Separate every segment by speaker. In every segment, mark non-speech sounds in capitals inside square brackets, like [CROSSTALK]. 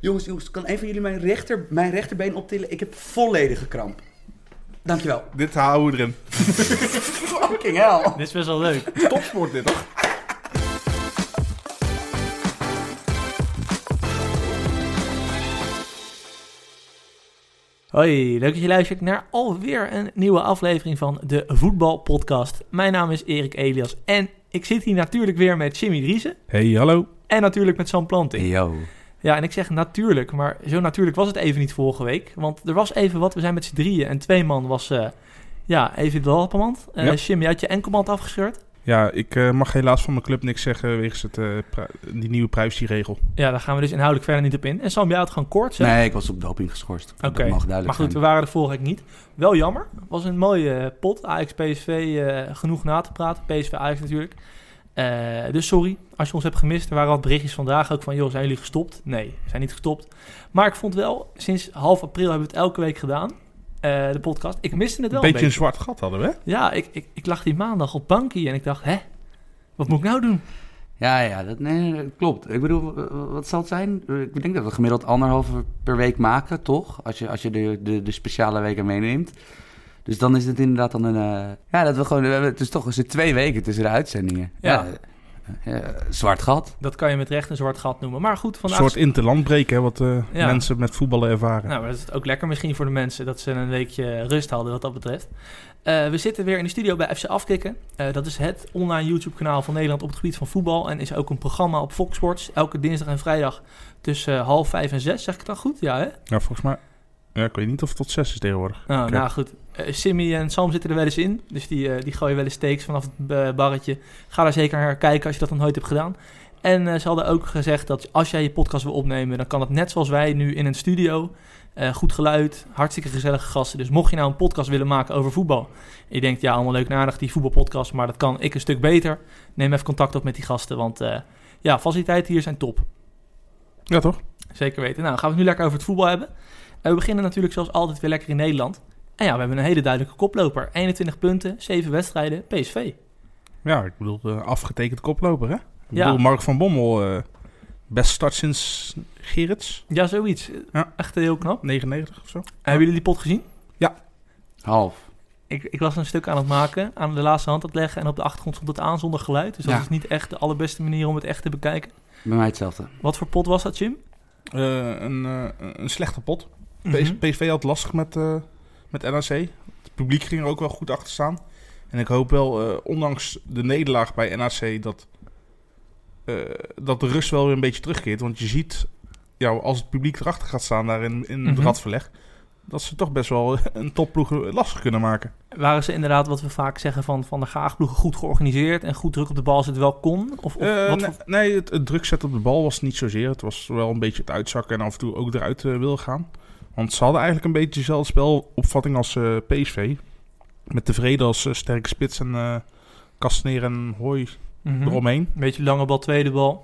Speaker 1: Jongens, jongens, kan een van jullie mijn, rechter, mijn rechterbeen optillen? Ik heb volledige kramp. Dankjewel.
Speaker 2: Dit houden we erin.
Speaker 1: Fucking hell.
Speaker 3: Dit is best wel leuk.
Speaker 2: [LAUGHS] Topsport dit, toch?
Speaker 3: Hoi, leuk dat je luistert naar alweer een nieuwe aflevering van de Voetbalpodcast. Mijn naam is Erik Elias en ik zit hier natuurlijk weer met Jimmy Driessen
Speaker 2: Hey, hallo.
Speaker 3: en natuurlijk met Sam Planting.
Speaker 4: Yo.
Speaker 3: Ja, en ik zeg natuurlijk, maar zo natuurlijk was het even niet vorige week. Want er was even wat, we zijn met z'n drieën en twee man was, eh, ja, even de lappenmand. Eh
Speaker 2: Ja.
Speaker 3: Jim, je had je enkelband afgescheurd.
Speaker 2: Ja, ik eh, mag helaas van mijn club niks zeggen wegens het, eh, pri- die nieuwe privacyregel.
Speaker 3: Ja, daar gaan we dus inhoudelijk verder niet op in. En Sam, jij had gewoon koorts, hè?
Speaker 4: Nee, ik was op doping geschorst.
Speaker 3: Oké,
Speaker 4: Dat mag duidelijk
Speaker 3: Maar goed, we
Speaker 4: zijn.
Speaker 3: waren er vorige week niet. Wel jammer. Was een mooie eh, pot. Ajax, PSV, eh, genoeg na te praten. PSV, Ajax natuurlijk. Eh, dus sorry als je ons hebt gemist. Er waren wat berichtjes vandaag ook van... joh, zijn jullie gestopt? Nee, we zijn niet gestopt. Maar ik vond wel, sinds half april hebben we het elke week gedaan. eh, de podcast. Ik miste het wel
Speaker 2: beetje een
Speaker 3: een
Speaker 2: zwart gat hadden we, hè?
Speaker 3: beetje. Ja, ik, ik, ik lag die maandag op bankie en ik dacht... hè, wat moet ik nou doen?
Speaker 4: Ja, ja, dat, nee, dat klopt. Ik bedoel, eh, wat zal het zijn? Eh, Ik denk dat we gemiddeld anderhalve per week maken, toch? Als je, als je de, de, de speciale weken meeneemt. Dus dan is het inderdaad dan een... eh, ja, dat we gewoon... we hebben- Het is toch eens twee weken tussen de uitzendingen.
Speaker 3: Ja.
Speaker 4: eh, eh, zwart gat.
Speaker 3: Dat kan je met recht een zwart gat noemen. Maar goed,
Speaker 2: Een
Speaker 3: vandaag...
Speaker 2: soort interlandbreken, hè, wat eh,
Speaker 3: Ja.
Speaker 2: mensen met voetballen ervaren.
Speaker 3: Nou, maar dat is ook lekker misschien voor de mensen dat ze een weekje rust hadden wat dat betreft. Eh, we zitten weer in de studio bij FC Afkikken. Eh, dat is het online YouTube-kanaal van Nederland op het gebied van voetbal. En is ook een programma op Fox Sports. Elke dinsdag en vrijdag tussen eh, half vijf en zes. Zeg ik het dan goed? Ja, hè?
Speaker 2: Ja, volgens mij... Ja, ik weet niet of het tot zes is tegenwoordig.
Speaker 3: Nou,
Speaker 2: Oké.
Speaker 3: nou goed. Eh, Simmy en Sam zitten er wel eens in. Dus die, eh, die gooien wel eens steaks vanaf het eh, barretje. Ga daar zeker naar kijken als je dat nog nooit hebt gedaan. En eh, ze hadden ook gezegd dat als jij je podcast wil opnemen, dan kan dat net zoals wij nu in een studio. Eh, goed geluid, hartstikke gezellige gasten. Dus mocht je nou een podcast willen maken over voetbal. En je denkt, ja, allemaal leuk en aardig, die voetbalpodcast, maar dat kan ik een stuk beter. Neem even contact op met die gasten, want eh, ja, faciliteiten hier zijn top.
Speaker 2: Ja, toch?
Speaker 3: Zeker weten. Nou, gaan we het nu lekker over het voetbal hebben. En we beginnen natuurlijk zoals altijd weer lekker in Nederland. En ja, we hebben een hele duidelijke koploper. 21 punten, 7 wedstrijden, PSV.
Speaker 2: Ja, ik bedoel, eh, afgetekend koploper, hè? Ik
Speaker 3: Ja.
Speaker 2: bedoel, Mark van Bommel, eh, best start sinds Gerrits,
Speaker 3: Ja, zoiets.
Speaker 2: Ja.
Speaker 3: Echt heel knap.
Speaker 2: 99 of zo.
Speaker 3: Hebben jullie die pot gezien?
Speaker 4: Half.
Speaker 3: Ik, ik was een stuk aan het maken, aan de laatste hand aan het leggen. En op de achtergrond stond het aan zonder geluid. Dus dat
Speaker 4: Ja.
Speaker 3: is niet echt de allerbeste manier om het echt te bekijken.
Speaker 4: Bij mij hetzelfde.
Speaker 3: Wat voor pot was dat, Jim?
Speaker 2: Eh, een, eh, een slechte pot. PS-
Speaker 3: Mhm.
Speaker 2: PSV had lastig met, eh, met NAC. Het publiek ging er ook wel goed achter staan. En ik hoop wel, eh, ondanks de nederlaag bij NAC, dat, eh, dat de rust wel weer een beetje terugkeert. Want je ziet, ja, als het publiek erachter gaat staan daar in, in het
Speaker 3: Mhm.
Speaker 2: radverleg, dat ze toch best wel [LAUGHS] een topploeg lastig kunnen maken.
Speaker 3: Mhm. Waren ze inderdaad wat we vaak zeggen van, van de graagploegen goed georganiseerd en goed druk op de bal als het wel kon? Of, of
Speaker 2: Eh,
Speaker 3: wat
Speaker 2: ne-
Speaker 3: voor-
Speaker 2: Nee, het, het druk zetten op de bal was niet zozeer. Het was wel een beetje het uitzakken en af en toe ook eruit eh, willen gaan. Want ze hadden eigenlijk een beetje dezelfde spelopvatting als eh, PSV. Met tevreden als eh, sterke spits en eh Kastner en Hooi
Speaker 3: Mhm.
Speaker 2: eromheen.
Speaker 3: Beetje lange bal, tweede bal.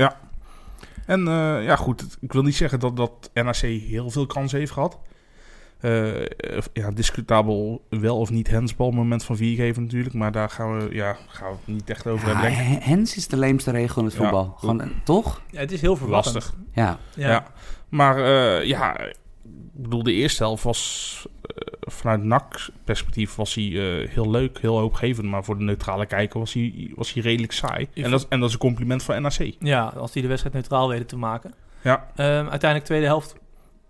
Speaker 2: En eh, ja, goed, het- ik wil niet zeggen dat, dat NAC heel veel kansen heeft gehad. Eh, eh, ja, discutabel wel of niet handsbal moment van viergeven natuurlijk. Maar daar gaan we, ja, gaan we het niet echt over
Speaker 4: Ja,
Speaker 2: hebben. denk ik.
Speaker 4: Hen- Hens is de leemste regel in het
Speaker 2: Ja.
Speaker 4: voetbal. Gewoon, eh, toch?
Speaker 3: Ja, het is heel verrassend.
Speaker 2: Lastig.
Speaker 4: Ja.
Speaker 3: Ja.
Speaker 2: Ja. Maar eh, ja, ik bedoel, de eerste helft was eh, vanuit NAC-perspectief was hij eh, heel leuk, heel hoopgevend. Maar voor de neutrale kijker was hij, was hij redelijk saai.
Speaker 3: Ik
Speaker 2: En dat, en dat is een compliment van NAC.
Speaker 3: Ja, als die de wedstrijd neutraal weten te maken.
Speaker 2: Ja.
Speaker 3: Ehm, uiteindelijk tweede helft.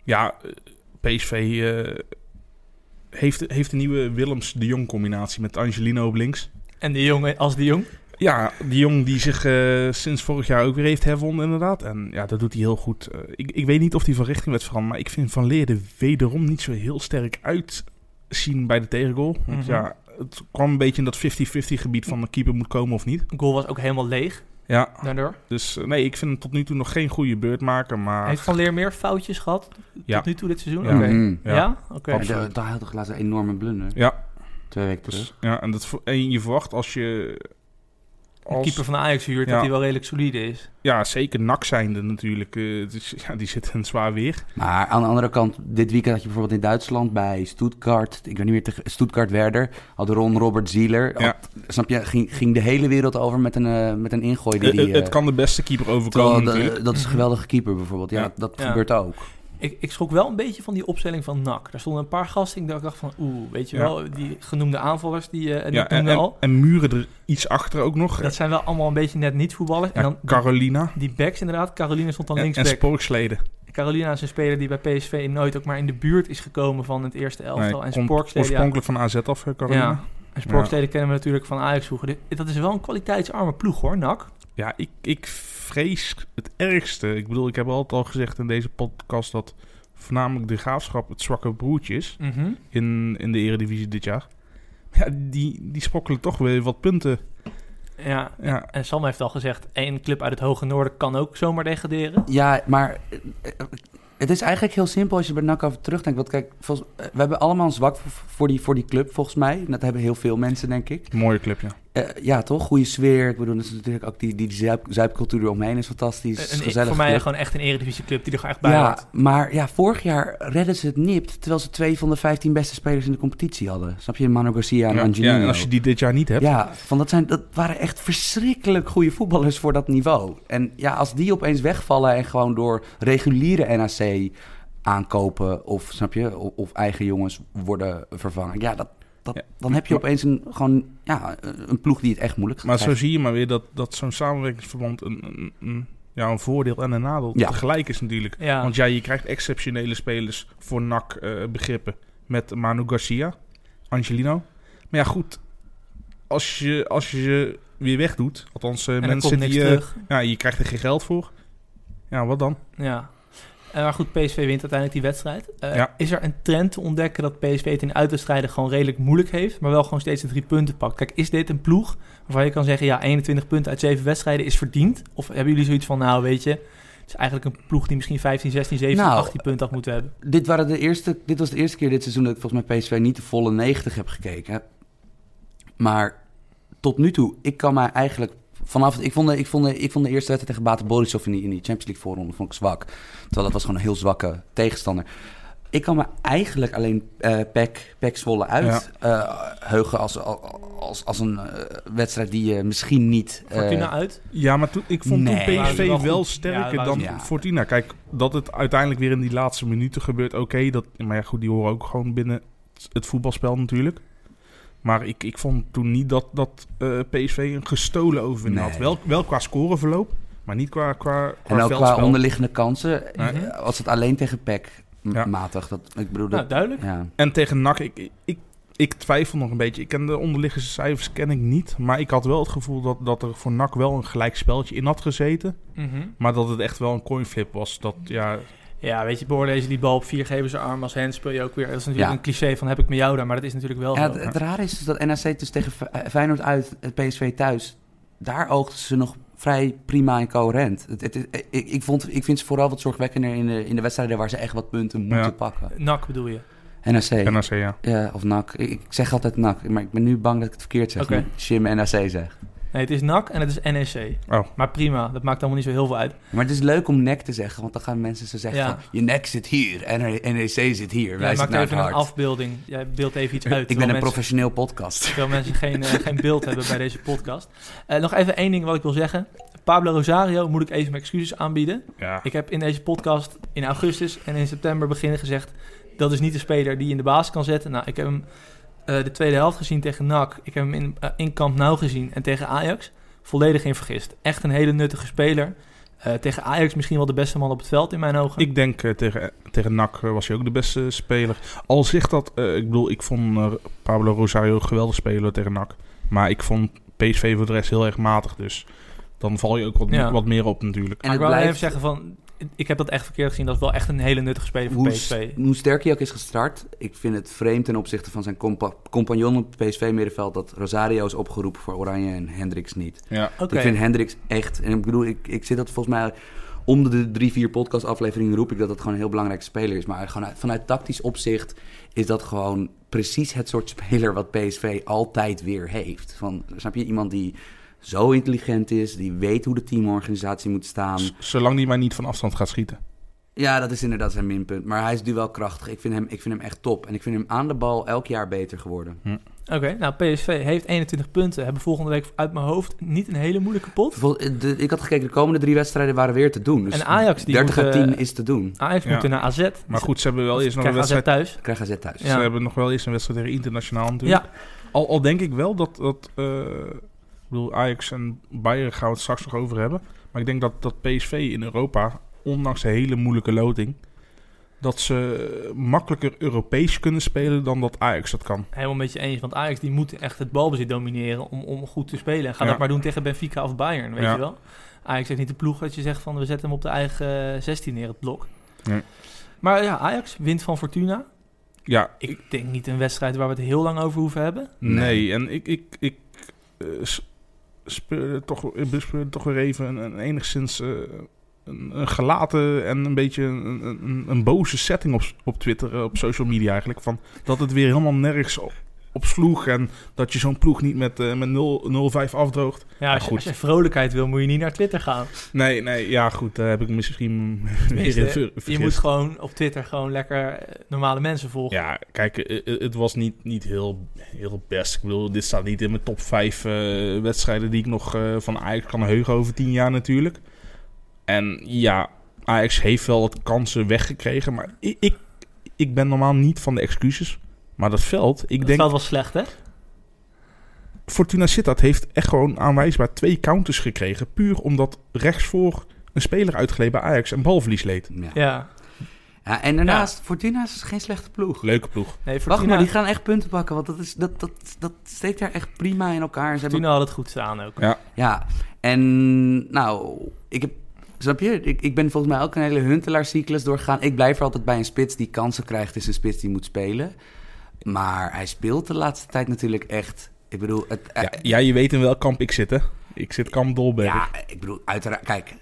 Speaker 2: Ja, eh, PSV eh, heeft, heeft een nieuwe Willems-de Jong-combinatie met Angelino op links.
Speaker 3: En die jongen als die jong.
Speaker 2: Ja, die jong die zich eh, sinds vorig jaar ook weer heeft herwonnen inderdaad. En ja, dat doet hij heel goed. Eh, ik, ik weet niet of hij van richting werd veranderd, maar ik vind Van Leerde wederom niet zo heel sterk uitzien bij de tegengoal. Want
Speaker 3: Mhm.
Speaker 2: ja, het kwam een beetje in dat 50-50 gebied van de keeper moet komen of niet.
Speaker 3: De goal was ook helemaal leeg
Speaker 2: Ja,
Speaker 3: daardoor.
Speaker 2: dus eh, nee, ik vind hem tot nu toe nog geen goede beurt maken, maar...
Speaker 3: Heeft Van Leer meer foutjes gehad
Speaker 2: Ja.
Speaker 3: tot nu toe dit seizoen?
Speaker 2: Ja.
Speaker 3: Oké.
Speaker 4: Mhm.
Speaker 3: Ja? Oké.
Speaker 4: Ja,
Speaker 2: Absoluut.
Speaker 4: dat- Dat had toch laatst een enorme blunder?
Speaker 2: Ja.
Speaker 4: Twee weken terug.
Speaker 2: Dus, ja, en, dat, vo- en je verwacht als je...
Speaker 3: De keeper van Ajax huurt
Speaker 2: Ja.
Speaker 3: dat hij wel redelijk solide is.
Speaker 2: Ja, zeker nak zijnde natuurlijk. eh, het is- ja, die zit in zwaar weer.
Speaker 4: Maar aan de andere kant, dit weekend had je bijvoorbeeld in Duitsland bij Stuttgart, ik weet niet meer, tegen- Stuttgart-Werder, had Ron Robert Zieler.
Speaker 2: Ja.
Speaker 4: Had- snap je, ging, ging de hele wereld over met een, eh, met een ingooi die
Speaker 2: Eh, eh,
Speaker 4: die,
Speaker 2: het
Speaker 4: eh,
Speaker 2: kan de beste keeper
Speaker 4: terwijl
Speaker 2: overkomen
Speaker 4: de-
Speaker 2: natuurlijk.
Speaker 4: dat is een geweldige keeper bijvoorbeeld. Ja,
Speaker 2: Ja.
Speaker 4: dat
Speaker 3: Ja.
Speaker 4: gebeurt ook.
Speaker 3: ik, ik schrok wel een beetje van die opstelling van NAC. Daar stonden een paar gasten. Ik dacht- ik dacht van, oeh, weet je
Speaker 2: Ja.
Speaker 3: wel, die genoemde aanvallers die, eh, die
Speaker 2: Ja, en,
Speaker 3: doen
Speaker 2: en-
Speaker 3: al.
Speaker 2: en muren er iets achter ook nog.
Speaker 3: Dat zijn wel allemaal een beetje net niet voetballers.
Speaker 2: Ja,
Speaker 3: en dan
Speaker 2: Carolina
Speaker 3: die backs inderdaad. Caroline stond dan
Speaker 2: en, en
Speaker 3: linksback.
Speaker 2: Sporksleden.
Speaker 3: Carolina is een speler die bij PSV nooit ook maar in de buurt is gekomen van het eerste elftal.
Speaker 2: Nee,
Speaker 3: en
Speaker 2: komt
Speaker 3: Sporkstede, ja,
Speaker 2: Oorspronkelijk van AZ af, eh, Carolina.
Speaker 3: Ja.
Speaker 2: Ja,
Speaker 3: en Sporkstede kennen we natuurlijk van Ajax vroeger. Dit- Dat is wel een kwaliteitsarme ploeg hoor, NAC.
Speaker 2: ik, ik vrees het ergste. Ik bedoel, ik heb altijd al gezegd in deze podcast dat voornamelijk de graafschap het zwakke broertje is in, in de eredivisie dit jaar. Ja, die, die sprokkelen toch weer wat punten.
Speaker 3: Ja,
Speaker 2: Ja,
Speaker 3: en Sam heeft al gezegd, één club uit het hoge noorden kan ook zomaar degraderen.
Speaker 4: Ja, maar eh, eh, het is eigenlijk heel simpel als je bij NAC over terugdenkt. Want kijk, volgens, eh, we hebben allemaal een zwak voor, voor die, voor die club, volgens mij. En Dat hebben heel veel mensen, denk ik.
Speaker 2: mooie club, ja.
Speaker 4: Eh, ja, toch? Goede sfeer. Ik bedoel, dat is natuurlijk ook die, die zuip, zuipcultuur eromheen is fantastisch.
Speaker 3: Een- een-
Speaker 4: gezellig.
Speaker 3: voor mij
Speaker 4: club.
Speaker 3: gewoon echt een eredivisie club die er gewoon echt bij
Speaker 4: ja,
Speaker 3: hoort.
Speaker 4: maar ja, vorig jaar redden ze het nipt, terwijl ze twee van de 15 beste spelers in de competitie hadden. Snap je? Manu Garcia en
Speaker 2: ja,
Speaker 4: Angelino.
Speaker 2: ja, en als je die dit jaar niet hebt,
Speaker 4: Ja, van dat, zijn, dat waren echt verschrikkelijk goede voetballers voor dat niveau. En ja, als die opeens wegvallen en gewoon door reguliere NAC aankopen of, snap je, of, of eigen jongens worden vervangen. Ja, dat, dat,
Speaker 2: Ja.
Speaker 4: dan heb je opeens een, gewoon, ja, een ploeg die het echt moeilijk gaat
Speaker 2: Maar zo
Speaker 4: krijgen.
Speaker 2: zie je maar weer dat, dat zo'n samenwerkingsverband een, een, een- ja, een voordeel en een nadeel
Speaker 4: Ja.
Speaker 2: tegelijk is natuurlijk.
Speaker 3: Ja.
Speaker 2: Want ja, je krijgt exceptionele spelers voor NAC eh, begrippen met Manu Garcia, Angelino. Maar ja, goed, als je als je ze weer wegdoet, althans eh,
Speaker 3: en er komt
Speaker 2: mensen
Speaker 3: niks
Speaker 2: die... eh,
Speaker 3: terug.
Speaker 2: ja, je krijgt er geen geld voor. Ja, wat dan?
Speaker 3: Ja. Eh, maar goed, PSV wint uiteindelijk die wedstrijd. Eh,
Speaker 2: Ja.
Speaker 3: Is er een trend te ontdekken dat PSV het in uitwedstrijden gewoon redelijk moeilijk heeft, maar wel gewoon steeds de drie punten pakt? Kijk, is dit een ploeg waarvan je kan zeggen, ja, 21 punten uit zeven wedstrijden is verdiend? Of hebben jullie zoiets van, nou weet je, het is eigenlijk een ploeg die misschien 15, 16, 17,
Speaker 4: Nou,
Speaker 3: 18 punten had moeten hebben?
Speaker 4: dit, waren de eerste, dit was de eerste keer dit seizoen dat ik volgens mij PSV niet de volle 90 heb gekeken. Maar tot nu toe, ik kan mij eigenlijk vanaf... Ik vond de, ik vond de, ik vond de eerste wedstrijd tegen Bate Borisov in die, in die Champions League voorronde vond ik zwak. Terwijl dat was gewoon een heel zwakke tegenstander. Ik kan me eigenlijk alleen eh Pek, Pek Zwolle uit eh, heugen als, als, als een eh, wedstrijd die je misschien niet... eh,
Speaker 3: Fortuna nou uit?
Speaker 2: Ja, maar toen, ik vond
Speaker 4: Nee.
Speaker 2: toen
Speaker 3: Waren
Speaker 2: PSV
Speaker 3: wel
Speaker 2: wel,
Speaker 3: goed.
Speaker 2: sterker
Speaker 3: Ja,
Speaker 2: dan
Speaker 4: waren-
Speaker 2: Fortuna. Kijk, dat het uiteindelijk weer in die laatste minuten gebeurt, oké. dat, maar ja, goed, die horen ook gewoon binnen het voetbalspel natuurlijk. Maar ik, ik vond toen niet dat, dat eh, PSV een gestolen overwinning
Speaker 4: Nee.
Speaker 2: had. Wel, wel qua scoreverloop, maar niet qua, qua, qua
Speaker 4: en ook
Speaker 2: veldspel.
Speaker 4: qua onderliggende kansen
Speaker 3: Mhm.
Speaker 2: Ja.
Speaker 4: eh, was het alleen tegen Pek
Speaker 2: Ja.
Speaker 4: matig. Dat, ik bedoel,
Speaker 3: Nou,
Speaker 4: dat,
Speaker 3: duidelijk.
Speaker 4: ja.
Speaker 2: En tegen NAC, ik, ik, ik twijfel nog een beetje. Ik ken de onderliggende cijfers ken ik niet. Maar ik had wel het gevoel dat, dat er voor NAC wel een gelijk spelletje in had gezeten.
Speaker 3: Mhm.
Speaker 2: Maar dat het echt wel een coinflip was. Dat, ja,
Speaker 3: Ja, weet je, beoordelen ze die bal op vier, geven ze arm als hand, speel je ook weer. Dat is natuurlijk
Speaker 4: Ja.
Speaker 3: een cliché van heb ik met jou daar, maar dat is natuurlijk wel
Speaker 4: Ja,
Speaker 3: zo.
Speaker 4: het, het rare is dus dat NAC dus tegen Fe- eh, Feyenoord uit, het PSV thuis... daar oogden ze nog vrij prima en coherent. Het, het, ik, ik, vond, ik vind ze vooral wat zorgwekkender in de, in de wedstrijden... waar ze echt wat punten moeten
Speaker 2: Ja.
Speaker 4: pakken.
Speaker 3: Nak bedoel je?
Speaker 4: NAC,
Speaker 2: NAC, ja.
Speaker 4: ja, of NAC. Ik, ik zeg altijd NAC, maar ik ben nu bang dat ik het verkeerd zeg.
Speaker 3: Oké.
Speaker 4: maar Jim NAC zegt.
Speaker 3: Nee, het is NAC en het is NEC.
Speaker 2: Oh.
Speaker 3: Maar prima, dat maakt allemaal niet zo heel veel uit.
Speaker 4: Maar het is leuk om nek te zeggen, want dan gaan mensen ze zeggen...
Speaker 3: Ja.
Speaker 4: Van, je nek zit hier en NEC zit hier. Wij
Speaker 3: Jij maakt
Speaker 4: zitten naar het
Speaker 3: even een
Speaker 4: hart.
Speaker 3: afbeelding. Jij beeldt even iets
Speaker 4: ik
Speaker 3: uit.
Speaker 4: ben een
Speaker 3: terwijl mensen-
Speaker 4: professioneel podcast.
Speaker 3: Terwijl mensen geen, eh, geen beeld hebben bij deze podcast. Eh, nog even één ding wat ik wil zeggen. Pablo Rosario moet ik even mijn excuses aanbieden.
Speaker 2: ja.
Speaker 3: Ik heb in deze podcast in augustus en in september beginnen gezegd... dat is niet de speler die je in de baas kan zetten. Nou, ik heb hem eh, de tweede helft gezien tegen NAC. Ik heb hem in, eh, in Camp Nou gezien en tegen Ajax. Volledig in vergist. Echt een hele nuttige speler. Eh, tegen Ajax misschien wel de beste man op het veld in mijn ogen.
Speaker 2: Ik denk eh, tegen, tegen NAC eh, was hij ook de beste speler. Al zegt dat, eh, ik bedoel, ik vond eh, Pablo Rosario een geweldig speler tegen NAC. Maar ik vond PSV voor de rest heel erg matig. Dus dan val je ook wat,
Speaker 3: Ja.
Speaker 2: wat meer op natuurlijk.
Speaker 4: En
Speaker 3: maar
Speaker 4: het
Speaker 3: ik wil alleen
Speaker 4: blijft-
Speaker 3: even zeggen van... Ik heb dat echt verkeerd gezien. Dat is wel echt een hele nuttige speler voor
Speaker 4: hoe,
Speaker 3: PSV.
Speaker 4: s- hoe sterk hij ook is gestart, ik vind het vreemd ten opzichte van zijn compa- compagnon op het PSV-middenveld dat Rosario is opgeroepen voor Oranje en Hendricks niet.
Speaker 2: Ja.
Speaker 3: Oké.
Speaker 4: Ik vind Hendricks echt, en ik bedoel, ik, ik zit dat volgens mij om de- de drie, vier podcastafleveringen roep ik dat dat gewoon een heel belangrijke speler is. Maar gewoon uit- vanuit tactisch opzicht is dat gewoon precies het soort speler wat PSV altijd weer heeft. Van, snap je, iemand die zo intelligent is, die weet hoe de teamorganisatie moet staan.
Speaker 2: Z- Zolang die maar niet van afstand gaat schieten.
Speaker 4: Ja, dat is inderdaad zijn minpunt. Maar hij is nu wel krachtig. Ik vind hem, ik vind hem echt top. En ik vind hem aan de bal elk jaar beter geworden.
Speaker 3: Oké, nou PSV heeft 21 punten. Hebben volgende week uit mijn hoofd niet een hele moeilijke pot.
Speaker 4: Vervol- eh, de- ik had gekeken, de komende drie wedstrijden waren weer te doen. Dus
Speaker 3: En Ajax die
Speaker 4: 30 uit
Speaker 3: moeten-
Speaker 4: 10 is te doen.
Speaker 3: Ajax
Speaker 2: Ja.
Speaker 3: moet er naar AZ.
Speaker 2: Maar goed, ze hebben wel
Speaker 3: Of
Speaker 2: eerst nog een
Speaker 3: krijgen AZ
Speaker 2: wedstrijd.
Speaker 3: thuis.
Speaker 4: Krijg AZ thuis.
Speaker 3: Ja.
Speaker 2: Ze hebben nog wel eerst een wedstrijd tegen internationaal natuurlijk.
Speaker 3: Ja,
Speaker 2: Al, al denk ik wel dat. dat eh, ik bedoel, Ajax en Bayern gaan we het straks nog over hebben. Maar ik denk dat, dat PSV in Europa, ondanks de hele moeilijke loting. dat ze makkelijker Europees kunnen spelen dan dat Ajax dat kan.
Speaker 3: helemaal met je eens. Want Ajax die moet echt het balbezit domineren om, om goed te spelen. En ga
Speaker 2: Ja.
Speaker 3: dat maar doen tegen Benfica of Bayern, weet
Speaker 2: Ja.
Speaker 3: je wel. Ajax heeft niet de ploeg dat je zegt van we zetten hem op de eigen eh, 16 neer, het blok.
Speaker 2: Nee.
Speaker 3: Maar ja, Ajax wint van Fortuna.
Speaker 2: Ja,
Speaker 3: Ik denk niet een wedstrijd waar we het heel lang over hoeven hebben.
Speaker 2: nee.
Speaker 4: Nee.
Speaker 2: En ik. ik, ik eh, s- speurde toch, ik bespeurde toch weer even een, een enigszins. eh, een, een gelaten en een beetje een, een, een boze setting op, op Twitter, eh, op social media eigenlijk. Van dat het weer helemaal nergens op, op sloeg. En dat je zo'n ploeg niet met, eh met 0, 0-5 afdroogt.
Speaker 3: Ja, als, je-
Speaker 2: goed.
Speaker 3: als je vrolijkheid wil, moet je niet naar Twitter gaan.
Speaker 2: Nee, nee, ja goed, daar heb ik misschien weer
Speaker 3: Tenminste,
Speaker 2: in ver-
Speaker 3: Je
Speaker 2: vergist.
Speaker 3: moet gewoon op Twitter gewoon lekker eh, normale mensen volgen.
Speaker 2: Ja, kijk, eh, eh, het was niet, niet heel, heel best. Ik bedoel, dit staat niet in mijn top 5 wedstrijden die ik nog eh, van Ajax kan heugen over 10 jaar natuurlijk. En ja, Ajax heeft wel wat kansen weggekregen, maar ik, ik, ik ben normaal niet van de excuses. Maar dat veld, ik
Speaker 3: dat
Speaker 2: denk,
Speaker 3: veld was slecht, hè?
Speaker 2: Fortuna Sittard heeft echt gewoon aanwijsbaar twee counters gekregen. Puur omdat rechtsvoor een speler uitgleed bij Ajax en balverlies leed.
Speaker 4: Ja.
Speaker 3: Ja.
Speaker 4: Ja, en daarnaast, Fortuna is geen slechte ploeg.
Speaker 2: Leuke ploeg.
Speaker 3: Nee, Fortuna,
Speaker 4: Wacht maar, die gaan echt punten pakken, want dat, is, dat, dat, dat steekt daar echt prima in elkaar. Ze hebben,
Speaker 3: Fortuna had het goed staan ook.
Speaker 4: ja, en nou, ik heb, snap je, ik, ik ben volgens mij ook een hele huntelaarcyclus doorgegaan. Ik blijf er altijd bij een spits die kansen krijgt, is een spits die moet spelen. Maar hij speelt de laatste tijd natuurlijk echt, ik bedoel... Het,
Speaker 2: Ja,
Speaker 4: eh,
Speaker 2: ja, je weet in welk kamp ik zit, hè? Ik zit kamp Dolberg.
Speaker 4: ja, ik bedoel, uiteraard, kijk,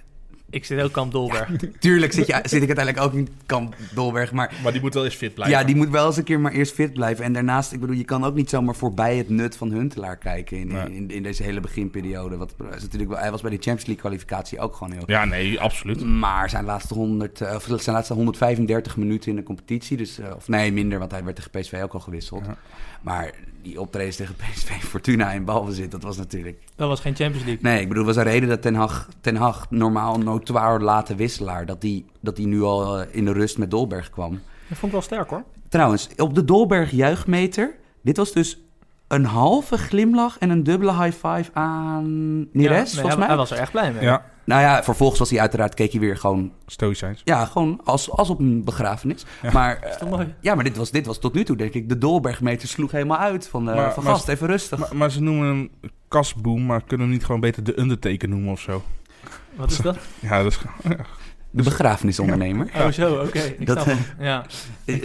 Speaker 3: Ik zit ook aan Dolberg.
Speaker 4: tuurlijk zit, je, [LAUGHS] zit ik uiteindelijk ook in kamp Dolberg, maar
Speaker 2: Maar die moet wel eens fit
Speaker 4: Ja, die moet wel eens een keer maar eerst fit blijven. En daarnaast, ik bedoel, je kan ook niet zomaar voorbij het nut van Huntelaar kijken in,
Speaker 2: Nee.
Speaker 4: in, in deze hele beginperiode. Wat, is natuurlijk wel, hij was bij de Champions League kwalificatie ook gewoon heel...
Speaker 2: Ja, nee, absoluut.
Speaker 4: Maar zijn laatste, 100, eh, of zijn laatste 135 minuten in de competitie, dus, eh, of nee, minder, want hij werd tegen PSV ook al gewisseld.
Speaker 2: Ja.
Speaker 4: Maar die optredens tegen PSV, [LAUGHS] Fortuna in balbezit, dat was natuurlijk...
Speaker 3: Dat was geen Champions League.
Speaker 4: Nee, ik bedoel, was een reden dat Ten Hag, Ten Hag normaal een notoire late wisselaar, dat die, dat die nu al eh, in de rust met Dolberg kwam.
Speaker 3: Dat vond ik wel sterk hoor.
Speaker 4: Trouwens, op de Dolberg juichmeter. Dit was dus een halve glimlach en een dubbele high five aan
Speaker 3: Ja, nee,
Speaker 4: Neres,
Speaker 3: hij,
Speaker 4: volgens mij.
Speaker 3: Hij was er echt blij mee.
Speaker 2: Ja,
Speaker 4: Nou ja, vervolgens was hij uiteraard, keek hij weer gewoon,
Speaker 2: stoïcijns.
Speaker 4: ja, gewoon als, als op een begrafenis.
Speaker 2: Ja.
Speaker 4: Maar,
Speaker 3: Is
Speaker 4: eh,
Speaker 3: toch mooi?
Speaker 4: ja, maar dit was, dit was tot nu toe, denk ik, de Dolbergmeter sloeg helemaal uit van, eh,
Speaker 2: Maar-
Speaker 4: van
Speaker 2: maar-
Speaker 4: gast, even rustig.
Speaker 2: Maar, maar ze noemen hem Kasboom, maar kunnen hem niet gewoon beter de Undertaker noemen of zo?
Speaker 3: Wat is dat?
Speaker 2: Ja, dat is...
Speaker 4: de begrafenisondernemer.
Speaker 3: Oh zo, oké. Ik
Speaker 4: Dat- eh,
Speaker 3: snap hem. Ja. ik,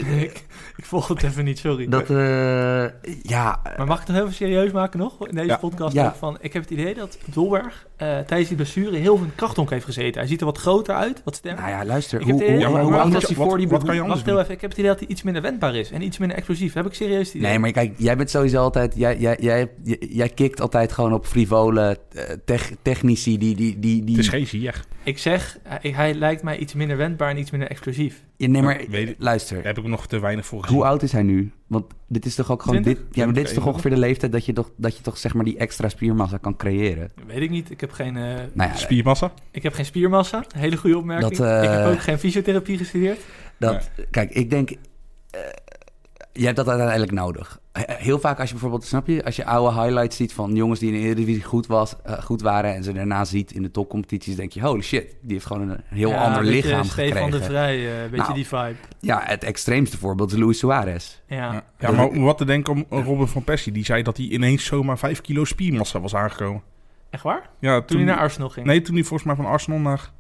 Speaker 3: ik volg het even niet, sorry.
Speaker 4: Dat, eh, ja,
Speaker 3: maar mag ik het nog even serieus maken nog? In deze
Speaker 2: Ja.
Speaker 3: podcast
Speaker 4: Ja.
Speaker 3: ook van... Ik heb het idee dat Dolberg eh, tijdens die blessure heel veel in de krachthonk heeft gezeten. Hij ziet er wat groter uit, wat sterker.
Speaker 4: nou ja, luister,
Speaker 3: Ik
Speaker 4: hoe,
Speaker 3: heb de-
Speaker 4: hoe,
Speaker 3: Ja, maar
Speaker 4: hoe
Speaker 3: wacht,
Speaker 4: oud
Speaker 3: wat-
Speaker 4: was hij voor die
Speaker 2: wat kan je anders
Speaker 3: Wacht heel
Speaker 2: doen?
Speaker 3: even, ik heb het idee dat hij iets minder wendbaar is en iets minder explosief. Heb ik serieus het idee?
Speaker 4: Nee, maar kijk, jij bent sowieso altijd. Jij, jij, jij, jij, jij kikt altijd gewoon op frivole eh, tech, technici die. die, die, die
Speaker 2: Het is geen zier.
Speaker 3: Ik zeg, hij, hij lijkt mij iets minder wendbaar en iets minder explosief.
Speaker 4: Ja, nee, maar
Speaker 2: Weet ik-
Speaker 4: luister.
Speaker 2: Daar heb ik nog te weinig voor gezien.
Speaker 4: Hoe oud is hij nu? Want dit is toch ook gewoon. Dit,
Speaker 3: Twintig?
Speaker 4: ja, maar dit is toch
Speaker 2: Oké.
Speaker 4: ongeveer de leeftijd dat je toch, dat je toch zeg maar die extra spiermassa kan creëren.
Speaker 3: Weet ik niet, ik heb geen, eh,
Speaker 4: Nou ja,
Speaker 2: Spiermassa?
Speaker 3: ik heb geen spiermassa. Hele goede opmerking.
Speaker 4: Dat, eh,
Speaker 3: Ik heb ook geen fysiotherapie gestudeerd.
Speaker 4: dat, kijk, ik denk. eh, je hebt dat uiteindelijk nodig. He- Heel vaak als je bijvoorbeeld, snap je, als je oude highlights ziet van jongens die in de Eredivisie goed, was, eh, goed waren en ze daarna ziet in de topcompetities, denk je, holy shit, die heeft gewoon een heel
Speaker 3: Ja,
Speaker 4: ander
Speaker 3: een beetje
Speaker 4: lichaam
Speaker 3: Stefan
Speaker 4: gekregen.
Speaker 3: de Vrij, eh, een beetje
Speaker 4: Nou.
Speaker 3: die vibe.
Speaker 4: Ja, het extreemste voorbeeld is Luis Suarez.
Speaker 3: Ja.
Speaker 2: Ja. Ja, maar wat te denken om Robin van Persie. Die zei dat hij ineens zomaar 5 kilo spiermassa was aangekomen.
Speaker 3: Echt waar? Toen,
Speaker 2: Ja, toen,
Speaker 3: hij naar Arsenal ging.
Speaker 2: Nee, toen hij volgens mij van Arsenal naar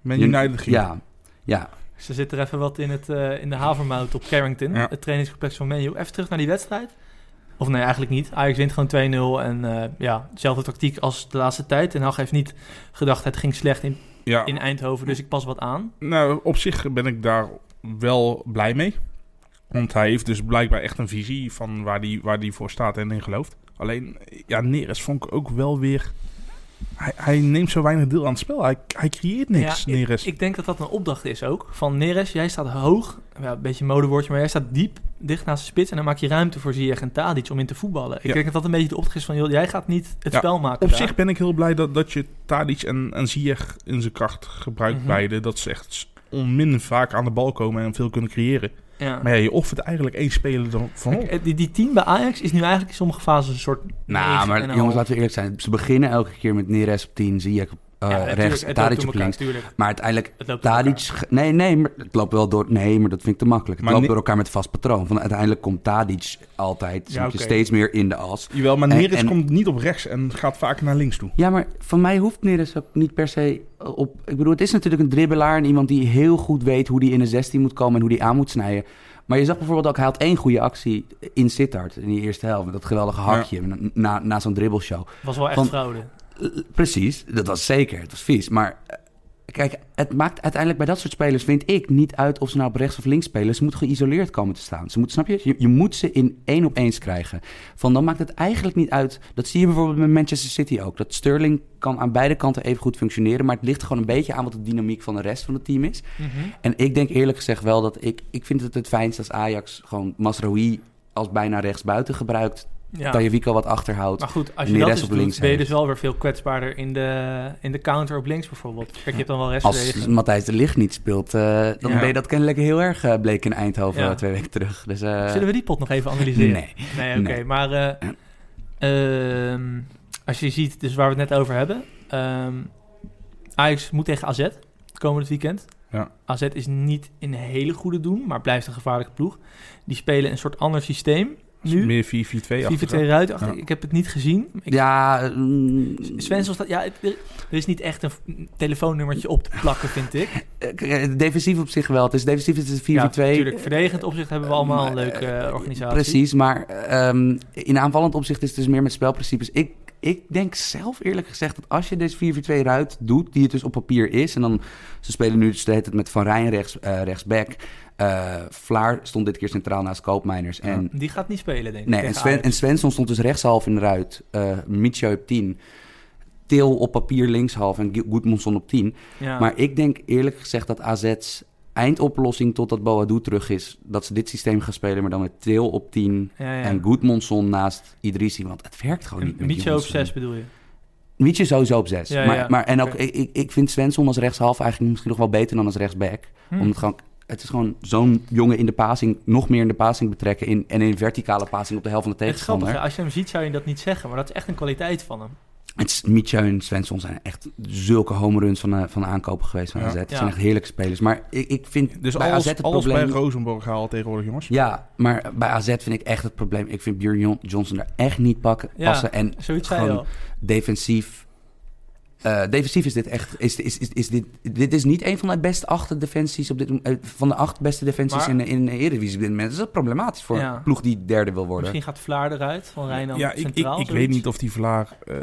Speaker 2: Man
Speaker 4: Je-
Speaker 2: United ging.
Speaker 4: Ja, ja.
Speaker 3: Ze zit er even wat in, het, eh, in de havermout op Carrington.
Speaker 2: Ja.
Speaker 3: Het trainingscomplex van Menu. Even terug naar die wedstrijd. Of nee, eigenlijk niet. Ajax wint gewoon 2-0. En eh, ja, dezelfde tactiek als de laatste tijd. En Hag heeft niet gedacht, het ging slecht in,
Speaker 2: Ja,
Speaker 3: in Eindhoven, dus ik pas wat aan.
Speaker 2: Nou, op zich ben ik daar wel blij mee. Want hij heeft dus blijkbaar echt een visie van waar hij die, waar die voor staat en in gelooft. Alleen, ja, Neres vond ik ook wel weer... Hij, hij neemt zo weinig deel aan het spel. Hij, hij creëert niks,
Speaker 3: Ja, ik-
Speaker 2: Neres.
Speaker 3: Ik, denk dat dat een opdracht is ook. Van Neres, jij staat hoog. Ja, een beetje een modewoordje, maar jij staat diep, dicht naast de spits. En dan maak je ruimte voor Ziyech en Tadic om in te voetballen. Ik
Speaker 2: Ja.
Speaker 3: denk dat dat een beetje de opdracht is van... Joh, jij gaat niet het
Speaker 2: Ja,
Speaker 3: spel maken
Speaker 2: Op
Speaker 3: daar.
Speaker 2: zich ben ik heel blij dat, dat je Tadic en, en Ziyech in zijn kracht gebruikt
Speaker 3: Mhm.
Speaker 2: beide. Dat ze echt s- onmin vaak aan de bal komen en veel kunnen creëren.
Speaker 3: Ja.
Speaker 2: Maar ja, je offert eigenlijk één speler dan van op.
Speaker 3: Kijk, Die, die team bij Ajax is nu eigenlijk in sommige fases een soort...
Speaker 4: Nou,
Speaker 3: negen
Speaker 4: maar
Speaker 3: en een
Speaker 4: jongens,
Speaker 3: half.
Speaker 4: laten we eerlijk zijn. Ze beginnen elke keer met Neres op 10, Ziyech op eh,
Speaker 3: Ja, natuurlijk,
Speaker 4: rechts,
Speaker 3: het loopt
Speaker 4: Tadic
Speaker 3: door
Speaker 4: op
Speaker 3: elkaar,
Speaker 4: links.
Speaker 3: tuurlijk.
Speaker 4: Maar uiteindelijk,
Speaker 3: Het loopt door
Speaker 4: Tadic...
Speaker 3: elkaar.
Speaker 4: ge- Nee, nee, maar het loopt wel door... Nee, maar dat vind ik te makkelijk. Het
Speaker 2: Maar
Speaker 4: loopt
Speaker 2: ne-
Speaker 4: door elkaar met vast patroon. Van, uiteindelijk komt Tadic altijd zit je
Speaker 2: oké.
Speaker 4: steeds meer in de as.
Speaker 2: Jawel, maar
Speaker 4: En-
Speaker 2: Neres
Speaker 4: en-
Speaker 2: komt niet op rechts en gaat vaak naar links toe.
Speaker 4: Ja, maar van mij hoeft Neres ook niet per se eh, op... Ik bedoel, het is natuurlijk een dribbelaar en iemand die heel goed weet hoe die in de 16 moet komen en hoe die aan moet snijden. Maar je zag bijvoorbeeld ook, hij had één goede actie in Sittard in die eerste helft. Met dat geweldige hakje na, na, na zo'n dribbelshow.
Speaker 3: was wel echt
Speaker 4: Van-
Speaker 3: fraude.
Speaker 4: Eh, Precies, dat was zeker. Het was vies. Maar eh, kijk, het maakt uiteindelijk bij dat soort spelers, vind ik, niet uit of ze nou op rechts of links spelen. Ze moeten geïsoleerd komen te staan. Ze moeten, snap je? je? Je moet ze in één op eens krijgen. Van dan maakt het eigenlijk niet uit. Dat zie je bijvoorbeeld met Manchester City ook. Dat Sterling kan aan beide kanten even goed functioneren. Maar het ligt gewoon een beetje aan wat de dynamiek van de rest van het team is. En ik denk eerlijk gezegd wel dat ik, ik vind het het fijnst als Ajax gewoon Masraoui als bijna rechtsbuiten gebruikt.
Speaker 3: Ja.
Speaker 4: Tajewico wat achterhoudt.
Speaker 3: Maar goed, als je
Speaker 4: Neres
Speaker 3: dat dus
Speaker 4: op
Speaker 3: doet,
Speaker 4: links
Speaker 3: ben je
Speaker 4: heeft.
Speaker 3: dus wel weer veel kwetsbaarder in de, in de counter op links bijvoorbeeld. Kijk, je hebt dan wel
Speaker 4: Als
Speaker 3: rechtsverdediging.
Speaker 4: Matthijs de Ligt niet speelt, eh, dan
Speaker 3: Ja.
Speaker 4: ben je dat kennelijk heel erg eh, bleek in Eindhoven
Speaker 3: Ja.
Speaker 4: eh, twee weken terug. Dus, eh,
Speaker 3: Zullen we die pot nog even analyseren?
Speaker 4: Nee.
Speaker 3: Nee, oké.
Speaker 4: Nee.
Speaker 3: Maar eh, ehm, als je ziet, dus waar we het net over hebben. ehm, Ajax moet tegen AZ komend weekend.
Speaker 2: Ja.
Speaker 3: AZ is niet in hele goede doen, maar blijft een gevaarlijke ploeg. Die spelen een soort ander systeem nu.
Speaker 2: Meer 4-4-2
Speaker 3: 4
Speaker 2: achter.
Speaker 3: 2 ruit achter.
Speaker 2: Ja.
Speaker 3: Ik heb het niet gezien. Ik,
Speaker 4: Ja, mm,
Speaker 3: Svensson staat... Ja, het- er er is niet echt een f- een telefoonnummertje op te plakken, vind ik.
Speaker 4: eh, defensief op zich wel. Het is defensief, het is 4-4-2.
Speaker 3: Ja, natuurlijk. Verdedigend opzicht hebben we allemaal een
Speaker 4: Maar,
Speaker 3: leuke
Speaker 4: eh,
Speaker 3: eh, organisatie.
Speaker 4: Precies, maar ehm, in aanvallend opzicht is het dus meer met spelprincipes. Ik, ik denk zelf eerlijk gezegd dat als je deze 4-4-2 ruit doet, die het dus op papier is, en dan ze spelen nu dus de hele tijd met Van Rijn rechts, eh, rechtsback. Eh, Vlaar stond dit keer centraal naast Koopmeiners. En
Speaker 3: Die gaat niet spelen, denk ik.
Speaker 4: Nee,
Speaker 3: tegen
Speaker 4: en, Sven,
Speaker 3: Ajax.
Speaker 4: en Svensson stond dus rechtshalf in de ruit. eh Micho op 10. Til op papier linkshalf en Gu- Gudmundsson op 10.
Speaker 3: Ja.
Speaker 4: Maar ik denk eerlijk gezegd dat AZ's eindoplossing totdat Boadu terug is... dat ze dit systeem gaan spelen, maar dan met Til op 10...
Speaker 3: Ja, ja.
Speaker 4: En Goedmondson naast Idrissi, want het werkt gewoon niet.
Speaker 3: En
Speaker 4: met die
Speaker 3: Micho op
Speaker 4: jongens.
Speaker 3: 6 bedoel je?
Speaker 4: Mietje sowieso op 6.
Speaker 3: Ja,
Speaker 4: maar,
Speaker 3: ja.
Speaker 4: Maar, en ook,
Speaker 3: Oké.
Speaker 4: ik- ik, ik vind Svensson als rechtshalf eigenlijk misschien nog wel beter dan als rechtsback.
Speaker 3: Hm.
Speaker 4: Omdat gewoon, het is gewoon zo'n jongen in de passing, nog meer in de passing betrekken. In, en in verticale passing op de helft van de
Speaker 3: Het is
Speaker 4: tegenstander.
Speaker 3: grappig, hè? als je hem ziet zou je dat niet zeggen, maar dat is echt een kwaliteit van hem.
Speaker 4: Het is- Mietje en Svensson zijn echt zulke homeruns van, eh, van de aankopen geweest van
Speaker 2: Ja.
Speaker 4: AZ. Het
Speaker 3: Ja.
Speaker 4: zijn echt heerlijke spelers. Maar ik, ik vind
Speaker 2: Dus
Speaker 4: bij
Speaker 2: alles,
Speaker 4: AZ het
Speaker 2: alles bij
Speaker 4: probleem...
Speaker 2: Rosenborg haalt tegenwoordig, jongens.
Speaker 4: ja, maar bij AZ vind ik echt het probleem. Ik vind Björn Jon- Johnson er echt niet pakken,
Speaker 3: Ja.
Speaker 4: passen. En
Speaker 3: Zoiets zei je
Speaker 4: Gewoon-
Speaker 3: al.
Speaker 4: defensief. eh, defensief is dit echt. Is, is, is, is dit, dit is niet een van de beste acht defensies op dit moment- eh, Van de acht beste defensies
Speaker 3: Maar-
Speaker 4: in, de- in de Eredivisie op dit moment. Dus dat is problematisch voor
Speaker 3: Ja.
Speaker 4: een ploeg die derde wil worden.
Speaker 3: Misschien gaat Vlaar eruit, van
Speaker 4: Nou,
Speaker 3: Rijnland
Speaker 2: ja, ik, ik,
Speaker 3: centraal.
Speaker 2: ik weet niet of die Vlaar eh,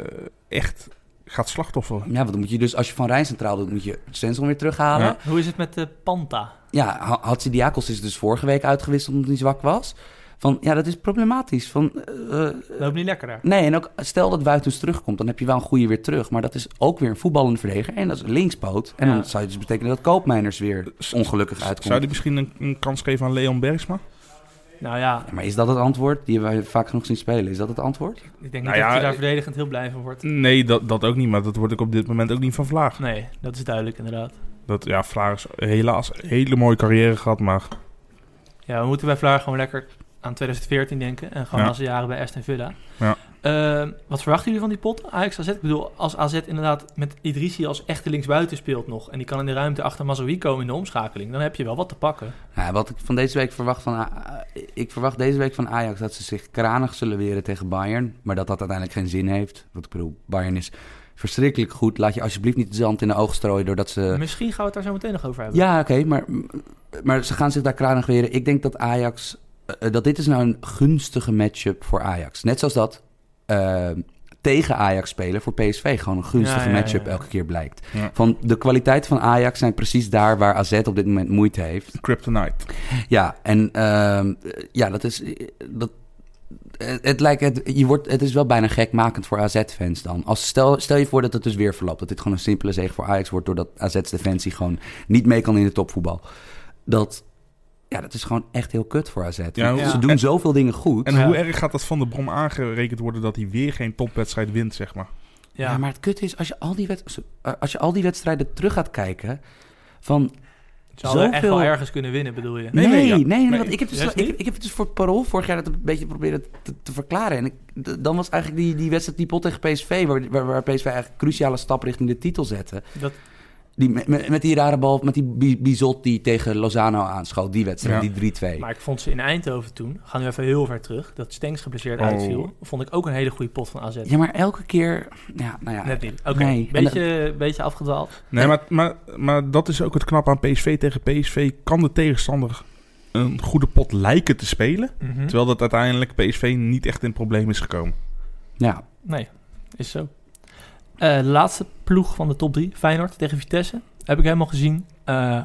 Speaker 2: echt gaat slachtoffer.
Speaker 4: Ja, want dan moet je dus als je van Rijn centraal doet, moet je Svensson weer terughalen.
Speaker 2: Ja.
Speaker 4: Ja,
Speaker 3: Hoe is het met de Panta?
Speaker 4: Ha- Hatsi Diakos is dus vorige week uitgewisseld omdat hij zwak was. Van ja, dat is problematisch. Van, eh, eh,
Speaker 3: Loopt niet lekker daar.
Speaker 4: nee, en ook stel dat Wuitens terugkomt, dan heb je wel een goede weer terug. Maar dat is ook weer een voetballende verdediger en dat is een linkspoot. En
Speaker 3: Ja.
Speaker 4: dan zou het dus betekenen dat Koopmeiners weer
Speaker 2: Z-
Speaker 4: ongelukkig uitkomt.
Speaker 2: Zou die misschien een, een kans geven aan Leon Bergsma?
Speaker 3: Nou ja,
Speaker 4: Ja, maar is dat het antwoord? Die hebben wij vaak genoeg zien spelen. Is dat het antwoord?
Speaker 3: ik denk niet
Speaker 2: Nou ja,
Speaker 3: dat hij
Speaker 4: eh,
Speaker 3: daar
Speaker 2: ik-
Speaker 3: verdedigend heel blij van wordt.
Speaker 2: Nee, dat, dat ook niet. Maar dat word ik op dit moment ook niet van Vlaar.
Speaker 3: Nee, dat is duidelijk inderdaad.
Speaker 2: Dat, ja, Vlaar is helaas een hele mooie carrière gehad. Maar
Speaker 3: Ja, we moeten bij Vlaar gewoon lekker aan 2014 denken. En gewoon
Speaker 2: Ja.
Speaker 3: als de jaren bij Aston Villa.
Speaker 2: Ja.
Speaker 3: Eh, wat verwachten jullie van die pot? Ajax AZ? Ik bedoel, als AZ inderdaad met Idrissi als echte linksbuiten speelt nog... en die kan in de ruimte achter Mazzoui komen in de omschakeling... dan heb je wel wat te pakken.
Speaker 4: Nou, wat ik van deze week verwacht van... A- ik verwacht deze week van Ajax dat ze zich kranig zullen weren tegen Bayern. Maar dat dat uiteindelijk geen zin heeft. Want ik bedoel, Bayern is verschrikkelijk goed. Laat je alsjeblieft niet zand in de ogen strooien doordat ze...
Speaker 3: Misschien gaan we het daar zo meteen nog over hebben.
Speaker 4: Eh. Ja, oké, maar, maar ze gaan zich daar kranig weren. Ik denk dat Ajax... eh, dat dit is nou een gunstige matchup voor Ajax. Net zoals dat... eh, tegen Ajax spelen voor PSV gewoon een gunstige
Speaker 3: Ja, ja, ja,
Speaker 4: matchup
Speaker 3: ja.
Speaker 4: elke keer blijkt.
Speaker 2: Ja.
Speaker 4: Van de kwaliteit van Ajax zijn precies daar waar AZ op dit moment moeite heeft.
Speaker 2: Kryptonite.
Speaker 4: Ja, en ehm, ja, dat is. Dat, het, het lijkt, het, je wordt, het is wel bijna gekmakend voor AZ-fans dan. Als, stel, stel je voor dat het dus weer verloopt. Dat dit gewoon een simpele zege voor Ajax wordt... doordat AZ's defensie gewoon niet mee kan in de topvoetbal. Dat, ja, dat is gewoon echt heel kut voor AZ.
Speaker 2: Ja,
Speaker 4: Ze
Speaker 1: ja.
Speaker 4: doen zoveel dingen goed.
Speaker 2: En
Speaker 3: Ja.
Speaker 2: hoe erg gaat dat van de brom aangerekend worden dat hij weer geen topwedstrijd wint, zeg maar?
Speaker 4: Ja. maar het kut is, als je al die, wed- eh, als je al die wedstrijden terug gaat kijken... van
Speaker 3: Ze hadden echt wel
Speaker 4: zoveel-
Speaker 3: ergens kunnen winnen, bedoel je?
Speaker 4: Nee,
Speaker 2: Nee,
Speaker 4: nee,
Speaker 2: nee, ja.
Speaker 4: nee,
Speaker 2: Nee,
Speaker 4: want ik heb, dus,
Speaker 3: juist
Speaker 4: ik,
Speaker 3: niet.
Speaker 4: ik heb het dus voor het parool vorig jaar dat een beetje proberen te, te verklaren. En ik, d- dan was eigenlijk die, die wedstrijd, die pot tegen PSV, waar, waar, waar PSV eigenlijk een cruciale stap richting de titel zette.
Speaker 3: Dat,
Speaker 4: Die, met- met, met die rare bal, met die Bi- Bizot die tegen Lozano aanschoot, die wedstrijd,
Speaker 2: Ja.
Speaker 4: die 3-2.
Speaker 3: maar ik vond ze in Eindhoven toen, we gaan nu even heel ver terug, dat Stenks geblesseerd
Speaker 2: Oh.
Speaker 3: uitviel, vond ik ook een hele goede pot van AZ.
Speaker 4: Ja, maar elke keer, ja, nou ja.
Speaker 3: Net niet. Oké,
Speaker 4: Nee.
Speaker 3: beetje, beetje afgedwaald.
Speaker 2: Nee, maar, maar, maar dat is ook het knap aan PSV tegen PSV. Kan de tegenstander een goede pot lijken te spelen?
Speaker 3: Hm?
Speaker 2: Terwijl dat uiteindelijk PSV niet echt in problemen is gekomen.
Speaker 4: ja.
Speaker 3: Nee, is zo. Eh, laatste ploeg van de top 3, Feyenoord tegen Vitesse. Heb ik helemaal gezien. Eh,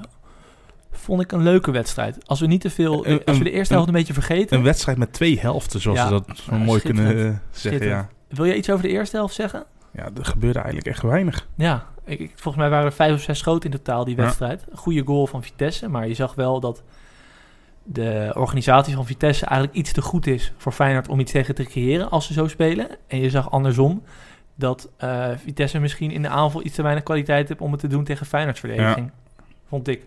Speaker 3: vond ik een leuke wedstrijd. Als we niet te veel.
Speaker 2: Een-
Speaker 3: als we
Speaker 2: een-
Speaker 3: de eerste helft een beetje vergeten.
Speaker 2: Een wedstrijd met twee helften, zoals
Speaker 3: Ja,
Speaker 2: ze dat zo
Speaker 3: maar
Speaker 2: mooi
Speaker 3: schitterend.
Speaker 2: kunnen eh, zeggen. Ja.
Speaker 3: Schitterend. Wil je iets over de eerste helft zeggen?
Speaker 2: ja, er gebeurde eigenlijk echt weinig.
Speaker 3: Ja, ik, ik- volgens mij waren er vijf of zes schoten in totaal die
Speaker 2: Ja.
Speaker 3: wedstrijd. Goede goal van Vitesse, maar je zag wel dat de organisatie van Vitesse eigenlijk iets te goed is voor Feyenoord om iets tegen te creëren als ze zo spelen. En je zag andersom dat eh, Vitesse misschien in de aanval iets te weinig kwaliteit heeft om het te doen tegen Feyenoords verdediging. Vond ik.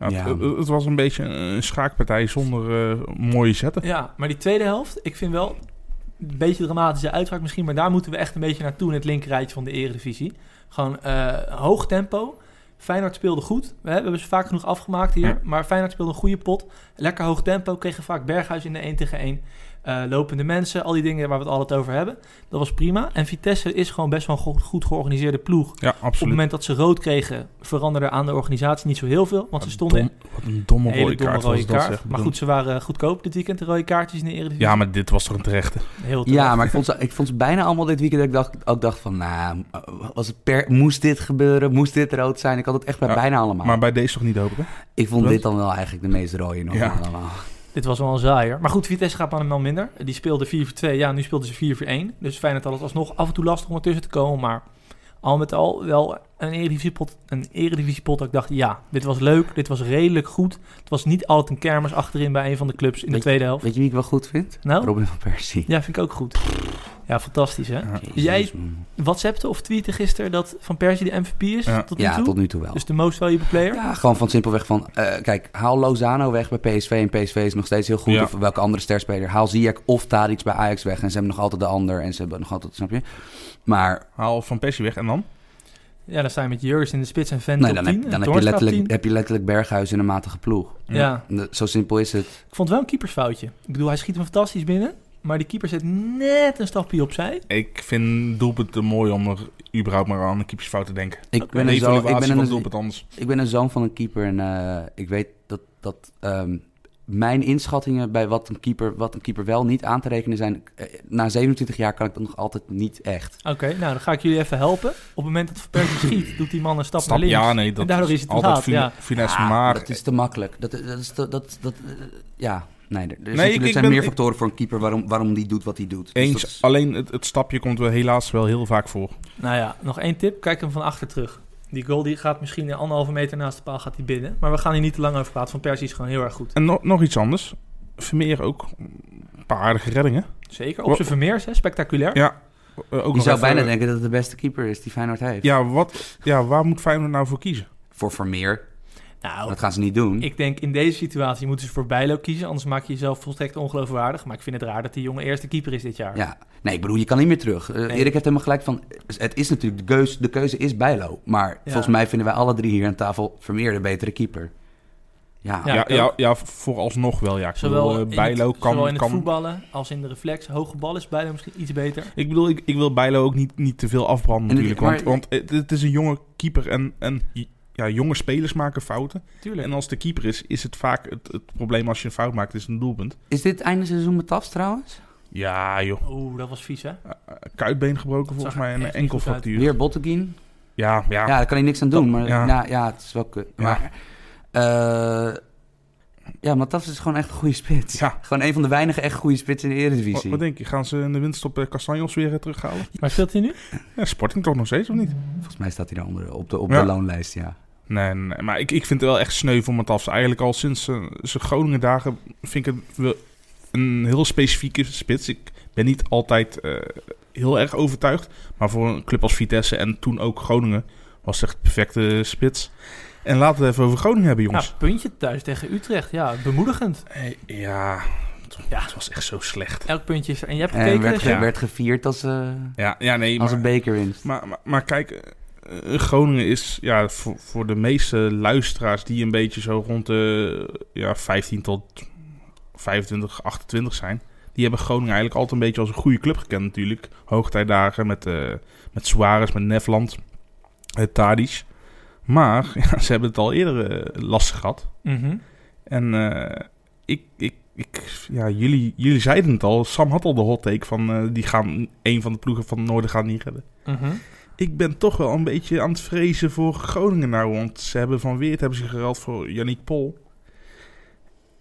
Speaker 2: Ja, het-
Speaker 4: Ja.
Speaker 2: Het, het was een beetje een, een schaakpartij zonder eh, mooie zetten.
Speaker 3: [LAUGHS] Ja, maar die tweede helft, ik vind wel een beetje dramatische uitvaart misschien, maar daar moeten we echt een beetje naartoe in het linkerrijtje van de Eredivisie. Gewoon eh, hoog tempo. Feyenoord speelde goed. We hebben we hebben ze vaak genoeg afgemaakt hier,
Speaker 2: Ja.
Speaker 3: maar Feyenoord speelde een goede pot. Lekker hoog tempo, kregen vaak Berghuis in de 1 tegen 1. Eh, lopende mensen, al die dingen waar we het altijd over hebben. Dat was prima. En Vitesse is gewoon best wel een go- goed georganiseerde ploeg.
Speaker 2: Ja,
Speaker 3: Op het
Speaker 2: absoluut.
Speaker 3: moment dat ze rood kregen, veranderde aan de organisatie niet zo heel veel. Want ze
Speaker 2: Wat
Speaker 3: stonden
Speaker 2: dom- wat een domme
Speaker 3: een hele
Speaker 2: rode
Speaker 3: domme
Speaker 2: kaart
Speaker 3: rode
Speaker 2: was dat.
Speaker 3: kaart.
Speaker 2: zeg.
Speaker 3: Maar goed, ze waren eh, goedkoop dit weekend, de rode kaartjes in de Eredivisie.
Speaker 2: Ja, maar dit was toch een terechte.
Speaker 3: Heel terecht.
Speaker 4: ja, maar ik vond, ze, ik vond ze bijna allemaal dit weekend. dat Ik dacht, ook dacht van, nou, was het per, moest dit gebeuren? Moest dit rood zijn? Ik had het echt bij
Speaker 2: Ja,
Speaker 4: bijna allemaal.
Speaker 2: Maar bij deze toch niet hopen, hè?
Speaker 4: ik vond
Speaker 2: Wat?
Speaker 4: dit dan wel eigenlijk de meest rode nog
Speaker 2: Ja.
Speaker 4: van allemaal.
Speaker 3: Dit was wel een zaaier. Maar goed, Vitesse gaat maar een man minder. Die speelde 4-4-2. Ja, nu speelden ze 4-4-1. Dus Feyenoord had het alsnog af en toe lastig om ertussen te komen. Maar al met al wel een eredivisiepot. Een eredivisiepot dat ik dacht, ja, dit was leuk. Dit was redelijk goed. Het was niet altijd een kermis achterin bij een van de clubs in de
Speaker 4: Weet-
Speaker 3: tweede helft.
Speaker 4: Weet je wie ik wel goed vind?
Speaker 3: Nou?
Speaker 4: Robin van Persie.
Speaker 3: Ja, vind ik ook goed. Ja, fantastisch hè.
Speaker 2: Ja.
Speaker 4: Jezus, mm.
Speaker 3: Jij-
Speaker 4: man.
Speaker 3: WhatsAppte of tweette gisteren dat Van Persie de MVP is
Speaker 2: Ja.
Speaker 3: tot nu
Speaker 4: Ja,
Speaker 3: toe.
Speaker 4: tot nu toe wel.
Speaker 3: Dus de most valuable player.
Speaker 4: Ja, gewoon van simpelweg van... eh, kijk, haal Lozano weg bij PSV. En PSV is nog steeds heel goed.
Speaker 2: Ja.
Speaker 4: Of welke andere sterspeler. Haal Ziyech of Tadic bij Ajax weg. En ze hebben nog altijd de ander. En ze hebben nog altijd... Snap je? Maar
Speaker 2: Haal Van Persie weg en dan?
Speaker 3: Ja, dan sta je met Juris in de spits en Vent
Speaker 4: nee,
Speaker 3: op
Speaker 4: dan,
Speaker 3: 10.
Speaker 4: heb,
Speaker 3: en
Speaker 4: dan heb, je
Speaker 3: Toornstra op
Speaker 4: letterlijk,
Speaker 3: 10.
Speaker 4: heb je letterlijk Berghuis in een matige ploeg.
Speaker 3: Ja.
Speaker 4: De- Zo simpel is het.
Speaker 3: Ik vond het wel een keepersfoutje. Ik bedoel, hij schiet hem fantastisch binnen. Maar die keeper zet net een stapje opzij.
Speaker 2: Ik vind doelpunt te mooi om er überhaupt maar aan een keepersfout te denken.
Speaker 4: Ik ben,
Speaker 2: de
Speaker 4: een zoon, ik,
Speaker 2: evaluatie
Speaker 4: ben
Speaker 2: van het
Speaker 4: een,
Speaker 2: doelpunt anders.
Speaker 4: ik ben een zoon van een keeper. En eh, ik weet dat... dat ehm, mijn inschattingen bij wat een, keeper, wat een keeper wel niet aan te rekenen zijn... eh, Na 27 jaar kan ik dat nog altijd niet echt.
Speaker 3: Oké, nou dan ga ik jullie even helpen. Op het moment dat Van [CLEARS THROAT] Persie schiet, doet die man een stap,
Speaker 2: Stap-
Speaker 3: naar links.
Speaker 2: ja, nee,
Speaker 3: En
Speaker 2: dat
Speaker 3: daardoor
Speaker 2: is,
Speaker 3: is het te
Speaker 2: altijd
Speaker 3: laat,
Speaker 2: fin-
Speaker 3: ja.
Speaker 2: finesse,
Speaker 4: Ah,
Speaker 2: maar...
Speaker 4: Dat is te makkelijk. Dat, dat is te- dat, dat, eh, ja, nee, er, er is
Speaker 2: ik-
Speaker 4: natuurlijk,
Speaker 2: ik
Speaker 4: zijn
Speaker 2: ben-
Speaker 4: meer
Speaker 2: ik-
Speaker 4: factoren voor een keeper waarom, waarom die doet wat hij doet. Dus
Speaker 2: Eens,
Speaker 4: dat is-
Speaker 2: alleen het, het stapje komt wel helaas wel heel vaak voor.
Speaker 3: Nou ja, nog één tip. Kijk hem van achter terug. Die goal die gaat misschien een anderhalve meter naast de paal gaat die binnen. Maar we gaan hier niet te lang over praten. Van Persie is gewoon heel erg goed.
Speaker 2: En no- nog iets anders. Vermeer ook een paar aardige reddingen.
Speaker 3: Zeker. Op zijn vermeers, hè, spectaculair.
Speaker 2: Ja, eh, ook nog
Speaker 4: je zou
Speaker 2: even-
Speaker 4: bijna denken dat het de beste keeper is die Feyenoord heeft.
Speaker 2: Ja, wat, ja, waar moet Feyenoord nou voor kiezen?
Speaker 4: Voor Vermeer, maar
Speaker 3: Nou,
Speaker 4: dat gaan ze niet doen.
Speaker 3: ik denk in deze situatie moeten ze voor Bijlo kiezen. Anders maak je jezelf volstrekt ongeloofwaardig. Maar ik vind het raar dat die jongen eerste keeper is dit jaar.
Speaker 4: Ja. Nee, ik bedoel, je kan niet meer terug. Eh,
Speaker 3: Nee.
Speaker 4: Erik heeft helemaal gelijk van, het is natuurlijk, de keuze, de keuze is Bijlo. Maar volgens mij vinden wij alle drie hier aan tafel Vermeer de betere keeper. Ja,
Speaker 2: Ja,
Speaker 3: Ja,
Speaker 2: ja,
Speaker 3: ik
Speaker 2: ja,
Speaker 3: ook.
Speaker 2: vooralsnog wel. Ja. Ik
Speaker 3: Zowel
Speaker 2: bedoel, eh,
Speaker 3: in het-
Speaker 2: Bijlo kan...
Speaker 3: zowel in het
Speaker 2: kan
Speaker 3: voetballen als in de reflex. Hoge bal is Bijlo misschien iets beter.
Speaker 2: ik bedoel, ik, ik wil Bijlo ook niet, niet te veel afbranden
Speaker 4: En het-
Speaker 2: natuurlijk. want,
Speaker 4: maar-
Speaker 2: want het, het is een jonge keeper en, en ja, jonge spelers maken fouten.
Speaker 3: Tuurlijk.
Speaker 2: En als de keeper is, is het vaak het, het probleem als je een fout maakt, is het een doelpunt.
Speaker 4: Is dit einde seizoen met TAFs trouwens?
Speaker 2: Ja joh,
Speaker 3: Oeh, dat was vies, hè?
Speaker 2: kuitbeen gebroken volgens
Speaker 3: zag er
Speaker 2: mij en een
Speaker 3: echt niet goed
Speaker 2: enkelfractuur.
Speaker 4: Weer Botteguin?
Speaker 2: Ja, ja,
Speaker 4: nou, Ja, daar kan hij niks aan doen.
Speaker 2: Dat-
Speaker 4: Maar
Speaker 2: ja.
Speaker 4: ja, ja het is wel kut.
Speaker 2: Ja.
Speaker 4: Maar, eh, Ja, Matas is gewoon echt een goede spits.
Speaker 2: Ja.
Speaker 4: Gewoon een van de weinige echt goede spits in de
Speaker 2: Wat,
Speaker 4: Eredivisie.
Speaker 2: wat denk je? Gaan ze in de winst op eh, Castanjos weer eh, terughalen?
Speaker 3: Maar speelt hij nu?
Speaker 2: Ja, Sporting toch nog steeds, of niet?
Speaker 4: Volgens mij staat hij daar onder, op de, op
Speaker 2: Ja.
Speaker 4: de loonlijst, ja.
Speaker 2: Nee, nee, nee, maar ik, ik vind het wel echt sneu voor Matafs. Eigenlijk al sinds eh, zijn Groningen dagen vind ik het wel een heel specifieke spits. Ik ben niet altijd eh, heel erg overtuigd. Maar voor een club als Vitesse en toen ook Groningen was het echt de perfecte spits. En laten we het even over Groningen hebben,
Speaker 3: Ja,
Speaker 2: jongens.
Speaker 3: puntje thuis tegen Utrecht. Ja, bemoedigend.
Speaker 2: Eh, Ja, het,
Speaker 3: Ja.
Speaker 2: het was echt zo slecht.
Speaker 3: Elk puntje is er. En je hebt
Speaker 4: En
Speaker 3: gekeken,
Speaker 4: werd,
Speaker 3: dus
Speaker 4: ge-
Speaker 2: ja.
Speaker 4: werd gevierd als, eh,
Speaker 2: Ja, ja nee,
Speaker 4: als
Speaker 2: maar-
Speaker 4: een bekerwinst.
Speaker 2: Maar, maar, maar kijk, eh, eh, Groningen is ja, voor, voor de meeste luisteraars die een beetje zo rond de ja, 15 tot 25, 28 zijn. Die hebben Groningen eigenlijk altijd een beetje als een goede club gekend natuurlijk. Hoogtijdagen met, eh met Suarez, met Nefland, eh Tadic. Maar [LAUGHS] ja, ze hebben het al eerder eh, lastig gehad.
Speaker 3: Mhm.
Speaker 2: En eh, ik, ik, ik, ja, jullie, jullie zeiden het al. Sam had al de hot take van eh, die gaan, een van de ploegen van het noorden gaan niet redden.
Speaker 3: Mhm.
Speaker 2: Ik ben toch wel een beetje aan het vrezen voor Groningen nou, want ze hebben van Weert hebben ze gereld voor Yannick Pol.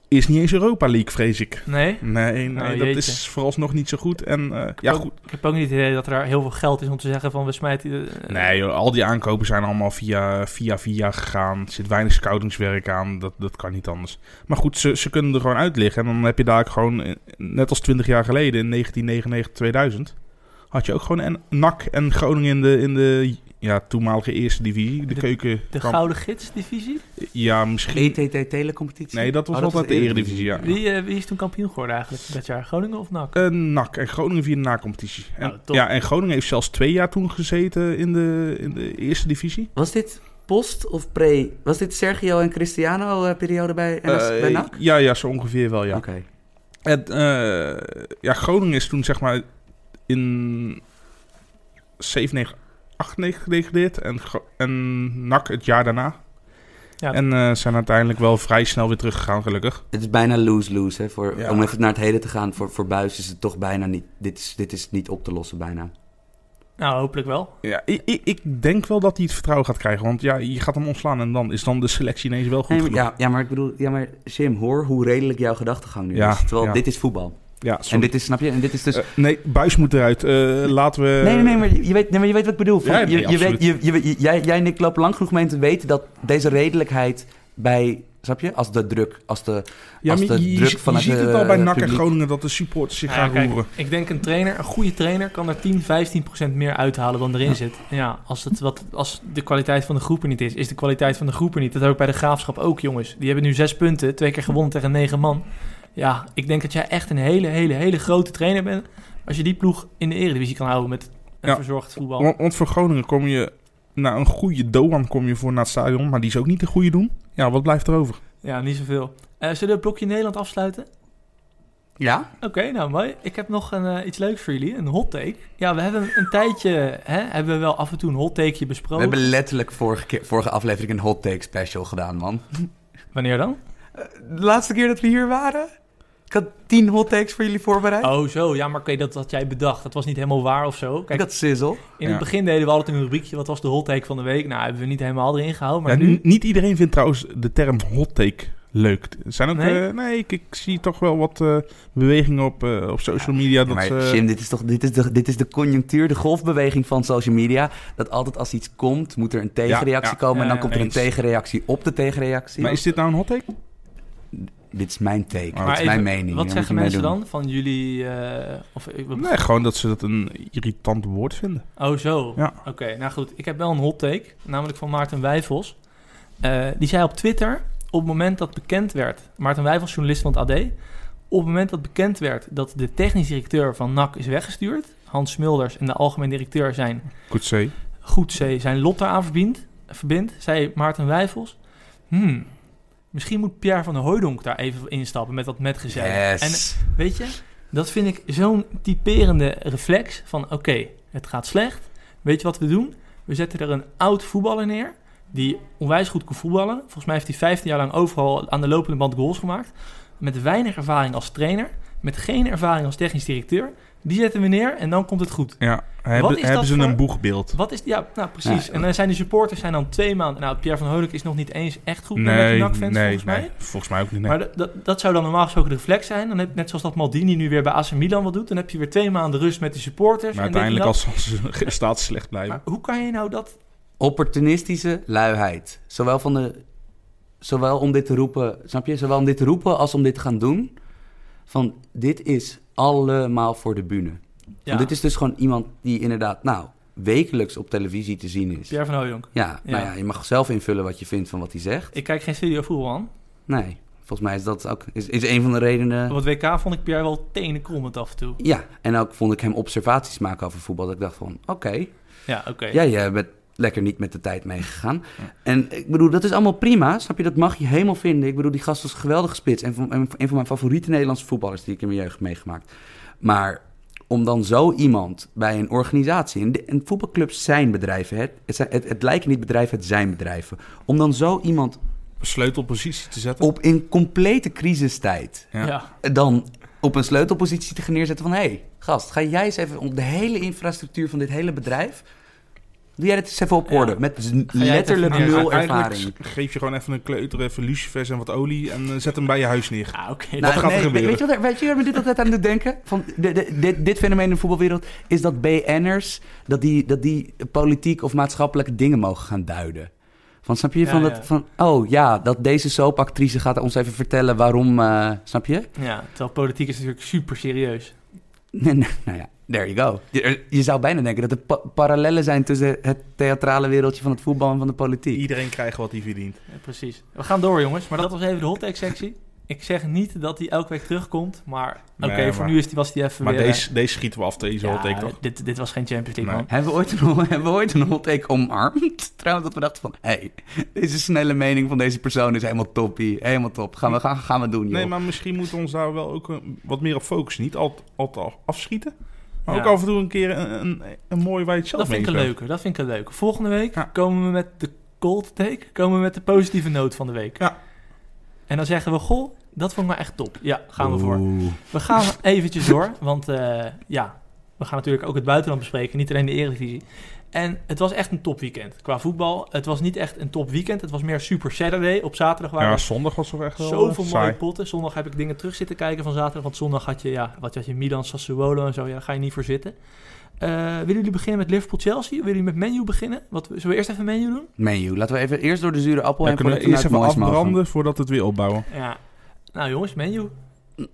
Speaker 2: Is niet eens Europa League, vrees ik.
Speaker 3: Nee,
Speaker 2: Nee, nee
Speaker 3: Nou,
Speaker 2: dat
Speaker 3: jeetje.
Speaker 2: is vooralsnog niet zo goed. En eh, ja, goed.
Speaker 3: ik heb ook niet het idee dat er heel veel geld is om te zeggen van we smijten... eh,
Speaker 2: Nee, joh, al die aankopen zijn allemaal via via, via gegaan. Er zit weinig scoutingswerk aan, dat, dat kan niet anders. Maar goed, ze, ze kunnen er gewoon uit liggen. En dan heb je daar ook gewoon, eh, net als 20 jaar geleden, in 1999, 2000... had je ook gewoon en, NAC en Groningen in de, in de ja, toenmalige eerste divisie. De,
Speaker 3: De-
Speaker 2: keuken...
Speaker 3: De Gouden Gids-divisie?
Speaker 2: Ja, misschien.
Speaker 4: ETT Telecompetitie?
Speaker 2: Nee, dat was
Speaker 4: Oh,
Speaker 2: altijd de Eredivisie, ja.
Speaker 3: Wie, eh, wie is toen kampioen geworden eigenlijk dat jaar? Groningen of NAC?
Speaker 2: Eh, NAC en Groningen via de nacompetitie. En,
Speaker 3: Nou, top.
Speaker 2: ja, en Groningen heeft zelfs twee jaar toen gezeten in de, in de eerste divisie.
Speaker 4: Was dit post of pre? Was dit Sergio en Cristiano eh, periode bij, NS,
Speaker 2: Eh,
Speaker 4: bij NAC?
Speaker 2: Ja, ja, zo ongeveer wel, ja.
Speaker 4: Oké.
Speaker 2: En, eh, ja, Groningen is toen zeg maar in 7, 9, 8, 9 gedegradeerd. En, Gro- en NAC het jaar daarna.
Speaker 3: Ja.
Speaker 2: En eh, zijn uiteindelijk wel vrij snel weer teruggegaan, gelukkig.
Speaker 4: Het is bijna lose-lose. hè, voor-
Speaker 2: Ja.
Speaker 4: Om even naar het heden te gaan, voor, voor Buis is het toch bijna niet... Dit is, dit is niet op te lossen bijna.
Speaker 3: Nou, hopelijk wel.
Speaker 2: Ja, ik, ik, ik denk wel dat hij het vertrouwen gaat krijgen. Want ja, je gaat hem ontslaan en dan is dan de selectie ineens wel goed
Speaker 4: Nee, maar-
Speaker 2: genoeg.
Speaker 4: ja, ja, maar ik bedoel... Ja, maar Jim, hoor hoe redelijk jouw gedachtegang nu
Speaker 2: Ja,
Speaker 4: is. Terwijl
Speaker 2: ja.
Speaker 4: dit is voetbal.
Speaker 2: Ja,
Speaker 4: En
Speaker 2: sorry.
Speaker 4: dit is, snap je? En dit is dus...
Speaker 2: Eh, nee, buis moet eruit. Eh, laten we.
Speaker 4: Nee, nee, nee, maar je- je weet, nee, maar je weet wat ik bedoel. Van,
Speaker 2: Ja, nee,
Speaker 4: je, je weet,
Speaker 2: absoluut.
Speaker 4: je, je, je- jij, jij en ik lopen lang genoeg mee om te weten dat deze redelijkheid bij, snap je, als de druk, als de...
Speaker 2: ja,
Speaker 4: als
Speaker 2: maar
Speaker 4: de
Speaker 2: je, je
Speaker 4: druk
Speaker 2: zi- je
Speaker 4: vanuit
Speaker 2: ziet
Speaker 4: de-
Speaker 2: het al bij
Speaker 4: het
Speaker 2: NAC en
Speaker 4: publiek.
Speaker 2: Groningen dat de supporters zich
Speaker 3: Nou ja,
Speaker 2: gaan
Speaker 3: kijk,
Speaker 2: roeren.
Speaker 3: ik denk een trainer, een goede trainer, kan er 10, 15 procent meer uithalen dan erin zit. En ja, als, het wat, als de kwaliteit van de groepen niet is, is de kwaliteit van de groepen niet. Dat heb ik bij de graafschap ook, jongens. Die hebben nu zes punten, twee keer gewonnen tegen negen man. Ja, ik denk dat jij echt een hele, hele, hele grote trainer bent. Als je die ploeg in de eredivisie kan houden met een
Speaker 2: Ja.
Speaker 3: verzorgd voetbal.
Speaker 2: Want, want voor Groningen kom je. Nou, een goede Doan kom je voor naar het stadion. Maar die is ook niet de goede doen. Ja, wat blijft er over?
Speaker 3: Ja, niet zoveel. Eh, zullen we het blokje Nederland afsluiten?
Speaker 4: Ja?
Speaker 3: Oké, nou mooi. Ik heb nog een, eh, iets leuks voor jullie, een hot take. Ja, we hebben een tijdje, hè, hebben we wel af en toe een hot takeje
Speaker 4: We
Speaker 3: besproken.
Speaker 4: hebben letterlijk vorige, keer, vorige aflevering een hot take special gedaan, man.
Speaker 3: Wanneer dan?
Speaker 4: De laatste keer dat we hier waren, ik had tien hot takes voor jullie
Speaker 2: [LAUGHS]
Speaker 4: voorbereid.
Speaker 3: Oh, zo. Ja, maar oké, dat had jij bedacht. Dat was niet helemaal waar of zo.
Speaker 4: Ik
Speaker 3: Kijk,
Speaker 4: had sizzle.
Speaker 3: in het
Speaker 2: Ja.
Speaker 3: begin deden we altijd een rubriekje. Wat was de hot take van de week? Nou, hebben we niet helemaal erin gehouden. Maar
Speaker 2: Ja,
Speaker 3: nu...
Speaker 2: n- Niet iedereen vindt trouwens de term hot take leuk. Er zijn ook.
Speaker 3: Nee?
Speaker 2: Nee, nee ik, ik zie toch wel wat eh, bewegingen op, eh, op social media. Dat
Speaker 4: maar
Speaker 2: ze-
Speaker 3: eh,
Speaker 4: Jim, dit is toch dit is de, dit is de conjunctuur, de golfbeweging van social media. Dat altijd als iets komt, moet er een tegenreactie
Speaker 2: ja.
Speaker 4: komen. en
Speaker 3: Ja,
Speaker 4: dan
Speaker 3: ja,
Speaker 4: komt er
Speaker 2: eens.
Speaker 4: een tegenreactie op de tegenreactie.
Speaker 2: maar is dit nou een hot take?
Speaker 4: Dit is mijn take,
Speaker 2: Maar
Speaker 4: dit is
Speaker 3: even,
Speaker 4: mijn mening.
Speaker 3: Wat
Speaker 4: Daar
Speaker 3: zeggen
Speaker 4: moet je
Speaker 3: mensen
Speaker 4: mee doen.
Speaker 3: dan? Van jullie... eh, of, ik-
Speaker 2: Nee, gewoon dat ze dat een irritant woord vinden.
Speaker 3: Oh, zo.
Speaker 2: Ja.
Speaker 3: Oké, nou goed. Ik heb wel een hot take. Namelijk van Maarten Wijfels. Eh, die zei op Twitter, op het moment dat bekend werd... Maarten Wijfels, journalist van het AD. Op het moment dat bekend werd dat de technisch directeur van NAC is weggestuurd... Hans Smulders en de algemeen directeur zijn
Speaker 2: Goed zee.
Speaker 3: goed zee zijn lot daaraan verbindt, verbindt zei Maarten Wijfels. Hmm, misschien moet Pierre van der Hooijdonk daar even instappen met dat metgezel. En
Speaker 4: Yes.
Speaker 3: weet je, dat vind ik zo'n typerende reflex van oké, het gaat slecht. Weet je wat we doen? We zetten er een oud voetballer neer die onwijs goed kan voetballen. Volgens mij heeft hij 15 jaar lang overal aan de lopende band goals gemaakt. Met weinig ervaring als trainer. met geen ervaring als technisch directeur. Die zetten we neer en dan komt het goed.
Speaker 2: Ja, hebben,
Speaker 3: is
Speaker 2: hebben
Speaker 3: dat
Speaker 2: ze
Speaker 3: voor-
Speaker 2: een boegbeeld?
Speaker 3: Wat is... Ja, nou precies.
Speaker 4: Ja.
Speaker 3: En dan zijn de supporters zijn dan twee maanden... Nou, Pierre van Hooydonk is nog niet eens echt goed meer met
Speaker 2: nee,
Speaker 3: die NAC-fans,
Speaker 2: nee,
Speaker 3: volgens mij.
Speaker 2: nee, volgens mij ook niet. nee.
Speaker 3: Maar dat- dat, dat zou dan normaal gesproken de reflex zijn. Dan heb, net zoals dat Maldini nu weer bij AC Milan wat doet. Dan heb je weer twee maanden rust met de supporters.
Speaker 2: Maar
Speaker 3: en dit en
Speaker 2: uiteindelijk
Speaker 3: dat.
Speaker 2: als als [LAUGHS] ze staat slecht blijven.
Speaker 3: Maar hoe kan je nou dat...
Speaker 4: Opportunistische luiheid. Zowel, van de, zowel om dit te roepen, snap je? Zowel om dit te roepen als om dit te gaan doen. Van dit is allemaal voor de bühne.
Speaker 3: Ja,
Speaker 4: Want dit is dus gewoon iemand die inderdaad, nou, wekelijks op televisie te zien is.
Speaker 3: Pierre van Hooydonk.
Speaker 4: Ja, nou
Speaker 3: Ja.
Speaker 4: ja, je mag zelf invullen wat je vindt van wat hij zegt.
Speaker 3: Ik kijk geen studio voetbal aan.
Speaker 4: Nee, volgens mij is dat ook is, is een van de redenen.
Speaker 3: Op het WK vond ik Pierre wel tenen krommend af en toe.
Speaker 4: Ja, en ook vond ik hem observaties maken over voetbal. Dat ik dacht van, oké,
Speaker 3: Ja, oké.
Speaker 4: jij eh, bent lekker niet met de tijd meegegaan. En ik bedoel, dat is allemaal prima, snap je? Dat mag je helemaal vinden. Ik bedoel, die gast was een geweldige spits. En van- en een van mijn favoriete Nederlandse voetballers die ik in mijn jeugd heb meegemaakt. Maar om dan zo iemand bij een organisatie... En, de- en voetbalclubs zijn bedrijven, hè? Het, zijn, het, het lijken niet bedrijven, het zijn bedrijven. Om dan zo iemand
Speaker 2: Sleutelpositie te zetten.
Speaker 4: op in complete crisistijd...
Speaker 2: Ja.
Speaker 3: Ja.
Speaker 4: dan op een sleutelpositie te gaan neerzetten van... hé, hey, gast, ga jij eens even om de hele infrastructuur van dit hele bedrijf... doe jij dit eens even op
Speaker 3: Ja.
Speaker 4: orde, met z-
Speaker 3: jij het
Speaker 4: letterlijk
Speaker 3: even neer-
Speaker 4: nul
Speaker 2: Uiteindelijk
Speaker 4: ervaring.
Speaker 2: Geef je gewoon even een kleuter, even lucifers en wat olie en eh, zet hem bij je huis neer.
Speaker 3: Ah, oké.
Speaker 4: Nou,
Speaker 2: gaat er
Speaker 4: nee,
Speaker 2: gebeuren?
Speaker 4: Weet je, wat, er- weet je waar me dit altijd aan doet denken? Van de- de- dit, dit fenomeen in de voetbalwereld is dat BN'ers... Dat die, dat die politiek of maatschappelijke dingen mogen gaan duiden. Van, snap je?
Speaker 3: Ja,
Speaker 4: van,
Speaker 3: ja.
Speaker 4: Dat, van, oh ja, dat deze soapactrice gaat ons even vertellen waarom... eh, snap je?
Speaker 3: Ja, terwijl politiek is natuurlijk super serieus.
Speaker 4: Nee, nee, [LAUGHS] nou ja, there you go. Je, je zou bijna denken dat er pa- parallellen zijn tussen het theatrale wereldje van het voetbal en van de politiek.
Speaker 2: Iedereen krijgt wat hij verdient.
Speaker 3: Ja, precies. We gaan door, jongens. Maar dat was even de hot take sectie. Ik zeg niet dat hij elke week terugkomt, maar oké,
Speaker 2: Nee, maar-
Speaker 3: voor nu is die, was hij even
Speaker 2: Maar
Speaker 3: weer... eh,
Speaker 2: deze, deze schieten we af, deze
Speaker 3: ja,
Speaker 2: hot take toch?
Speaker 3: Dit, dit was geen Champions League,
Speaker 2: Nee.
Speaker 3: man.
Speaker 4: Hebben we ooit een, [LAUGHS] hebben we ooit een hot take omarmd? [LAUGHS] Trouwens, dat we dachten van, hé, hey, deze snelle mening van deze persoon is helemaal toppie. Helemaal top. Gaan we, gaan, gaan we doen, joh.
Speaker 2: Nee, maar misschien moeten we ons daar wel ook eh, wat meer op focussen. Niet altijd al, al- afschieten, maar
Speaker 3: Ja.
Speaker 2: ook af en toe een keer een, een, een mooi waar je het zelf
Speaker 3: Dat vind ik een
Speaker 2: mee eens
Speaker 3: leuke, dat vind ik een leuke. Volgende week
Speaker 2: Ja.
Speaker 3: komen we met de cold take, komen we met de positieve noot van de week.
Speaker 2: Ja.
Speaker 3: En dan zeggen we, goh, dat vond ik maar echt top. Ja, gaan we voor.
Speaker 4: Oeh.
Speaker 3: We gaan [LAUGHS] eventjes door, want eh, ja, we gaan natuurlijk ook het buitenland bespreken, niet alleen de Eredivisie. En het was echt een topweekend qua voetbal. Het was niet echt een topweekend, het was meer Super Saturday op zaterdag.
Speaker 2: bent.
Speaker 3: Waar
Speaker 2: Ja,
Speaker 3: we
Speaker 2: zondag was toch echt wel
Speaker 3: zoveel
Speaker 2: eh,
Speaker 3: mooie
Speaker 2: saai.
Speaker 3: potten. Zondag heb ik dingen terug zitten kijken van zaterdag, want zondag had je, ja, wat had je, Milan, Sassuolo en zo, ja, daar ga je niet voor zitten. Eh, willen jullie beginnen met Liverpool-Chelsea? Willen jullie met menu beginnen? Wat, zullen we eerst even menu doen?
Speaker 4: Menu, laten we even eerst door de zure appel
Speaker 2: Dan
Speaker 4: en
Speaker 2: kunnen we
Speaker 4: voordat
Speaker 2: eerst
Speaker 4: we
Speaker 2: even
Speaker 4: naar het moois mogen.
Speaker 2: afbranden voordat we het weer opbouwen.
Speaker 3: Ja. Nou jongens, menu.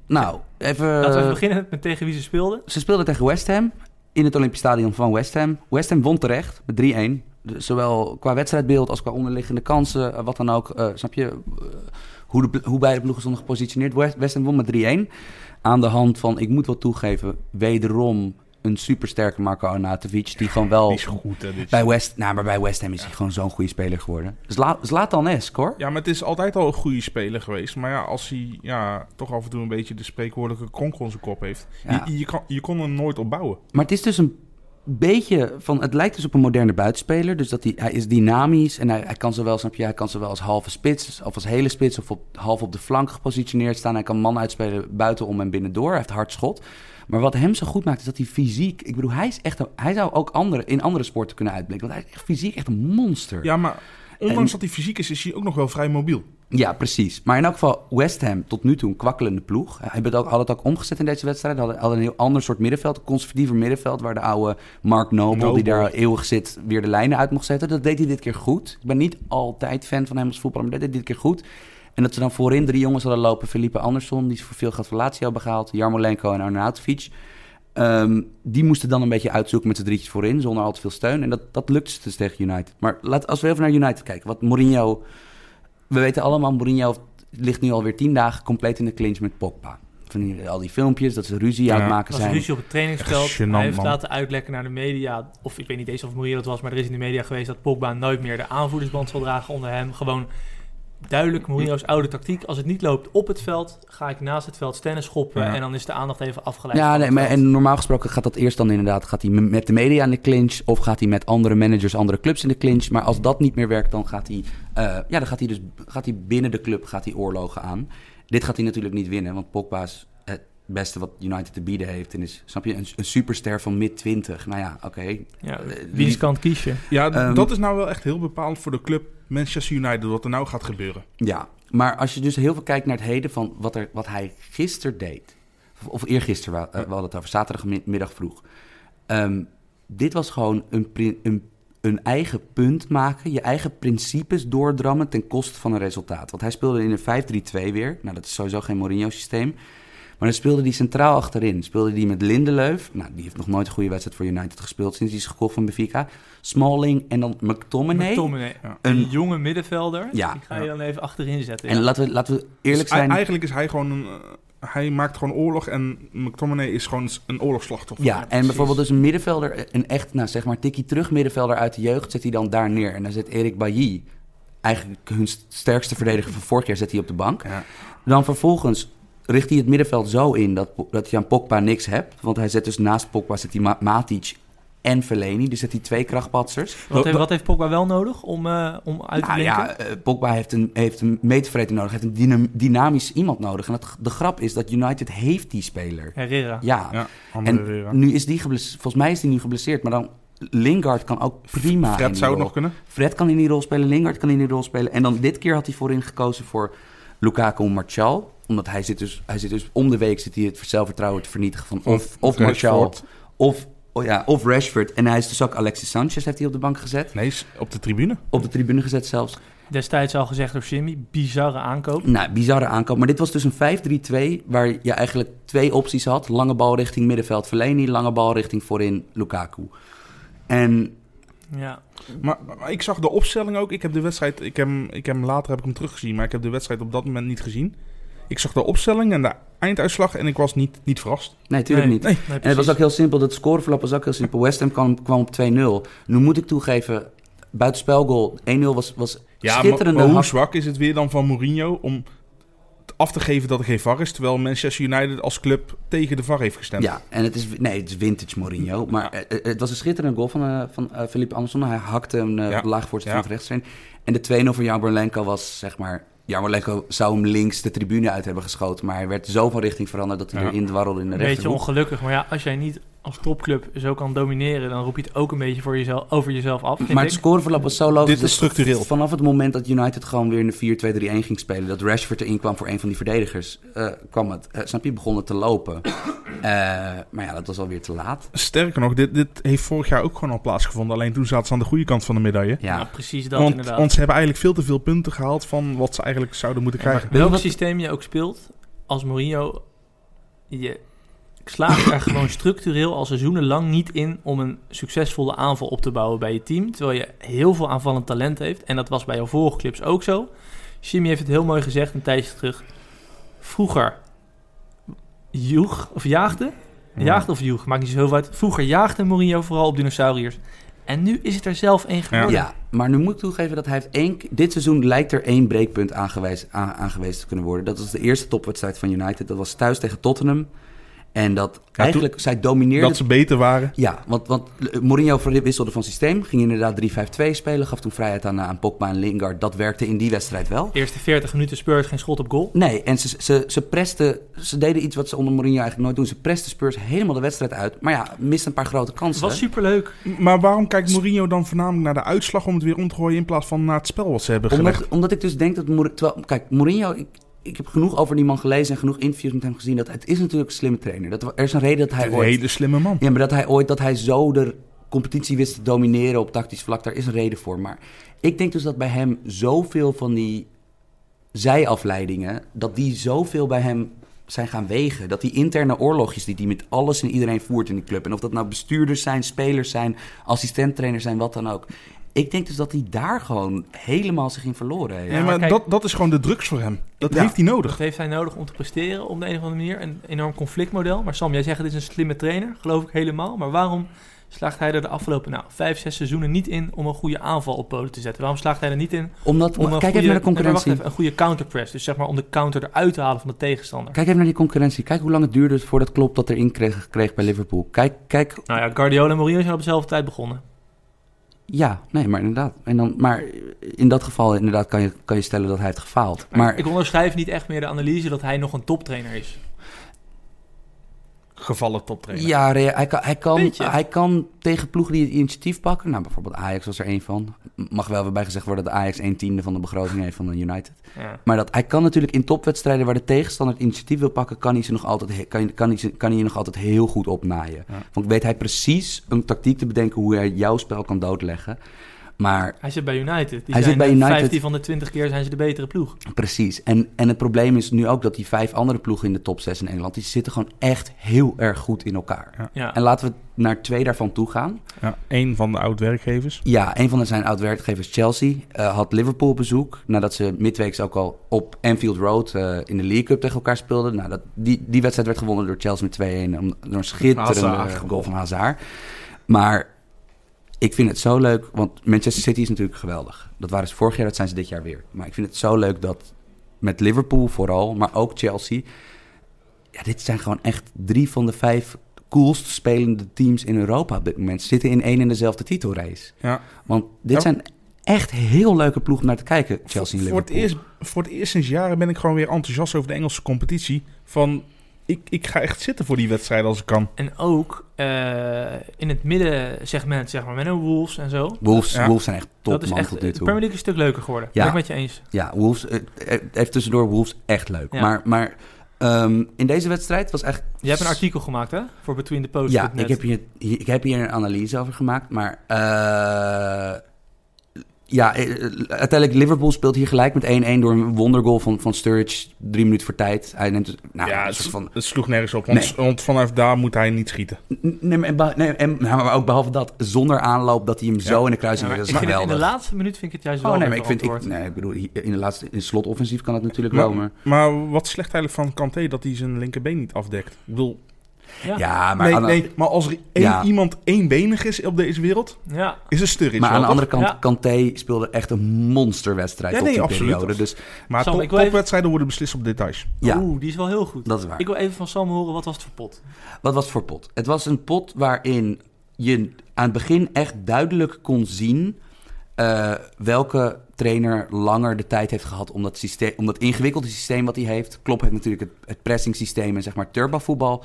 Speaker 4: Nou, even...
Speaker 3: Laten we even beginnen met tegen wie ze speelden.
Speaker 4: Ze speelden tegen West Ham in het Olympisch Stadion van West Ham. West Ham won terecht met 3-1. Dus Zowel qua wedstrijdbeeld als qua onderliggende kansen, eh, wat dan ook. eh, snap je eh, hoe, de, pl- hoe beide ploegen stonden gepositioneerd? West, West Ham won met 3-1. Aan de hand van, ik moet wel toegeven, wederom een supersterke Marco Arnautovic. Die gewoon wel
Speaker 2: Die is goed, hè, dit.
Speaker 4: bij West, nou, maar bij West Ham is hij gewoon zo'n goede speler geworden. Dus Zla, Zlatan-esk hoor.
Speaker 2: Ja, maar het is altijd al een goede speler geweest. Maar ja, als hij ja, toch af en toe een beetje de spreekwoordelijke kronkel in zijn kop heeft.
Speaker 4: Ja.
Speaker 2: Je, je, kan, je kon hem nooit opbouwen.
Speaker 4: Maar het is dus een beetje van... Het lijkt dus op een moderne buitenspeler. Dus dat hij, hij is dynamisch en hij, hij kan zowel, snap je, hij kan zowel als halve spits... of als hele spits of op, half op de flank gepositioneerd staan. Hij kan man uitspelen buitenom en binnendoor. Hij heeft hard schot. Maar wat hem zo goed maakt is dat hij fysiek... Ik bedoel, hij, is echt een- hij zou ook andere, in andere sporten kunnen uitblinken. Want hij is echt fysiek echt een monster.
Speaker 2: Ja, maar ondanks dat hij fysiek is, is hij ook nog wel vrij mobiel.
Speaker 4: Ja, precies. Maar in elk geval, West Ham tot nu toe een kwakkelende ploeg. Hij had ook, had het ook omgezet in deze wedstrijd. Hadden, hadden een heel ander soort middenveld. Een conservatiever middenveld. Waar de oude Mark Noble, die
Speaker 2: Noble.
Speaker 4: daar al eeuwig zit, weer de lijnen uit mocht zetten. Dat deed hij dit keer goed. Ik ben niet altijd fan van hem als voetballer, maar dat deed hij dit keer goed. En dat ze dan voorin drie jongens hadden lopen. Felipe Andersson, die is voor veel geld van Lazio hebben gehaald. Jarmolenko en Arnautovic. Ehm, die moesten dan een beetje uitzoeken met z'n drietjes voorin, zonder al te veel steun. En dat, dat lukte ze dus tegen United. Maar laat, als we even naar United kijken. Wat Mourinho... We weten allemaal, Mourinho ligt nu alweer tien dagen compleet in de clinch met Pogba. Van die- al die filmpjes, dat ze ruzie
Speaker 2: Ja.
Speaker 4: aan het maken
Speaker 3: Dat was
Speaker 4: zijn.
Speaker 3: ruzie op het trainingsveld.
Speaker 2: Echt gênant,
Speaker 3: hij heeft
Speaker 2: man.
Speaker 3: laten uitlekken naar de media. Of ik weet niet eens of Mourinho dat was, maar er is in de media geweest dat Pogba nooit meer de aanvoerdersband zal dragen onder hem. Gewoon duidelijk Mourinho's oude tactiek. Als het niet loopt op het veld, ga ik naast het veld stennis schoppen
Speaker 2: Ja.
Speaker 3: en dan is de aandacht even afgeleid.
Speaker 4: Ja,
Speaker 3: van
Speaker 4: nee,
Speaker 3: het
Speaker 4: maar
Speaker 3: veld.
Speaker 4: en normaal gesproken gaat dat eerst dan inderdaad... gaat hij m- met de media in de clinch... of gaat hij met andere managers, andere clubs in de clinch. Maar als dat niet meer werkt, dan gaat hij... eh, ja, dan gaat hij dus gaat hij binnen de club gaat hij oorlogen aan. Dit gaat hij natuurlijk niet winnen, want Pogba is... eh, beste wat United te bieden heeft. En is, snap je, een, een superster van mid-20. Nou ja, oké.
Speaker 3: Ja,
Speaker 4: Eh,
Speaker 3: wie
Speaker 4: die-
Speaker 3: is kant kies je?
Speaker 2: Ja, d-
Speaker 4: Ehm,
Speaker 2: dat is nou wel echt heel bepaald voor de club Manchester United, wat er nou gaat gebeuren.
Speaker 4: Ja, maar als je dus heel veel kijkt naar het heden van wat, er, wat hij gisteren deed. Of, of eergisteren, wa- eh, we hadden het over zaterdagmiddag vroeg. Ehm, dit was gewoon een, pri- een, een eigen punt maken. Je eigen principes doordrammen ten koste van een resultaat. Want hij speelde in een 5-3-2 weer. Nou, dat is sowieso geen Mourinho-systeem. Maar dan speelde hij centraal achterin. Speelde hij met Lindelöf. Nou, die heeft nog nooit een goede wedstrijd voor United gespeeld sinds hij is gekocht van Benfica. Smalling en dan McTominay.
Speaker 3: McTominay.
Speaker 2: Ja.
Speaker 3: Een
Speaker 4: Een-
Speaker 3: jonge middenvelder.
Speaker 4: Ja.
Speaker 3: Die ga je dan even achterin zetten.
Speaker 4: En
Speaker 3: ja.
Speaker 4: laten we, laten we eerlijk
Speaker 2: Dus ei-
Speaker 4: zijn.
Speaker 2: Eigenlijk is hij gewoon een... eh, hij maakt gewoon oorlog en McTominay is gewoon een oorlogsslachtoffer.
Speaker 4: Ja, en
Speaker 3: precies.
Speaker 4: bijvoorbeeld dus een middenvelder, een echt, nou zeg maar, tikkie terug middenvelder uit de jeugd, zet hij dan daar neer. En dan zet Erik Bailly, eigenlijk hun st- sterkste verdediger van vorig jaar, zet hij op de bank.
Speaker 2: Ja.
Speaker 4: Dan vervolgens richt hij het middenveld zo in dat, Po- dat je aan Pogba niks hebt. Want hij zet dus naast Pogba zet hij Ma- Matic en Fellaini, dus zet hij twee krachtpatsers.
Speaker 3: wat, heeft, wat heeft Pogba wel nodig om, eh, om uit te
Speaker 4: Nou
Speaker 3: blinken?
Speaker 4: ja, eh, Pogba heeft een, heeft een meetvreter nodig, heeft een dynam- dynamisch iemand nodig. En dat, de grap is dat United heeft die speler.
Speaker 3: Herrera.
Speaker 4: Ja,
Speaker 2: Ja, andere
Speaker 4: En nou,
Speaker 2: Herrera.
Speaker 4: nu is die geblesseerd. Volgens mij is die nu geblesseerd. Maar dan Lingard kan ook prima. in
Speaker 2: Fred
Speaker 4: die
Speaker 2: zou het
Speaker 4: rol.
Speaker 2: nog kunnen.
Speaker 4: Fred kan in die rol spelen. Lingard kan in die rol spelen. En dan dit keer had hij voorin gekozen voor Lukaku en Martial. Omdat hij zit dus, hij zit dus om de week zit hij het zelfvertrouwen te vernietigen van of, of Martial
Speaker 2: Rashford.
Speaker 4: of, oh ja, of Rashford. En hij is dus ook Alexis Sanchez heeft hij op de bank gezet.
Speaker 2: Nee, is op de tribune.
Speaker 4: Op de tribune gezet zelfs.
Speaker 3: Destijds al gezegd door Jimmy, bizarre aankoop.
Speaker 4: Nou, bizarre aankoop. Maar dit was dus een 5-3-2 waar je eigenlijk twee opties had. Lange bal richting middenveld Fellaini. Lange bal richting voorin Lukaku. En
Speaker 3: Ja.
Speaker 2: Maar, maar ik zag de opstelling ook. Ik heb de wedstrijd... Ik heb, hem- ik heb hem later heb ik hem teruggezien, maar ik heb de wedstrijd op dat moment niet gezien. Ik zag de opstelling en de einduitslag en ik was niet, niet verrast.
Speaker 4: Nee, tuurlijk niet.
Speaker 3: Nee,
Speaker 4: En het was
Speaker 3: precies.
Speaker 4: ook heel simpel. Dat scoreverlap was ook heel simpel. West Ham kwam, kwam op 2-0. Nu moet ik toegeven, buitenspelgoal 1-0 was, was
Speaker 2: Ja, maar,
Speaker 4: schitterende
Speaker 2: maar hoe
Speaker 4: hak.
Speaker 2: zwak is het weer dan van Mourinho om t- af te geven dat er geen VAR is, terwijl Manchester United als club tegen de VAR heeft gestemd.
Speaker 4: Ja, en het is, nee, het is vintage Mourinho. Maar eh, eh, het was een schitterende goal van, eh van eh, Philippe Anderson. Hij hakte hem eh
Speaker 2: Ja.
Speaker 4: op de laag voorzet
Speaker 2: Ja.
Speaker 4: van het rechtstrein. En de 2-0 voor Jan Berlenko was, zeg maar... Jan Berlenko zou hem links de tribune uit hebben geschoten. Maar hij werd zo van richting veranderd dat hij
Speaker 2: Ja.
Speaker 4: erin dwarrelde in de
Speaker 3: Een beetje
Speaker 4: rechterhoek.
Speaker 3: ongelukkig, maar ja, als jij niet als topclub zo kan domineren, dan roep je het ook een beetje voor jezelf, over jezelf af. vind
Speaker 4: Maar
Speaker 3: ik.
Speaker 4: het scoreverlap was zo logisch.
Speaker 2: Dit is
Speaker 4: dat
Speaker 2: structureel.
Speaker 4: Vanaf het moment dat United gewoon weer in de 4-2-3-1 ging spelen... dat Rashford erin kwam voor een van die verdedigers... eh, kwam het, eh, snap je, begon het te lopen. Eh, maar ja, dat was alweer te laat.
Speaker 2: Sterker nog, dit, dit heeft vorig jaar ook gewoon al plaatsgevonden, alleen toen zaten ze aan de goede kant van de medaille.
Speaker 3: ja.
Speaker 4: Ja,
Speaker 3: precies dat
Speaker 2: want,
Speaker 3: inderdaad.
Speaker 2: want ze hebben eigenlijk veel te veel punten gehaald van wat ze eigenlijk zouden moeten
Speaker 3: Ja, maar
Speaker 2: krijgen.
Speaker 3: welk
Speaker 4: Wat-
Speaker 3: systeem je ook speelt, als Mourinho, je slaagt er gewoon structureel al seizoenenlang niet in om een succesvolle aanval op te bouwen bij je team. Terwijl je heel veel aanvallend talent heeft. En dat was bij jouw vorige clips ook zo. Jimmy heeft het heel mooi gezegd een tijdje terug. Vroeger joeg of jaagde. Jaagde of joeg, maakt niet zo heel veel uit. Vroeger jaagde Mourinho vooral op dinosauriërs. En nu is het er zelf één geworden.
Speaker 4: ja, maar nu moet ik toegeven dat hij heeft één... k- Dit seizoen lijkt er één breekpunt aangewezen, aan- aangewezen te kunnen worden. Dat was de eerste topwedstrijd van United. Dat was thuis tegen Tottenham. En dat eigenlijk, zij domineerde
Speaker 2: dat ze beter waren.
Speaker 4: Ja, want, want eh, Mourinho wisselde van systeem. Ging inderdaad 3-5-2 spelen. Gaf toen vrijheid aan, eh, aan Pogba en Lingard. Dat werkte in die wedstrijd wel.
Speaker 3: Eerste 40 minuten Spurs geen schot op goal.
Speaker 4: Nee, en ze, ze, ze presten... Ze deden iets wat ze onder Mourinho eigenlijk nooit doen. Ze presten Spurs helemaal de wedstrijd uit. Maar ja, mist een paar grote
Speaker 3: Het
Speaker 4: kansen.
Speaker 3: was superleuk.
Speaker 2: Maar waarom kijkt Mourinho dan voornamelijk naar de uitslag om het weer om te gooien in plaats van naar het spel wat ze hebben gelegd?
Speaker 4: omdat, omdat ik dus denk dat... Mour- terwijl- kijk, Mourinho... Ik, ik heb genoeg over die man gelezen en genoeg interviews met hem gezien. Dat het is natuurlijk een slimme trainer. Dat, er is een reden dat hij
Speaker 2: Een
Speaker 4: ooit...
Speaker 2: hele slimme man.
Speaker 4: Ja, maar dat hij ooit dat hij zo de competitie wist te domineren op tactisch vlak, daar is een reden voor. Maar ik denk dus dat bij hem zoveel van die zijafleidingen, dat die zoveel bij hem zijn gaan wegen. Dat die interne oorlogjes die hij met alles en iedereen voert in die club. En of dat nou bestuurders zijn, spelers zijn, assistenttrainers zijn, wat dan ook. Ik denk dus dat hij daar gewoon helemaal zich in verloren heeft.
Speaker 2: Ja, maar
Speaker 3: maar kijk-
Speaker 2: dat, dat is gewoon de drugs voor hem. Dat
Speaker 4: Ja.
Speaker 2: heeft hij nodig.
Speaker 3: Dat heeft hij nodig om te presteren op de een of andere manier. Een enorm conflictmodel. Maar Sam, jij zegt het is een slimme trainer. Geloof ik helemaal. Maar waarom slaagt hij er de afgelopen nou, vijf, zes seizoenen niet in om een goede aanval op poten te zetten? Waarom slaagt hij er niet in
Speaker 4: Omdat,
Speaker 3: om een,
Speaker 4: kijk even naar
Speaker 3: goede,
Speaker 4: de
Speaker 3: Nee, maar wacht
Speaker 4: concurrentie.
Speaker 3: even, een goede counterpress? Dus zeg maar om de counter eruit te halen van de tegenstander.
Speaker 4: Kijk even naar die concurrentie. Kijk hoe lang het duurde voordat Klopp dat erin kreeg, kreeg bij Liverpool. Kijk, kijk
Speaker 3: Nou ja, Guardiola en Mourinho zijn op dezelfde tijd begonnen.
Speaker 4: Ja, nee, maar inderdaad. En dan, maar in dat geval inderdaad kan je, kan je stellen dat hij heeft gefaald. Maar
Speaker 3: ik onderschrijf niet echt meer de analyse dat hij nog een toptrainer is.
Speaker 2: gevallen toptrainer.
Speaker 4: Ja, Rea- hij kan, hij, kan,
Speaker 3: Beetje.
Speaker 4: hij kan tegen ploegen die het initiatief pakken. Nou, bijvoorbeeld Ajax was er één van. Mag wel weer bij gezegd worden dat Ajax een tiende van de begroting heeft van de United.
Speaker 3: Ja.
Speaker 4: Maar dat, hij kan natuurlijk in topwedstrijden waar de tegenstander het initiatief wil pakken, kan hij, ze nog altijd, he- kan, kan, hij, ze- kan hij je nog altijd heel goed opnaaien.
Speaker 2: Ja.
Speaker 4: Want weet hij precies een tactiek te bedenken hoe hij jouw spel kan doodleggen. Maar
Speaker 3: Hij zit bij United. Die
Speaker 4: Hij
Speaker 3: zijn
Speaker 4: zit bij
Speaker 3: eh,
Speaker 4: United.
Speaker 3: 15 van de 20 keer zijn ze de betere ploeg.
Speaker 4: precies. En, en het probleem is nu ook dat die vijf andere ploegen in de top 6 in Engeland, die zitten gewoon echt heel erg goed in elkaar.
Speaker 3: Ja.
Speaker 4: En laten we naar twee daarvan toe gaan.
Speaker 2: Ja, één van de oud-werkgevers.
Speaker 4: Ja, een van zijn oud-werkgevers, Chelsea, eh, had Liverpool op bezoek. Nadat ze midweeks ook al op Anfield Road eh, in de League Cup tegen elkaar speelden. Nou, dat, die, die wedstrijd werd gewonnen door Chelsea met 2-1. om- Door een schitterende
Speaker 2: Hazard.
Speaker 4: goal van Hazard. Maar ik vind het zo leuk, want Manchester City is natuurlijk geweldig. Dat waren ze vorig jaar, dat zijn ze dit jaar weer. Maar ik vind het zo leuk dat met Liverpool vooral, maar ook Chelsea... Ja, dit zijn gewoon echt drie van de vijf coolst spelende teams in Europa op dit moment. Ze zitten in één en dezelfde titelrace.
Speaker 2: Ja.
Speaker 4: Want dit
Speaker 2: Ja.
Speaker 4: zijn echt heel leuke ploegen om naar te kijken, Chelsea en
Speaker 2: voor, het
Speaker 4: Liverpool.
Speaker 2: eerst, voor het eerst sinds jaren ben ik gewoon weer enthousiast over de Engelse competitie. Van, ik, ik ga echt zitten voor die wedstrijd als ik kan.
Speaker 3: En ook eh, in het middensegment, zeg maar, met een Wolves en zo.
Speaker 4: Wolves,
Speaker 2: Ja.
Speaker 4: Wolves zijn echt top,
Speaker 3: dat is
Speaker 4: man,
Speaker 3: echt,
Speaker 4: tot
Speaker 3: de
Speaker 4: nu
Speaker 3: Premier
Speaker 4: toe.
Speaker 3: League is een stuk leuker geworden.
Speaker 4: Ja.
Speaker 3: Ben ik met je eens.
Speaker 4: Ja, Wolves, eh, eh, even tussendoor, Wolves echt leuk.
Speaker 3: Ja.
Speaker 4: Maar, maar ehm, in deze wedstrijd was echt...
Speaker 3: Je hebt een artikel gemaakt, hè? Voor Between the Posts.
Speaker 4: Ja, ik heb, hier, hier- ik heb hier een analyse over gemaakt, maar... eh, ja, eh, eh, uiteindelijk Liverpool speelt hier gelijk met 1-1 door een wondergoal van, van Sturridge. Drie minuten voor tijd. Hij neemt dus, nou,
Speaker 2: ja,
Speaker 4: een
Speaker 2: het,
Speaker 4: soort van
Speaker 2: het sloeg nergens op. Want, want vanaf daar moet hij niet schieten.
Speaker 4: Nee, maar, en beh- nee, en, nou, maar ook behalve dat, zonder aanloop dat hij hem zo in de kruising...
Speaker 3: maar
Speaker 4: dat
Speaker 3: ik
Speaker 4: is
Speaker 3: vind het in
Speaker 4: geweldig.
Speaker 3: de laatste minuut vind ik het juist
Speaker 4: Oh
Speaker 3: wel
Speaker 4: nee, maar
Speaker 3: weer
Speaker 4: ik vind, ik,
Speaker 3: verantwoord.
Speaker 4: nee, ik bedoel, hier- in de laatste in slotoffensief kan dat natuurlijk wel, maar...
Speaker 2: Maar, maar wat slecht eigenlijk van Kanté dat hij zijn linkerbeen niet afdekt. Ik bedoel,
Speaker 3: Ja.
Speaker 4: Ja, maar,
Speaker 2: nee,
Speaker 4: aan, de-
Speaker 2: nee, maar als er één,
Speaker 4: Ja.
Speaker 2: iemand éénbenig is op deze wereld,
Speaker 3: Ja.
Speaker 2: is het Sturridge
Speaker 4: maar aan
Speaker 2: wel,
Speaker 4: de andere
Speaker 2: toch?
Speaker 4: kant,
Speaker 3: Ja.
Speaker 4: Kanté speelde echt een monsterwedstrijd
Speaker 2: Ja,
Speaker 4: op
Speaker 2: nee,
Speaker 4: die
Speaker 2: absoluut.
Speaker 4: periode. Dus
Speaker 2: Maar
Speaker 3: Sam,
Speaker 2: top-
Speaker 3: ik wil even-
Speaker 2: topwedstrijden worden beslist op details.
Speaker 4: ja,
Speaker 3: Oeh, die is wel heel goed.
Speaker 4: dat is waar.
Speaker 3: Ik wil even van Sam horen, wat was het voor pot?
Speaker 4: Wat was het voor pot? Het was een pot waarin je aan het begin echt duidelijk kon zien eh, welke trainer langer de tijd heeft gehad om dat, systeem, om dat ingewikkelde systeem wat hij heeft. Klopp heeft natuurlijk het, het pressing systeem en zeg maar turbovoetbal.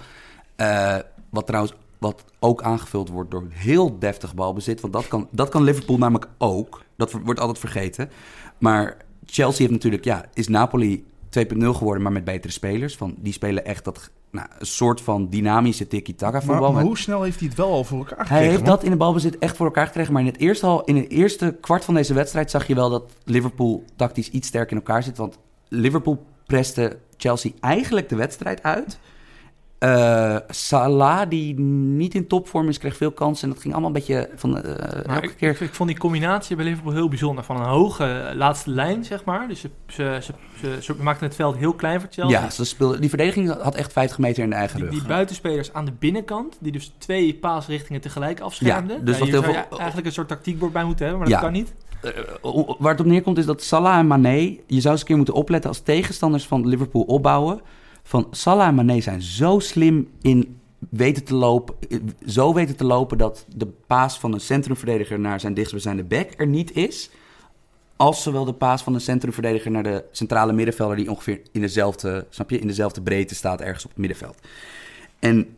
Speaker 4: Eh, wat trouwens wat ook aangevuld wordt door heel deftig balbezit. Want dat kan, dat kan Liverpool namelijk ook. Dat wordt altijd vergeten. Maar Chelsea heeft natuurlijk, ja, is Napoli 2.0 geworden, maar met betere spelers. Van, die spelen echt dat, nou, een soort van dynamische tiki-taka
Speaker 2: Maar,
Speaker 4: voetbal.
Speaker 2: maar
Speaker 4: Met-
Speaker 2: hoe snel heeft hij het wel al voor elkaar gekregen?
Speaker 4: hij heeft
Speaker 2: man?
Speaker 4: dat in de balbezit echt voor elkaar gekregen. Maar in het, eerste hal, in het eerste kwart van deze wedstrijd zag je wel dat Liverpool tactisch iets sterker in elkaar zit. Want Liverpool preste Chelsea eigenlijk de wedstrijd uit. Eh, Salah, die niet in topvorm is, kreeg veel kansen. En dat ging allemaal een beetje van eh,
Speaker 3: Maar
Speaker 4: elke
Speaker 3: ik,
Speaker 4: keer.
Speaker 3: ik, ik vond die combinatie bij Liverpool heel bijzonder. Van een hoge eh, laatste lijn, zeg maar. Dus ze, ze, ze, ze, ze maakten het veld heel klein voor Chelsea.
Speaker 4: Ja, ze speelden, die verdediging had echt 50 meter in de eigen
Speaker 3: Die,
Speaker 4: rug.
Speaker 3: die buitenspelers aan de binnenkant, die dus twee paasrichtingen tegelijk afschermden.
Speaker 4: Ja,
Speaker 3: Ja,
Speaker 4: dus
Speaker 3: dus
Speaker 4: wat
Speaker 3: hier
Speaker 4: heel
Speaker 3: zou je
Speaker 4: veel-
Speaker 3: eigenlijk een soort tactiekbord bij moeten hebben, maar
Speaker 4: Ja.
Speaker 3: dat kan niet.
Speaker 4: Eh, hoe- waar het op neerkomt is dat Salah en Mané... Je zou eens een keer moeten opletten als tegenstanders van Liverpool opbouwen. Van Salah en Mané zijn zo slim in weten te lopen... eh, Zo weten te lopen dat de paas van een centrumverdediger... naar zijn dichtstbijzijnde back er niet is. Als zowel de paas van een centrumverdediger naar de centrale middenvelder... die ongeveer in dezelfde, snap je, in dezelfde breedte staat ergens op het middenveld. En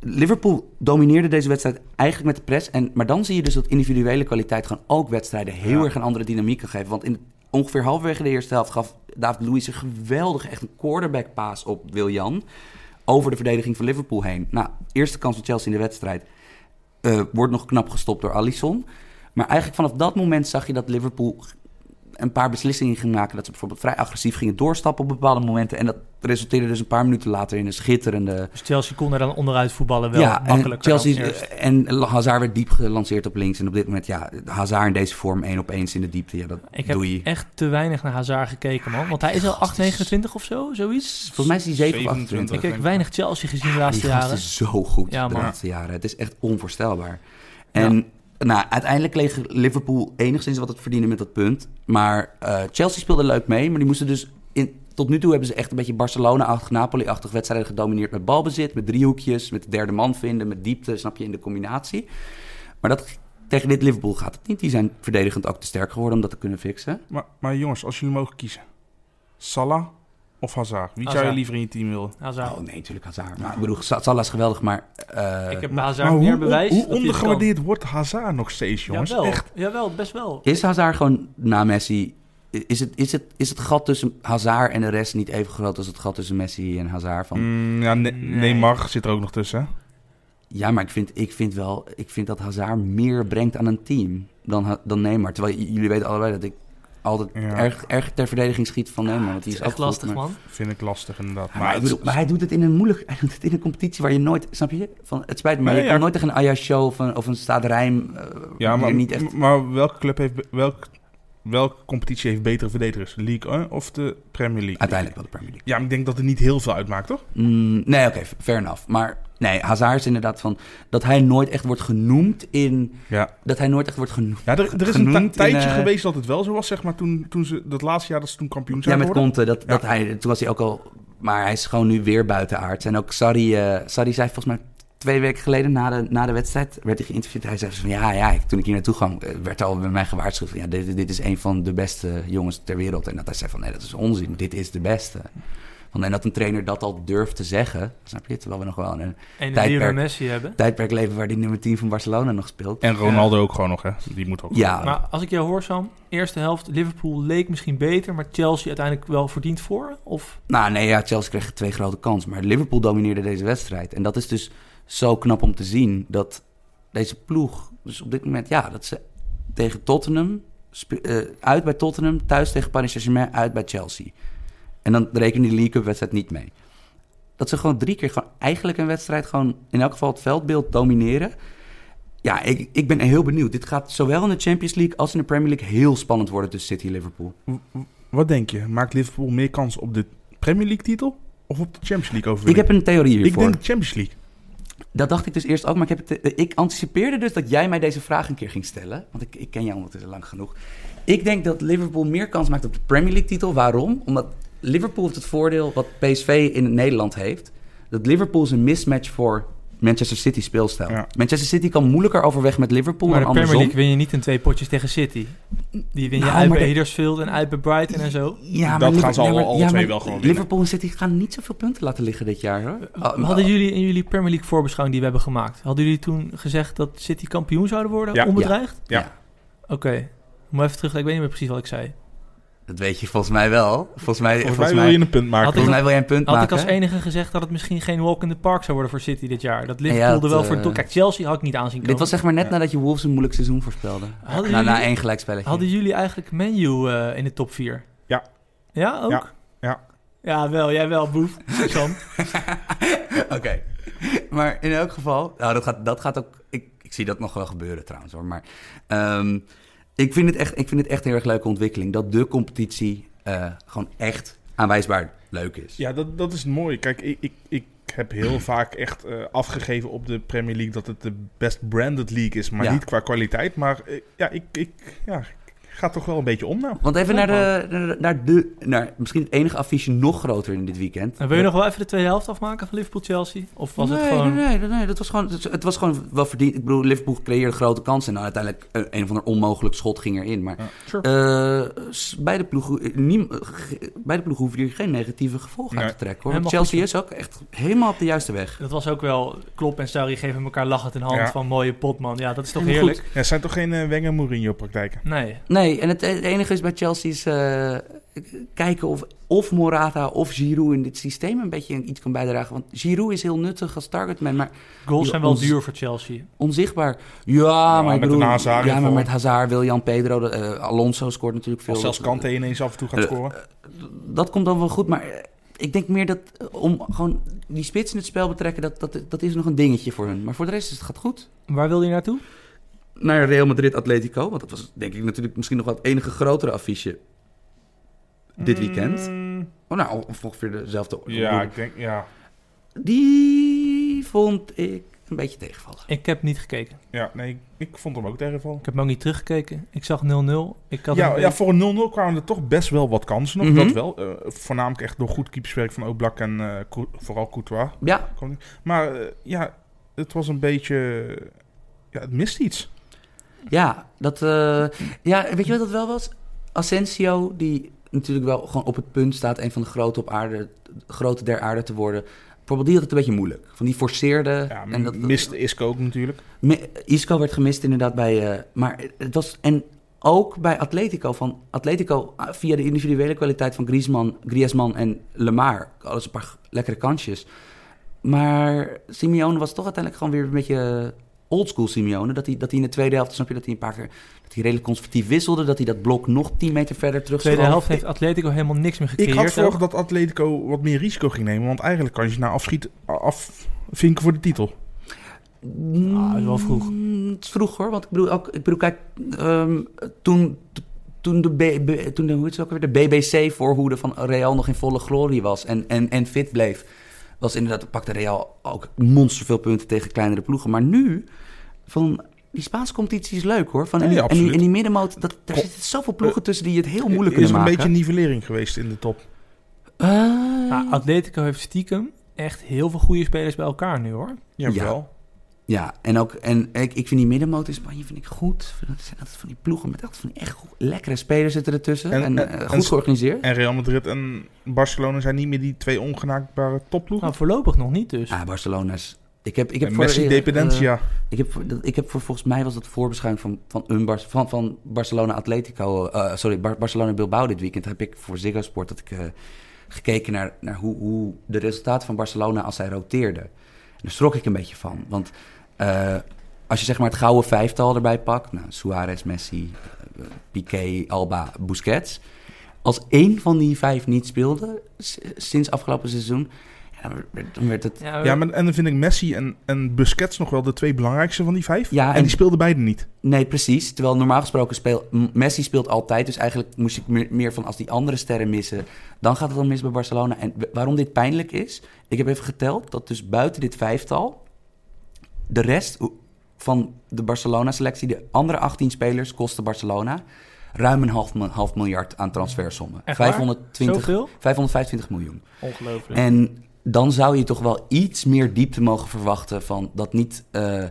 Speaker 4: Liverpool domineerde deze wedstrijd eigenlijk met de press. En, maar dan zie je dus dat individuele kwaliteit gewoon ook wedstrijden heel
Speaker 2: Ja.
Speaker 4: erg een andere dynamiek kan geven. Want in ongeveer halverwege de eerste helft gaf David Luiz een geweldige, echt een quarterback paas op Wiljan. Over de verdediging van Liverpool heen. Nou, eerste kans van Chelsea in de wedstrijd. eh, wordt nog knap gestopt door Alisson. Maar eigenlijk vanaf dat moment zag je dat Liverpool een paar beslissingen ging maken. Dat ze bijvoorbeeld vrij agressief gingen doorstappen op bepaalde momenten. En dat resulteerde dus een paar minuten later in een schitterende
Speaker 3: Dus Chelsea kon er dan onderuit voetballen wel
Speaker 4: ja, en
Speaker 3: makkelijker.
Speaker 4: Chelsea eh,
Speaker 3: dan eerst.
Speaker 4: is- en Hazard werd diep gelanceerd op links. En op dit moment, ja, Hazard in deze vorm één op eens in de diepte. Ja, dat
Speaker 3: Ik heb
Speaker 4: doe je.
Speaker 3: echt te weinig naar Hazard gekeken, man. Want hij is al 8,29 of zo, zoiets.
Speaker 4: Volgens mij is hij 7 of
Speaker 2: 27.
Speaker 4: 28.
Speaker 3: Ik heb weinig Chelsea gezien de
Speaker 4: Ah, Die
Speaker 3: laatste
Speaker 4: gast
Speaker 3: jaren.
Speaker 4: is zo goed
Speaker 3: Ja,
Speaker 4: de
Speaker 3: man.
Speaker 4: laatste jaren. Het is echt onvoorstelbaar. En nou, uiteindelijk kreeg Liverpool enigszins wat het verdienen met dat punt. Maar eh, Chelsea speelde leuk mee, maar die moesten dus... In, tot nu toe hebben ze echt een beetje Barcelona-achtig, Napoli-achtig wedstrijden gedomineerd met balbezit, met driehoekjes, met de derde man vinden, met diepte, snap je, in de combinatie. Maar dat, tegen dit Liverpool gaat het niet. Die zijn verdedigend ook te sterk geworden om dat te kunnen fixen.
Speaker 2: Maar, maar jongens, als jullie mogen kiezen. Salah of Hazard? Wie zou
Speaker 3: Hazard.
Speaker 2: je liever in je team willen?
Speaker 3: Hazard.
Speaker 4: Oh nee, natuurlijk Hazard. Maar ik bedoel, Sa- Salah is geweldig, maar... eh,
Speaker 3: ik heb bij
Speaker 2: Maar-
Speaker 3: Hazard
Speaker 2: maar hoe-
Speaker 3: meer bewijs.
Speaker 2: Hoe,
Speaker 3: dat
Speaker 2: hoe
Speaker 3: hij het kan.
Speaker 2: ondergewaardeerd wordt Hazard nog steeds, jongens?
Speaker 3: Jawel,
Speaker 2: Echt.
Speaker 3: jawel, best wel.
Speaker 4: Is Hazard gewoon na Messi... Is het, is, het, is het gat tussen Hazard en de rest niet even groot als het gat tussen Messi en Hazard? Van,
Speaker 2: Mm, ja, ne
Speaker 3: Nee.
Speaker 2: Neymar zit er ook nog tussen. hè?
Speaker 4: Ja, maar ik vind, ik vind wel... Ik vind dat Hazard meer brengt aan een team dan, Ha- dan Neymar. Terwijl j- jullie weten allebei dat ik altijd
Speaker 2: Ja.
Speaker 4: erg, erg ter verdediging schiet van Neymar. Want
Speaker 3: Het
Speaker 4: die
Speaker 3: is
Speaker 4: is
Speaker 3: echt
Speaker 4: ook goed,
Speaker 3: lastig,
Speaker 4: maar-
Speaker 3: man.
Speaker 2: Vind ik lastig, inderdaad.
Speaker 4: Ja, maar, ik bedoel, maar hij doet het in een moeilijk, hij doet het in een competitie waar je nooit, snap je? Van, het spijt me, maar
Speaker 2: Nee,
Speaker 4: je kan
Speaker 2: ja.
Speaker 4: nooit tegen een Ajax show of een, of een staat Rijm, eh,
Speaker 2: ja,
Speaker 4: die
Speaker 2: maar,
Speaker 4: er niet echt.
Speaker 2: maar welke club heeft... be- Welk, welke competitie heeft betere verdedigers? League 1 of de Premier League?
Speaker 4: Uiteindelijk wel de Premier League.
Speaker 2: Ja, maar ik denk dat het niet heel veel uitmaakt, toch?
Speaker 4: Mm, nee, oké, fair enough. Maar nee, Hazard is inderdaad van dat hij nooit echt wordt genoemd in,
Speaker 2: Ja.
Speaker 4: dat hij nooit echt wordt genoemd.
Speaker 2: Ja, er, er is een
Speaker 4: Genoemd in,
Speaker 2: ti- tijdje
Speaker 4: eh,
Speaker 2: geweest dat het wel zo was, zeg maar, toen, toen ze... Dat laatste jaar dat ze toen kampioen
Speaker 4: Ja,
Speaker 2: zijn
Speaker 4: met
Speaker 2: geworden.
Speaker 4: Conte, dat, dat
Speaker 2: Ja.
Speaker 4: hij, toen was hij ook al, maar hij is gewoon nu weer buiten aard. En ook Sarri, eh, Sarri zei volgens mij twee weken geleden na de, na de wedstrijd, werd hij geïnterviewd. Hij zei van, ja, ja, ik- toen ik hier naartoe kwam, eh, werd al bij mij gewaarschuwd van, ja, dit, dit is een van de beste jongens ter wereld. En dat hij zei van, nee, dat is onzin, dit is de beste. Want, en dat een trainer dat al durft te zeggen, snap je, terwijl we nog wel in een
Speaker 3: En de
Speaker 4: Tijdperk.
Speaker 3: Lionel Messi hebben.
Speaker 4: tijdperk leven waar die nummer 10 van Barcelona nog speelt.
Speaker 2: En Ronaldo ook gewoon nog, hè? Die moet ook.
Speaker 4: Ja,
Speaker 3: Maar als ik jou hoor, Sam, eerste helft, Liverpool leek misschien beter, maar Chelsea uiteindelijk wel verdiend voor? Of
Speaker 4: Nou, nee, ja, Chelsea kreeg twee grote kansen. Maar Liverpool domineerde deze wedstrijd. En dat is dus zo knap om te zien dat deze ploeg... Dus op dit moment, ja, dat ze tegen Tottenham... spe- eh, uit bij Tottenham, thuis tegen Paris Saint-Germain, uit bij Chelsea. En dan reken die League Cup wedstrijd niet mee. Dat ze gewoon drie keer gewoon eigenlijk een wedstrijd... gewoon in elk geval het veldbeeld domineren. Ja, ik, ik ben heel benieuwd. Dit gaat zowel in de Champions League als in de Premier League... heel spannend worden tussen City-Liverpool.
Speaker 2: Wat denk je? Maakt Liverpool meer kans op de Premier League titel of op de Champions League
Speaker 4: Ik
Speaker 2: overwinning?
Speaker 4: heb een theorie hiervoor.
Speaker 2: Ik denk de Champions League.
Speaker 4: Dat dacht ik dus eerst ook, maar ik, heb het, eh, ik anticipeerde dus dat jij mij deze vraag een keer ging stellen. Want ik, ik ken jou ondertussen lang genoeg. Ik denk dat Liverpool meer kans maakt op de Premier League-titel. Waarom? Omdat Liverpool heeft het voordeel wat PSV in Nederland heeft. Dat Liverpool is een mismatch voor Manchester City speelstijl.
Speaker 2: Ja.
Speaker 4: Manchester City kan moeilijker overweg met Liverpool
Speaker 3: maar de
Speaker 4: dan
Speaker 3: Premier
Speaker 4: andersom.
Speaker 3: League win je niet in twee potjes tegen City. Die win je
Speaker 4: Nou,
Speaker 3: uit
Speaker 4: maar
Speaker 3: bij
Speaker 4: de-
Speaker 3: Huddersfield en uit bij Brighton en zo.
Speaker 4: Ja,
Speaker 2: Dat
Speaker 4: Liver-
Speaker 2: gaan ze
Speaker 4: ja,
Speaker 2: al-
Speaker 4: maar-
Speaker 2: alle
Speaker 4: ja,
Speaker 2: twee
Speaker 4: maar
Speaker 2: wel gewoon winnen.
Speaker 4: Liverpool en City gaan niet zoveel punten laten liggen dit jaar. Hoor. Ah,
Speaker 3: Hadden jullie in jullie Premier League voorbeschouwing die we hebben gemaakt, hadden jullie toen gezegd dat City kampioen zouden worden,
Speaker 2: Ja.
Speaker 3: onbedreigd?
Speaker 2: Ja.
Speaker 4: Ja.
Speaker 3: Oké, maar even terug, ik weet niet meer precies wat ik zei.
Speaker 4: Dat weet je volgens mij wel. Volgens mij,
Speaker 2: Volgens mij wil je een punt maken.
Speaker 3: Had ik-
Speaker 4: volgens mij wil jij een punt
Speaker 3: Had ik
Speaker 4: maken.
Speaker 3: als enige gezegd dat het misschien geen walk in the park zou worden voor City dit jaar. Dat Liverpool
Speaker 4: Ja, dat,
Speaker 3: er wel voor...
Speaker 4: eh,
Speaker 3: doet. Kijk, Chelsea had ik niet aanzien komen.
Speaker 4: Dit was zeg maar net
Speaker 2: Ja.
Speaker 4: nadat je Wolves een moeilijk seizoen voorspelde.
Speaker 3: Hadden
Speaker 4: na, na
Speaker 3: jullie-
Speaker 4: één gelijkspelletje.
Speaker 3: Hadden jullie eigenlijk menu eh, in de top 4?
Speaker 2: Ja.
Speaker 3: Ja, ook?
Speaker 2: Ja, ja.
Speaker 3: Ja, wel. Jij wel, boef.
Speaker 2: [LAUGHS]
Speaker 3: Sam.
Speaker 4: [LAUGHS] Oké. Maar in elk geval... Nou, dat gaat, dat gaat ook... Ik, ik zie dat nog wel gebeuren trouwens hoor. Maar ehm, ik, vind het echt, ik vind het echt een erg leuke ontwikkeling. Dat de competitie eh, gewoon echt aanwijsbaar leuk is.
Speaker 2: Ja, dat, dat is mooi. Kijk, ik, ik, ik heb
Speaker 4: [CLEARS THROAT]
Speaker 2: heel vaak echt eh, afgegeven op de Premier League dat het de best branded league is. Maar
Speaker 4: Ja.
Speaker 2: niet qua kwaliteit. Maar eh, ja, ik, ik, ja, ik ga toch wel een beetje om nou.
Speaker 4: Want even
Speaker 3: Ja,
Speaker 4: naar de, naar, naar de... Naar misschien het enige affiche nog groter in dit weekend.
Speaker 3: En wil je nog wel even de tweede helft afmaken van Liverpool-Chelsea? Of was
Speaker 4: nee,
Speaker 3: het gewoon...
Speaker 4: nee, nee, nee, dat was gewoon, het, het was gewoon wel verdiend. Ik bedoel, Liverpool creëerde grote kansen. En dan uiteindelijk eh, een of ander onmogelijk schot ging erin. Maar
Speaker 2: Ja,
Speaker 4: eh, s- beide, ploegen, eh, niem- eh, ge- beide ploegen hoeven hier geen negatieve gevolgen uit
Speaker 2: Nee.
Speaker 4: te trekken. Hoor. Want
Speaker 3: Helemaal
Speaker 4: Chelsea is ook echt helemaal op de juiste weg.
Speaker 3: Dat was ook wel... Klopp en Sarri geven elkaar lachend in hand
Speaker 2: Ja.
Speaker 3: van mooie potman. Ja, dat is toch
Speaker 4: Helemaal
Speaker 3: heerlijk?
Speaker 2: Ja, het zijn toch geen eh, Wenger Mourinho praktijken?
Speaker 3: Nee.
Speaker 4: Nee, en het, het enige is bij Chelsea is eh, kijken of, of Morata of Giroud in dit systeem een beetje iets kan bijdragen. Want Giroud is heel nuttig als targetman, maar
Speaker 3: Goals
Speaker 4: Ja,
Speaker 3: zijn wel
Speaker 4: ons-
Speaker 3: duur voor Chelsea.
Speaker 4: onzichtbaar. Ja, maar ik
Speaker 2: met
Speaker 4: bedoel,
Speaker 2: een Hazard
Speaker 4: ja, maar
Speaker 2: ervoor.
Speaker 4: met Hazard, William Pedro, de- eh, Alonso scoort natuurlijk veel.
Speaker 2: Als zelfs Kante ineens af en toe gaat
Speaker 4: Eh,
Speaker 2: scoren.
Speaker 4: dat komt dan wel goed, maar eh, ik denk meer dat eh, om gewoon die spits in het spel betrekken, dat, dat, dat is nog een dingetje voor hun. Maar voor de rest is het gaat goed.
Speaker 3: Waar wil je naartoe?
Speaker 4: Naar Real Madrid Atletico, want dat was denk ik natuurlijk misschien nog wel het enige grotere affiche eh, dit weekend.
Speaker 2: Mm,
Speaker 4: Oh, nou, of ongeveer dezelfde orde.
Speaker 2: ja, ik denk, ja.
Speaker 4: Die vond ik een beetje tegenvallen.
Speaker 3: Ik heb niet gekeken.
Speaker 2: Ja, nee, ik- ik vond hem ook tegenvallen.
Speaker 3: Ik heb hem ook niet teruggekeken. Ik zag 0-0. Ik had
Speaker 2: Ja,
Speaker 3: een-
Speaker 2: ja, voor een 0-0 kwamen er toch best wel wat kansen nog.
Speaker 4: Mhm.
Speaker 2: Dat wel. Eh, voornamelijk echt door goed keeperswerk van Oblak en eh, Cou- vooral Courtois.
Speaker 4: Ja,
Speaker 2: Kwam die- Maar eh, ja, het was een beetje... Ja, het mist iets.
Speaker 4: ja, dat, eh, ja, weet je wat dat wel was? Asensio, die natuurlijk wel gewoon op het punt staat een van de grote, op aarde, grote der aarde te worden. Bijvoorbeeld die had het een beetje moeilijk. Van die forceerde...
Speaker 2: Ja,
Speaker 4: en dat, dat-
Speaker 2: miste Isco ook natuurlijk.
Speaker 4: Me- Isco werd gemist inderdaad bij... eh, maar het was... En ook bij Atletico. Van Atletico, ah, via de individuele kwaliteit van Griezmann, Griezmann en Lemar. Alles een paar g- lekkere kansjes. Maar Simeone was toch uiteindelijk gewoon weer een beetje oldschool Simeone. Dat hij, dat hij in de tweede helft, snap je, dat hij een paar keer... Dat hij redelijk conservatief wisselde. Dat hij dat blok nog 10 meter verder terug
Speaker 3: tweede
Speaker 4: schoof.
Speaker 3: helft heeft Atletico helemaal niks meer gecreëerd.
Speaker 2: Ik had
Speaker 3: ook.
Speaker 2: verwacht dat Atletico wat meer risico ging nemen. Want eigenlijk kan je ze nou afschieten, afvinken voor de titel.
Speaker 3: Ah, dat is wel vroeg.
Speaker 4: Mm, Het is vroeg hoor, want ik bedoel, ook, ik bedoel kijk, ehm, toen, toen, de B, B- toen de, hoe heet ze ook alweer, de BBC voorhoede van Real nog in volle glorie was en, en, en fit bleef, was inderdaad, pakte Real ook monster veel punten tegen kleinere ploegen. Maar nu, van die Spaanse competitie is leuk hoor. Van, en,
Speaker 2: Nee,
Speaker 4: die, en, die,
Speaker 2: absoluut.
Speaker 4: en die middenmoot, dat, daar
Speaker 2: Ko-
Speaker 4: zitten zoveel ploegen tussen die het heel moeilijk
Speaker 2: is
Speaker 4: kunnen
Speaker 2: een
Speaker 4: maken.
Speaker 2: beetje nivellering geweest in de top.
Speaker 4: Eh,
Speaker 3: Nou, Atletico heeft stiekem echt heel veel goede spelers bij elkaar nu hoor.
Speaker 2: Jawel.
Speaker 4: Ja, en ook en ik, ik vind die middenmoot in Spanje vind ik goed. Ik vind Dat zijn altijd van die ploegen met altijd van die echt go- lekkere spelers zitten ertussen. En,
Speaker 2: En-
Speaker 4: eh,
Speaker 2: en- en-
Speaker 4: goed georganiseerd.
Speaker 2: En Real Madrid en Barcelona zijn niet meer die twee ongenaakbare topploegen.
Speaker 3: Nou, voorlopig nog niet dus.
Speaker 4: ah, Barcelona's. Ik heb, ik heb
Speaker 2: En Messi,
Speaker 4: eh, eh,
Speaker 2: Dependencia.
Speaker 4: ik, heb, voor- dat- ik heb voor, volgens mij was dat de voorbeschouwing van, van, een Bar- van, van Barcelona Atletico. eh, sorry, Bar- Barcelona Bilbao dit weekend. Heb ik voor Ziggo Sport dat ik eh, gekeken naar, naar hoe, hoe de resultaten van Barcelona als zij roteerden. En daar schrok ik een beetje van. Want eh, als je zeg maar het gouden vijftal erbij pakt. Nou, Suarez, Messi, eh, Piqué, Alba, Busquets. Als één van die vijf niet speelde s- sinds afgelopen seizoen. ja, dan werd- dan werd het
Speaker 3: Ja,
Speaker 2: ja, maar, en dan vind ik Messi en, en Busquets nog wel de twee belangrijkste van die vijf.
Speaker 4: Ja,
Speaker 2: en,
Speaker 4: en-
Speaker 2: die speelden beide niet.
Speaker 4: Nee, precies. Terwijl normaal gesproken speelt Messi speelt altijd. Dus eigenlijk moest ik meer, meer van als die andere sterren missen, dan gaat het dan mis bij Barcelona. En w- waarom dit pijnlijk is, ik heb even geteld dat dus buiten dit vijftal de rest van de Barcelona-selectie, de andere 18 spelers, kostte Barcelona ruim een half, mil- half miljard aan transfersommen.
Speaker 3: Echt waar?
Speaker 4: 520,
Speaker 3: Zoveel?
Speaker 4: 525 miljoen.
Speaker 3: Ongelooflijk.
Speaker 4: En dan zou je toch wel iets meer diepte mogen verwachten van dat niet eh,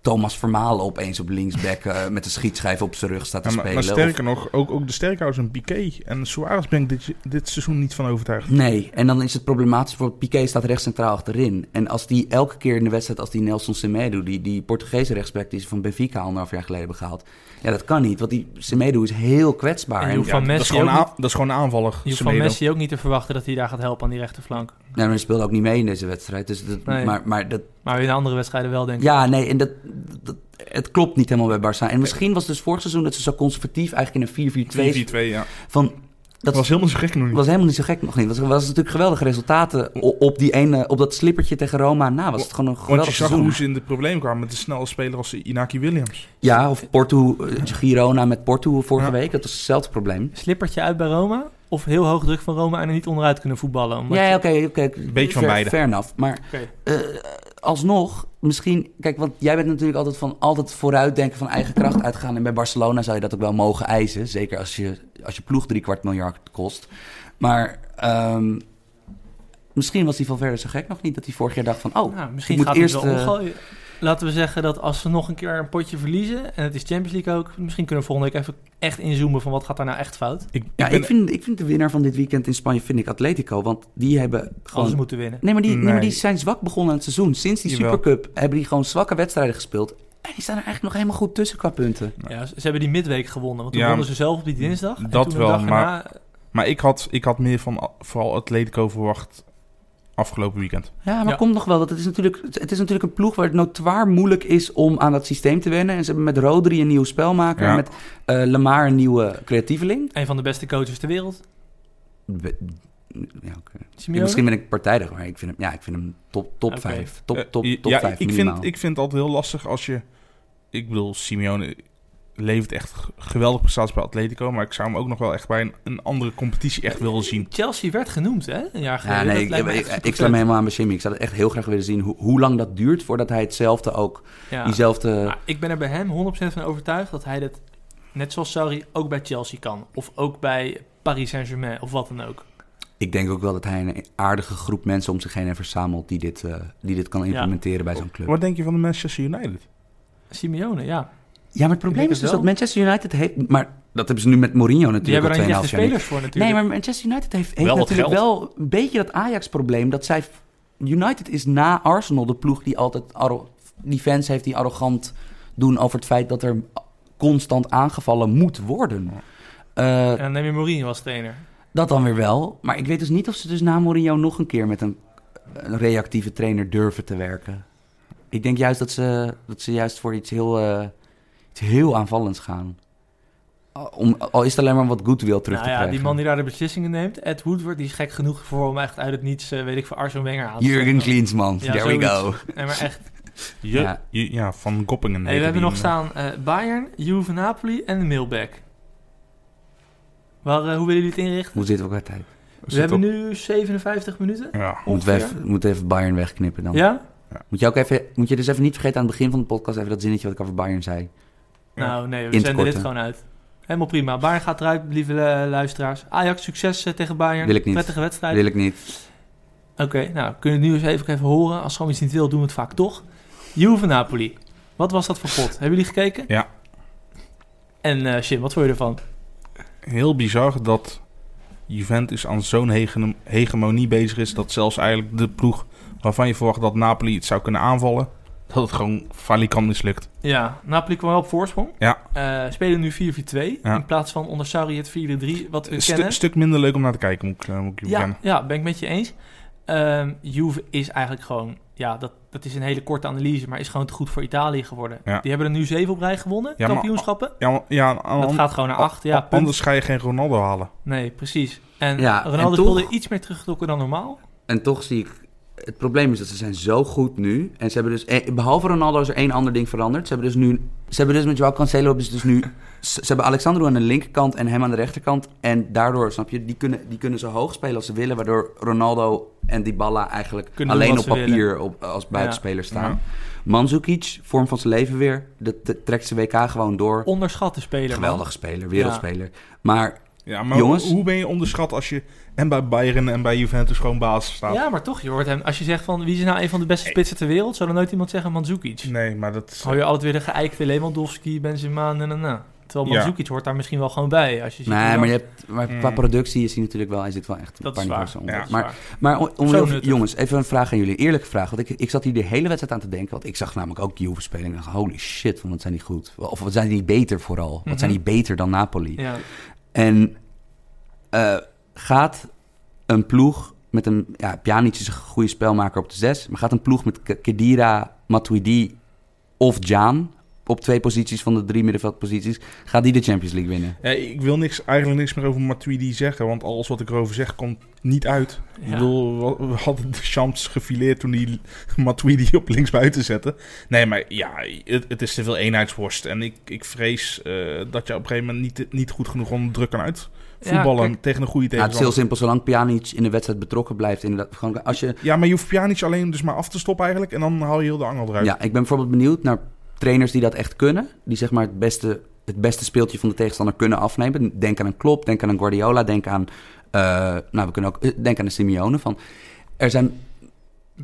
Speaker 4: Thomas Vermalen opeens op linksback eh, met een schietschijf op zijn rug staat te
Speaker 2: Ja, maar,
Speaker 4: spelen.
Speaker 2: maar
Speaker 4: Of-
Speaker 2: sterker nog, ook, ook de sterkhouders en Piqué en Suarez ben ik dit, dit seizoen niet van overtuigd.
Speaker 4: Nee, en dan is het problematisch voor Piqué staat rechts centraal achterin. En als die elke keer in de wedstrijd, als die Nelson Semedo, die, die Portugese rechtsback die ze van Benfica anderhalf jaar geleden hebben gehaald. Ja, dat kan niet, want die Semedo is heel kwetsbaar.
Speaker 3: En
Speaker 4: En,
Speaker 3: hoe- Van
Speaker 2: dat,
Speaker 3: Messi
Speaker 2: is gewoon
Speaker 3: ook
Speaker 2: aan- dat is gewoon aanvallig.
Speaker 3: Je hoeft van
Speaker 2: Semedo.
Speaker 3: Messi ook niet te verwachten dat hij daar gaat helpen aan die rechterflank.
Speaker 4: nou, hij speelde ook niet mee in deze wedstrijd. Dus dat,
Speaker 3: Nee.
Speaker 4: maar, maar dat,
Speaker 3: Maar in andere wedstrijden wel, denk ik.
Speaker 4: Ja, nee, en dat, dat, het klopt niet helemaal bij Barça. En misschien was dus vorig seizoen dat ze zo conservatief eigenlijk in een 4-4-2...
Speaker 2: 4-4-2, ja.
Speaker 4: Van, dat
Speaker 2: Dat was helemaal zo gek nog niet.
Speaker 4: was helemaal niet zo gek nog niet. Het was, was natuurlijk geweldige resultaten o- op, die ene, op dat slippertje tegen Roma. Na was het gewoon een
Speaker 2: Want je
Speaker 4: geweldig
Speaker 2: zag
Speaker 4: seizoen.
Speaker 2: hoe ze in de probleem kwamen met een snelle speler als Inaki Williams.
Speaker 4: Ja, of Porto, eh, Girona met Porto vorige
Speaker 2: Ja.
Speaker 4: week. Dat was hetzelfde probleem.
Speaker 3: Slippertje uit bij Roma of heel hoog druk van Roma en er niet onderuit kunnen voetballen. Omdat
Speaker 4: Ja, ja, oké. oké.
Speaker 2: beetje van
Speaker 4: Fair-
Speaker 2: beide.
Speaker 4: Fair enough. Maar
Speaker 3: Oké.
Speaker 4: eh, alsnog, misschien... Kijk, want jij bent natuurlijk altijd van altijd vooruitdenken van eigen kracht uitgaan. En bij Barcelona zou je dat ook wel mogen eisen. Zeker als je, als je ploeg drie kwart miljard kost. Maar ehm, misschien was die van verder zo gek nog niet. Dat hij vorig jaar dacht van... Oh,
Speaker 3: Nou, misschien
Speaker 4: ik moet
Speaker 3: gaat het
Speaker 4: eerst...
Speaker 3: wel
Speaker 4: eh,
Speaker 3: omgooien. Laten we zeggen dat als we nog een keer een potje verliezen, en het is Champions League ook, misschien kunnen we volgende week even echt inzoomen van wat gaat daar nou echt fout. Als
Speaker 2: Ik,
Speaker 4: ja,
Speaker 2: ik ben-
Speaker 4: ik vind, ik vind de winnaar van dit weekend in Spanje vind ik Atletico. Want die hebben gewoon
Speaker 3: ze moeten winnen.
Speaker 4: Nee maar, die, nee. maar die
Speaker 2: Nee.
Speaker 4: zijn zwak begonnen aan het seizoen. Sinds die
Speaker 2: Jawel.
Speaker 4: Supercup hebben die gewoon zwakke wedstrijden gespeeld. En die staan er eigenlijk nog helemaal goed tussen qua punten.
Speaker 3: Ja, ze ze hebben die midweek gewonnen, want toen
Speaker 2: Ja,
Speaker 3: wonnen ze zelf op die dinsdag. en
Speaker 2: dat
Speaker 3: toen een
Speaker 2: wel,
Speaker 3: dag
Speaker 2: maar-
Speaker 3: erna-
Speaker 2: Maar ik had, ik had meer van a- vooral Atletico verwacht afgelopen weekend.
Speaker 4: Ja, maar
Speaker 3: Ja.
Speaker 4: komt nog wel. Want het, is natuurlijk, het is natuurlijk een ploeg waar het notoir moeilijk is om aan dat systeem te wennen. En ze hebben met Rodri een nieuwe spelmaker.
Speaker 2: Ja.
Speaker 4: en Met eh Lamar een nieuwe creatieveling.
Speaker 3: een van de beste coaches ter wereld,
Speaker 4: We- Ja, oké.
Speaker 3: Simeone.
Speaker 4: Misschien ben ik partijdig, maar ik vind hem, ja, ik vind hem top, top
Speaker 3: Oké.
Speaker 4: 5. Top,
Speaker 2: Eh,
Speaker 4: top, top
Speaker 2: i- ja,
Speaker 4: 5
Speaker 2: ik
Speaker 4: minimaal.
Speaker 2: vind, ik vind het altijd heel lastig als je... Ik bedoel, Simeone levert echt g- geweldige prestaties bij Atletico. Maar ik zou hem ook nog wel echt bij een, een andere competitie echt willen zien.
Speaker 3: Chelsea werd genoemd, hè? Een jaar geleden.
Speaker 4: Ja, nee,
Speaker 3: Dat
Speaker 4: ik,
Speaker 3: lijkt me
Speaker 4: ik,
Speaker 3: echt
Speaker 4: ik, sla me
Speaker 3: supervet.
Speaker 4: helemaal aan bij Jimmy. Ik zou het echt heel graag willen zien hoe, hoe lang dat duurt voordat hij hetzelfde ook,
Speaker 3: Ja.
Speaker 4: diezelfde...
Speaker 3: Maar ik ben er bij hem 100% van overtuigd dat hij dat, net zoals Sarri, ook bij Chelsea kan. Of ook bij Paris Saint-Germain of wat dan ook.
Speaker 4: Ik denk ook wel dat hij een aardige groep mensen om zich heen heeft verzameld die dit, eh, die dit kan implementeren bij zo'n club.
Speaker 2: Wat denk je van de Manchester United?
Speaker 3: Simeone, ja.
Speaker 4: Ja, maar het probleem
Speaker 3: denk
Speaker 4: is dus
Speaker 3: het wel.
Speaker 4: dat Manchester United heeft... Maar dat hebben ze nu met Mourinho
Speaker 3: Die
Speaker 4: natuurlijk
Speaker 3: hebben
Speaker 4: al
Speaker 3: er niet echt
Speaker 4: 2,5
Speaker 3: de
Speaker 4: jaar. niet.
Speaker 3: spelers voor natuurlijk.
Speaker 4: Nee, maar Manchester United heeft, heeft
Speaker 5: Wel wat
Speaker 4: natuurlijk
Speaker 5: geld.
Speaker 4: wel een beetje dat Ajax-probleem. Dat zij... United is na Arsenal de ploeg die altijd arro- die fans heeft die arrogant doen over het feit dat er constant aangevallen moet worden. Eh,
Speaker 3: En dan neem je Mourinho als trainer.
Speaker 4: dat dan weer wel. Maar ik weet dus niet of ze dus na Mourinho nog een keer met een, een reactieve trainer durven te werken. Ik denk juist dat ze, dat ze juist voor iets heel, eh, iets heel aanvallends gaan. Om, al is het alleen maar wat goodwill terug
Speaker 3: nou
Speaker 4: te
Speaker 3: ja,
Speaker 4: krijgen.
Speaker 3: die man die daar de beslissingen neemt, Ed Woodward, die is gek genoeg voor om echt uit het niets, eh, weet ik, voor Arsene Wenger aan te
Speaker 4: Jurgen
Speaker 3: zetten.
Speaker 4: Klinsman,
Speaker 3: Ja,
Speaker 4: there we
Speaker 3: zoiets.
Speaker 4: go.
Speaker 3: Nee, maar echt.
Speaker 2: Je-
Speaker 4: Ja.
Speaker 2: je- ja, van Goppingen.
Speaker 3: Hey,
Speaker 2: heette
Speaker 3: we hebben
Speaker 2: die
Speaker 3: nog
Speaker 2: man.
Speaker 3: staan eh, Bayern, Juve Napoli en de Mailback. Waar, eh, hoe willen jullie het inrichten?
Speaker 4: Hoe zit het ook uit tijd?
Speaker 2: eh, Zit
Speaker 3: we hebben
Speaker 2: op-
Speaker 3: nu 57 minuten.
Speaker 2: Ja,
Speaker 4: Moet, we
Speaker 3: Ongeveer.
Speaker 4: even, moet even Bayern wegknippen dan.
Speaker 3: Ja?
Speaker 4: Moet, je ook even, moet je dus even niet vergeten aan het begin van de podcast... even dat zinnetje wat ik over Bayern zei.
Speaker 2: Ja.
Speaker 3: Nou, nee, we
Speaker 4: In te
Speaker 3: zenden dit
Speaker 4: korten.
Speaker 3: gewoon uit. Helemaal prima. Bayern gaat eruit, lieve eh, luisteraars. Ajax, succes eh, tegen Bayern.
Speaker 4: Wil ik niet.
Speaker 3: Prettige wedstrijd.
Speaker 4: Wil ik niet.
Speaker 3: Oké, nou, kunnen we het nu eens even, even horen. Als Sam iets niet wil, doen we het vaak toch. Juve Napoli. Wat was dat voor pot? Hebben jullie gekeken?
Speaker 2: Ja.
Speaker 3: En eh Jim, wat vond je ervan?
Speaker 2: heel bizar dat Juventus aan zo'n hege- hegemonie bezig is... dat zelfs eigenlijk de ploeg waarvan je verwacht dat Napoli het zou kunnen aanvallen... dat het gewoon falikant mislukt.
Speaker 3: Ja, Napoli kwam wel op voorsprong.
Speaker 2: Ja.
Speaker 3: Eh, spelen nu 4-4-2.
Speaker 2: Ja.
Speaker 3: In plaats van onder Sarri het 4-3, wat we
Speaker 2: Een
Speaker 3: kennen.
Speaker 2: stu- stuk minder leuk om naar te kijken, moet ik, eh, moet ik je
Speaker 3: Ja,
Speaker 2: bekennen.
Speaker 3: ja, ben ik met je eens. Ehm, Juve is eigenlijk gewoon... Ja, dat, dat is een hele korte analyse, maar is gewoon te goed voor Italië geworden.
Speaker 2: Ja.
Speaker 3: Die hebben er nu zeven op rij gewonnen,
Speaker 2: Ja, maar-
Speaker 3: kampioenschappen.
Speaker 2: Ja, maar- ja, aan-
Speaker 3: dat gaat gewoon naar acht, ja, punt.
Speaker 2: anders ga je geen Ronaldo halen.
Speaker 3: Nee, precies. En
Speaker 4: Ja,
Speaker 3: Ronaldo
Speaker 4: en toch-
Speaker 3: speelde iets meer teruggetrokken dan normaal.
Speaker 4: En toch zie ik... Het probleem is dat ze zijn zo goed nu. En ze hebben dus... eh, Behalve Ronaldo is er één ander ding veranderd. Ze hebben dus nu... Ze hebben dus met Joao Cancelo hebben ze dus
Speaker 3: [LAUGHS]
Speaker 4: nu... Ze ze hebben Alexandro aan de linkerkant en hem aan de rechterkant. En daardoor, snap je, die kunnen, die kunnen ze hoog spelen als ze willen. Waardoor Ronaldo en Dybala eigenlijk
Speaker 3: Kunnen doen
Speaker 4: alleen op
Speaker 3: wat ze
Speaker 4: papier op, als buitenspeler staan.
Speaker 2: Ja.
Speaker 4: Mandzukic, vorm van zijn leven weer. Dat dat trekt zijn WK gewoon door.
Speaker 3: Onderschatte speler. man.
Speaker 4: Geweldige speler, wereldspeler. Maar
Speaker 2: Ja, maar
Speaker 4: Jongens.
Speaker 2: hoe ben je onderschat als je en bij Bayern en bij Juventus gewoon basis staat?
Speaker 3: Ja, maar toch, je hoort hem. Als je zegt van wie is nou een van de beste spitsen ter wereld, zou dan nooit iemand zeggen Mandzukic.
Speaker 2: Nee, maar dat is...
Speaker 3: Hou je altijd weer de geëikte Lewandowski, Benzema, na na na. Terwijl
Speaker 2: Ja.
Speaker 3: Mandzukic hoort daar misschien wel gewoon bij. Als je ziet hoe
Speaker 4: Nee,
Speaker 3: lang-
Speaker 4: maar, je hebt, maar qua
Speaker 2: Mm.
Speaker 4: productie is hij natuurlijk wel... Hij zit wel echt een
Speaker 3: Hmm. Dat
Speaker 4: paar
Speaker 3: is waar.
Speaker 4: niveaus onder.
Speaker 2: Ja.
Speaker 4: maar,
Speaker 3: Zwaar.
Speaker 4: maar om, om-
Speaker 3: Zo
Speaker 4: om-
Speaker 3: nuttig.
Speaker 4: jongens, even een vraag aan jullie. Eerlijke vraag. Want ik, ik zat hier de hele wedstrijd aan te denken. Want ik zag namelijk ook Juve spelen. En ik dacht, holy shit, want wat zijn die goed. Of wat zijn die beter vooral. Wat
Speaker 3: Mhm.
Speaker 4: zijn die beter dan Napoli.
Speaker 3: Ja.
Speaker 4: En eh, gaat een ploeg met een... Ja, Pjanic is een goede spelmaker op de zes. Maar gaat een ploeg met K- Kedira, Matuidi of Jaan... op twee posities van de drie middenveldposities... gaat die de Champions League winnen?
Speaker 2: Ja, ik wil niks, eigenlijk niks meer over Matuidi zeggen, want alles wat ik erover zeg komt niet uit. Ik
Speaker 3: Ja.
Speaker 2: bedoel, we- we hadden de champs gefileerd toen die Matuidi op linksbuiten zette. Nee, maar ja, het, het is te veel eenheidsworst. En ik, ik vrees eh, dat je op een gegeven moment niet, niet goed genoeg onder druk kan uit voetballen
Speaker 3: kijk,
Speaker 2: tegen een goede
Speaker 4: Ja, Nou, het is heel
Speaker 2: tegenstander.
Speaker 4: simpel. Zolang Pjanic in de wedstrijd betrokken blijft... Inderdaad, gewoon, als je,
Speaker 2: Ja, maar je hoeft Pjanic alleen dus maar af te stoppen eigenlijk en dan haal je heel de angel eruit.
Speaker 4: Ja, ik ben bijvoorbeeld benieuwd naar trainers die dat echt kunnen. Die zeg maar het beste, het beste speeltje van de tegenstander kunnen afnemen. Denk aan een Klopp, denk aan een Guardiola, denk aan... eh, nou, we kunnen ook... eh, Denk aan een Simeone. Van, er zijn...
Speaker 3: best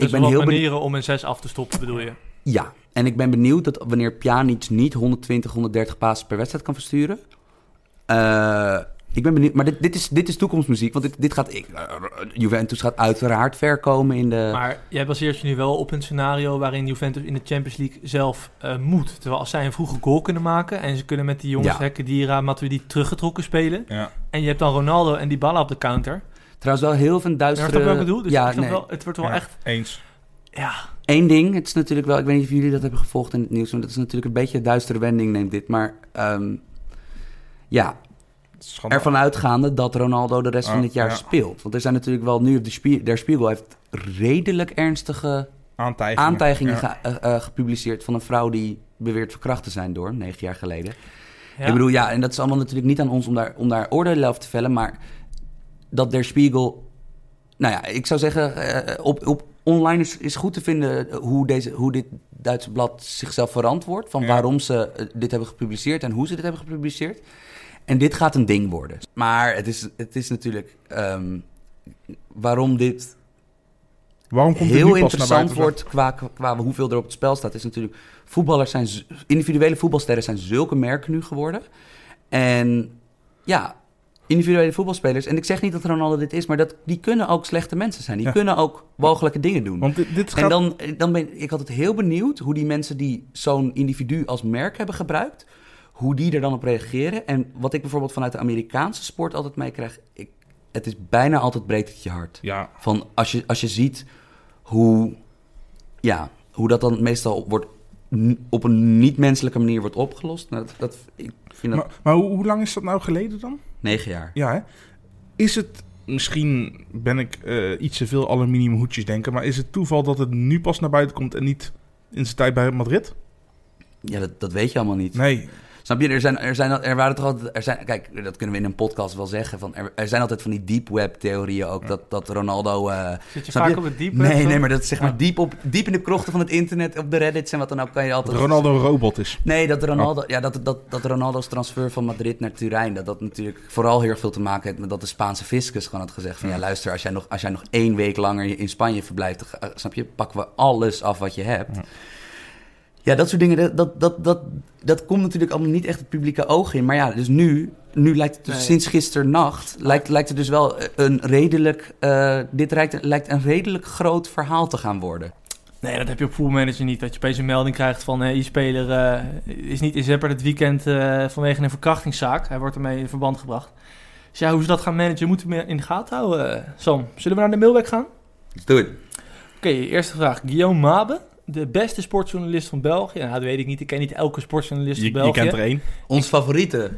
Speaker 4: ik ben heel
Speaker 3: wel wat
Speaker 4: benieuwd-
Speaker 3: Dus manieren om een 6 af te stoppen, bedoel je?
Speaker 4: Ja, en ik ben benieuwd dat wanneer Pjanic niet 120, 130 passes per wedstrijd kan versturen. Eh, ik ben benieuwd, maar dit, dit, is, dit is toekomstmuziek, want dit, dit gaat... Ik, eh, Juventus gaat uiteraard ver komen in de...
Speaker 3: Maar jij baseert je nu wel op een scenario waarin Juventus in de Champions League zelf eh, moet. Terwijl als zij een vroege goal kunnen maken en ze kunnen met die jongens
Speaker 4: Ja.
Speaker 3: Hekken, Dira, Matuidi teruggetrokken spelen.
Speaker 2: Ja.
Speaker 3: En je hebt dan Ronaldo en die ballen op de counter.
Speaker 4: Trouwens wel heel veel
Speaker 3: Ja,
Speaker 4: duistere...
Speaker 3: snap je wat ik bedoel? Dus
Speaker 4: ja,
Speaker 3: ik snap
Speaker 4: nee.
Speaker 3: wel, het wordt wel
Speaker 2: Ja,
Speaker 3: echt...
Speaker 2: Eens.
Speaker 3: Ja,
Speaker 4: Eén ding, het is natuurlijk wel, ik weet niet of jullie dat hebben gevolgd in het nieuws, want dat is natuurlijk een beetje een duistere wending neemt dit, maar ehm, ja,
Speaker 2: Schandaal.
Speaker 4: ervan uitgaande dat Ronaldo de rest
Speaker 2: Ah,
Speaker 4: van dit jaar
Speaker 2: ja.
Speaker 4: speelt. Want er zijn natuurlijk wel nu op de spie der Spiegel heeft redelijk ernstige
Speaker 2: Aantijgingen.
Speaker 4: aantijgingen
Speaker 2: Ja.
Speaker 4: ge- eh, eh, gepubliceerd van een vrouw die beweert verkracht te zijn door, negen jaar geleden.
Speaker 3: ja.
Speaker 4: Ik bedoel, ja, en dat is allemaal natuurlijk niet aan ons om daar, om daar oordeel over te vellen, maar dat Der Spiegel. Nou ja, ik zou zeggen, eh, op, op online is, is goed te vinden hoe, deze, hoe dit Duitse blad zichzelf verantwoordt. Van
Speaker 2: Ja.
Speaker 4: waarom ze eh, dit hebben gepubliceerd en hoe ze dit hebben gepubliceerd. En dit gaat een ding worden. Maar het is, het is natuurlijk. ehm, waarom dit
Speaker 2: Waarom komt dit
Speaker 4: heel
Speaker 2: nu pas naar
Speaker 4: interessant
Speaker 2: buiten?
Speaker 4: wordt qua, qua hoeveel er op het spel staat, is natuurlijk... Voetballers zijn, z- individuele voetbalsterren zijn zulke merken nu geworden. En ja, individuele voetbalspelers... En ik zeg niet dat Ronaldo dit is, maar dat, die kunnen ook slechte mensen zijn. Die
Speaker 2: Ja.
Speaker 4: kunnen ook mogelijke dingen doen.
Speaker 2: Want dit, dit
Speaker 4: En
Speaker 2: gaat...
Speaker 4: dan, eh, dan ben ik altijd heel benieuwd hoe die mensen die zo'n individu als merk hebben gebruikt, hoe die er dan op reageren. En wat ik bijvoorbeeld vanuit de Amerikaanse sport altijd meekrijg, ik, het is bijna altijd breekt het je hart.
Speaker 2: Ja,
Speaker 4: Van als je, als je ziet hoe, ja, hoe dat dan meestal wordt, n- op een niet-menselijke manier wordt opgelost. Nou, dat, dat, ik vind dat
Speaker 2: maar, maar hoe, hoe lang is dat nou geleden dan?
Speaker 4: negen jaar.
Speaker 2: Ja, hè? Is het... Misschien ben ik eh, iets te veel aluminium hoedjes denken, maar is het toeval dat het nu pas naar buiten komt en niet in zijn tijd bij Madrid?
Speaker 4: Ja, dat, dat weet je allemaal niet.
Speaker 2: Nee,
Speaker 4: Snap je, er, zijn, er, zijn, er waren toch altijd... Er zijn, kijk, dat kunnen we in een podcast wel zeggen. Van, er, er zijn altijd van die deep web theorieën ook. Dat, dat Ronaldo... eh,
Speaker 3: Zit je
Speaker 4: Snap
Speaker 3: vaak
Speaker 4: je?
Speaker 3: op het diepe?
Speaker 4: nee, nee, maar dat is zeg maar
Speaker 3: Ja.
Speaker 4: diep, op, diep in de krochten van het internet. Op de reddits en wat dan ook kan je
Speaker 2: dat
Speaker 4: altijd...
Speaker 2: Ronaldo een robot is.
Speaker 4: Nee, dat, Ronaldo, ja, dat, dat, dat Ronaldo's transfer van Madrid naar Turijn... dat dat natuurlijk vooral heel erg veel te maken heeft... met dat de Spaanse fiscus gewoon had gezegd van... ja, luister, als jij nog, als jij nog één week langer in Spanje verblijft... dan ga- eh, snap je, pakken we alles af wat je hebt. Ja, dat soort dingen, dat, dat, dat, dat, dat komt natuurlijk allemaal niet echt het publieke oog in. Maar ja, dus nu, nu lijkt het dus
Speaker 3: Nee.
Speaker 4: sinds gisternacht... lijkt, lijkt het dus wel een redelijk... eh, dit lijkt, lijkt een redelijk groot verhaal te gaan worden.
Speaker 3: Nee, dat heb je op voetbalmanager niet. Dat je opeens een melding krijgt van... eh, je speler eh, is niet in Zepper dit weekend eh, vanwege een verkrachtingszaak. Hij wordt ermee in verband gebracht. Dus ja, hoe ze dat gaan managen moeten we in de gaten houden, eh, Sam. Zullen we naar de mailback gaan?
Speaker 4: Doe het.
Speaker 3: Oké, eerste vraag. Guillaume Mabe, de beste sportjournalist van België. Nou, dat weet ik niet. Ik ken niet elke sportjournalist
Speaker 2: Je,
Speaker 3: van
Speaker 2: je
Speaker 3: België.
Speaker 2: kent er één.
Speaker 4: Ons favoriete.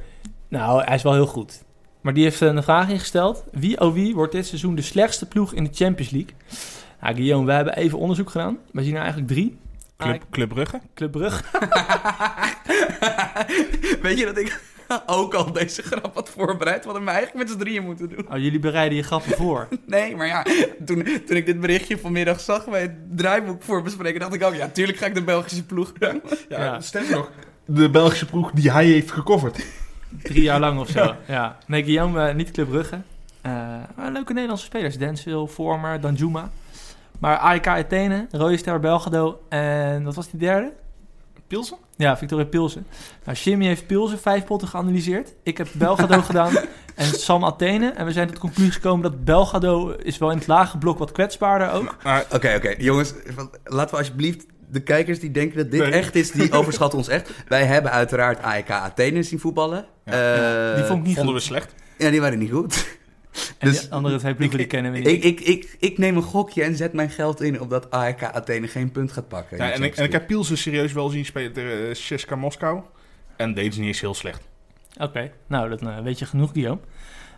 Speaker 3: Nou, hij is wel heel goed. Maar die heeft eh, een vraag ingesteld. Wie oh wie wordt dit seizoen de slechtste ploeg in de Champions League? Nou, Guillaume, wij hebben even onderzoek gedaan. Wij zien er eigenlijk drie.
Speaker 2: Club, Club Brugge.
Speaker 3: Club Brugge.
Speaker 4: [LAUGHS] Weet je dat ik ook al deze grap had voorbereid? Wat we eigenlijk met z'n drieën moeten doen. [LAUGHS]
Speaker 3: Oh, jullie bereiden je grappen voor.
Speaker 4: Nee, maar ja, toen, toen ik dit berichtje vanmiddag zag bij het draaiboek voor bespreken, dacht ik ook, ja, tuurlijk ga ik de Belgische ploeg.
Speaker 3: Ja, Ja.
Speaker 2: sterker nog. De Belgische ploeg die hij heeft gecoverd.
Speaker 3: Drie jaar lang of zo. Ja. Nee, Guillaume, eh, niet Club Brugge. Eh, maar leuke Nederlandse spelers. Denswil, Vormer, Danjuma. Maar AEK Athene, Rode Ster Belgrado en wat was die derde?
Speaker 2: Pilsen?
Speaker 3: Ja, Victoria Pilsen. Nou, Jimmy heeft Pilsen vijf potten geanalyseerd. Ik heb Belgrado gedaan en Sam Athene. En we zijn tot de conclusie gekomen dat Belgrado is wel in het lage blok wat kwetsbaarder ook.
Speaker 4: Oké, oké, jongens, wat- laten we alsjeblieft de kijkers die denken dat dit
Speaker 2: Nee.
Speaker 4: echt is,
Speaker 2: [LAUGHS]
Speaker 4: die overschatten ons echt. Wij hebben uiteraard AEK Athene zien voetballen. Eh,
Speaker 3: Die vond ik niet
Speaker 2: vonden we
Speaker 3: goed.
Speaker 2: slecht.
Speaker 4: Ja, die waren niet goed.
Speaker 3: En
Speaker 4: dus-
Speaker 3: die andere twee ploegen die kennen we niet.
Speaker 4: Ik, ik, ik, ik neem een gokje en zet mijn geld in op dat AEK Athene geen punt gaat pakken.
Speaker 2: Ja, en, ik, en ik heb Pilsen serieus wel zien spelen tegen eh, CSKA Moskou. En deed ze niet eens heel slecht.
Speaker 3: Oké, nou dat eh, weet je genoeg, Guillaume.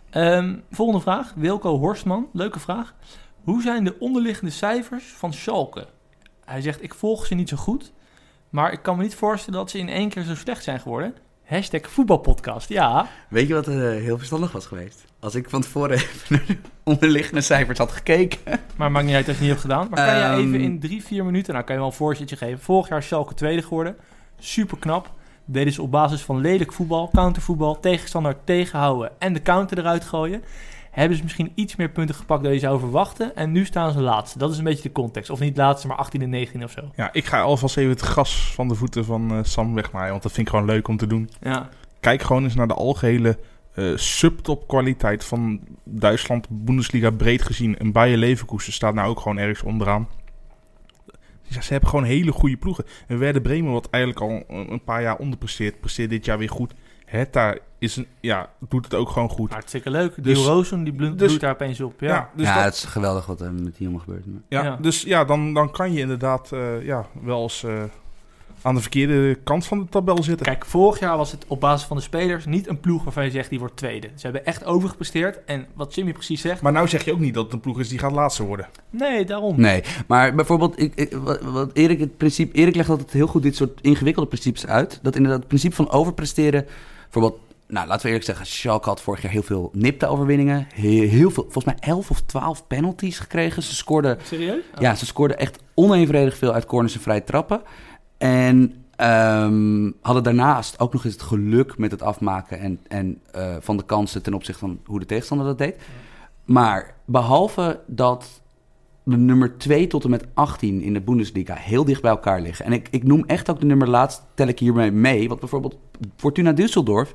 Speaker 3: Ehm, volgende vraag, Wilco Horstman, leuke vraag. Hoe zijn de onderliggende cijfers van Schalke? Hij zegt, ik volg ze niet zo goed, maar ik kan me niet voorstellen dat ze in één keer zo slecht zijn geworden. Hashtag voetbalpodcast, ja.
Speaker 4: Weet je wat eh, heel verstandig was geweest? Als ik van tevoren [LAUGHS] even naar de onderliggende cijfers had gekeken.
Speaker 3: Maar maakt niet uit dat je het niet hebt gedaan. Maar kan
Speaker 4: Ehm.
Speaker 3: je even in drie, vier minuten, nou kan je wel een voorzetje geven. Vorig jaar is Schalke tweede geworden, super knap. Deden ze op basis van lelijk voetbal, countervoetbal, tegenstander tegenhouden en de counter eruit gooien. Hebben ze misschien iets meer punten gepakt dan je zou verwachten. En nu staan ze laatste. Dat is een beetje de context. Of niet laatste, maar 18 en 19 of zo.
Speaker 2: Ja, ik ga alvast even het gras van de voeten van eh, Sam wegmaaien. Want dat vind ik gewoon leuk om te doen.
Speaker 3: Ja,
Speaker 2: Kijk gewoon eens naar de algehele eh subtop kwaliteit van Duitsland. Bundesliga breed gezien. En Bayer Leverkusen staat nou ook gewoon ergens onderaan. Dus ja, ze hebben gewoon hele goede ploegen. En Werder Bremen, wat eigenlijk al een een paar jaar onderpresteert, presteert dit jaar weer goed. Hertha is een, ja, doet het ook gewoon goed.
Speaker 3: hartstikke leuk.
Speaker 2: Dus-
Speaker 3: Die Rozen, die blo-
Speaker 2: dus-
Speaker 3: bloedt daar opeens op. Ja.
Speaker 2: dus
Speaker 4: ja,
Speaker 2: dat-
Speaker 4: het is geweldig wat er met die jongen gebeurt. maar-
Speaker 2: Ja,
Speaker 3: Ja.
Speaker 2: dus ja, dan, dan kan je inderdaad eh, ja, wel eens eh, aan de verkeerde kant van de tabel zitten.
Speaker 3: Kijk, vorig jaar was het op basis van de spelers niet een ploeg waarvan je zegt die wordt tweede. Ze hebben echt overgepresteerd. En wat Jimmy precies zegt,
Speaker 2: Maar nou zeg je ook niet dat het een ploeg is die gaat laatste worden.
Speaker 3: nee, daarom.
Speaker 4: Nee, maar bijvoorbeeld, ik, ik- wat, wat Erik, het principe, Erik legt altijd heel goed dit soort ingewikkelde principes uit. Dat inderdaad het principe van overpresteren. Bijvoorbeeld, nou laten we eerlijk zeggen, Schalke had vorig jaar heel veel nipte overwinningen. Heel, heel veel, volgens mij 11 of 12 penalties gekregen. Ze scoorden
Speaker 3: Serieus? Oh.
Speaker 4: Ja, ze scoorden echt onevenredig veel uit corners en vrije trappen. En ehm, hadden daarnaast ook nog eens het geluk met het afmaken en, en, eh, van de kansen ten opzichte van hoe de tegenstander dat deed. Maar behalve dat de nummer 2 tot en met 18 in de Bundesliga heel dicht bij elkaar liggen. En ik, ik noem echt ook de nummer laatst, tel ik hiermee mee. Want bijvoorbeeld Fortuna Düsseldorf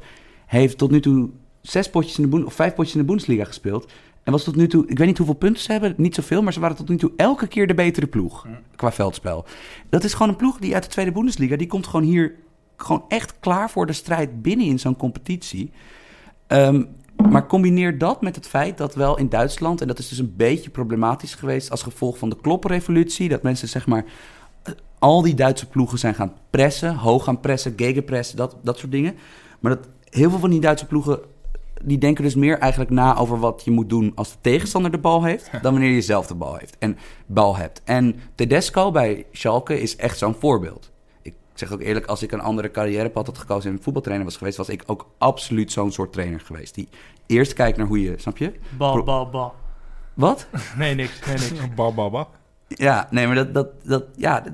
Speaker 4: heeft tot nu toe zes potjes in de Boen- of vijf potjes in de Bundesliga gespeeld. En was tot nu toe, ik weet niet hoeveel punten ze hebben, niet zoveel, maar ze waren tot nu toe elke keer de betere ploeg qua veldspel. Dat is gewoon een ploeg die uit de Tweede Bundesliga, die komt gewoon hier gewoon echt klaar voor de strijd binnen in zo'n competitie. Ehm, maar combineer dat met het feit dat wel in Duitsland, en dat is dus een beetje problematisch geweest als gevolg van de kloppenrevolutie, dat mensen zeg maar eh, al die Duitse ploegen zijn gaan pressen, hoog gaan pressen, gegenpressen, dat, dat soort dingen. Maar dat heel veel van die Duitse ploegen, die denken dus meer eigenlijk na over wat je moet doen als de tegenstander de bal heeft, dan wanneer je zelf de bal heeft en bal hebt. En Tedesco bij Schalke is echt zo'n voorbeeld. Ik zeg ook eerlijk, als ik een andere carrièrepad had gekozen en voetbaltrainer was geweest, was ik ook absoluut zo'n soort trainer geweest. Die eerst kijkt naar hoe je, snap je?
Speaker 3: Bal, bal, bal.
Speaker 4: Wat?
Speaker 3: Nee, niks. Nee, niks.
Speaker 2: Ba, ba, ba.
Speaker 4: Ja, nee, maar dat, dat, dat ja, dat,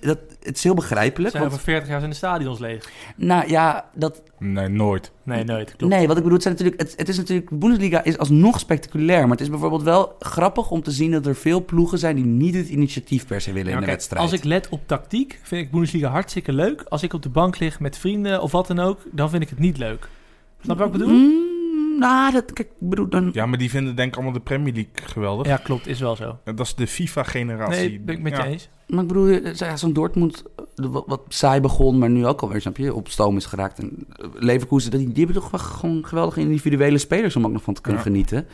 Speaker 4: dat- het is heel
Speaker 3: We
Speaker 4: begrijpelijk.
Speaker 3: zijn
Speaker 4: want-
Speaker 3: over 40 jaar zijn de stadions leeg.
Speaker 4: nou ja, dat,
Speaker 2: Nee, nooit.
Speaker 3: Nee, nooit. Klopt.
Speaker 4: Nee, wat ik bedoel, het, zijn natuurlijk, het, het is natuurlijk. De Bundesliga is alsnog spectaculair. Maar het is bijvoorbeeld wel grappig om te zien dat er veel ploegen zijn die niet het initiatief per se willen
Speaker 3: Ja,
Speaker 4: in de
Speaker 3: kijk,
Speaker 4: wedstrijd.
Speaker 3: Als ik let op tactiek, vind ik Bundesliga hartstikke leuk. Als ik op de bank lig met vrienden of wat dan ook, dan vind ik het niet leuk. Snap je wat ik bedoel?
Speaker 4: Mm, nou, dat, kijk, ik bedoel, dan,
Speaker 2: Ja, maar die vinden denk ik allemaal de Premier League geweldig.
Speaker 3: Ja, klopt. Is wel zo.
Speaker 2: En Dat is de FIFA-generatie.
Speaker 3: Nee, ben ik met je
Speaker 2: Ja.
Speaker 3: eens.
Speaker 4: maar ik bedoel, eh, zo- ja, zo'n Dortmund, eh, wat, wat saai begon, maar nu ook alweer, snap je, op stoom is geraakt. En eh, Leverkusen, die, die hebben toch wel gewoon geweldige individuele spelers om ook nog van te kunnen
Speaker 2: Ja.
Speaker 4: genieten.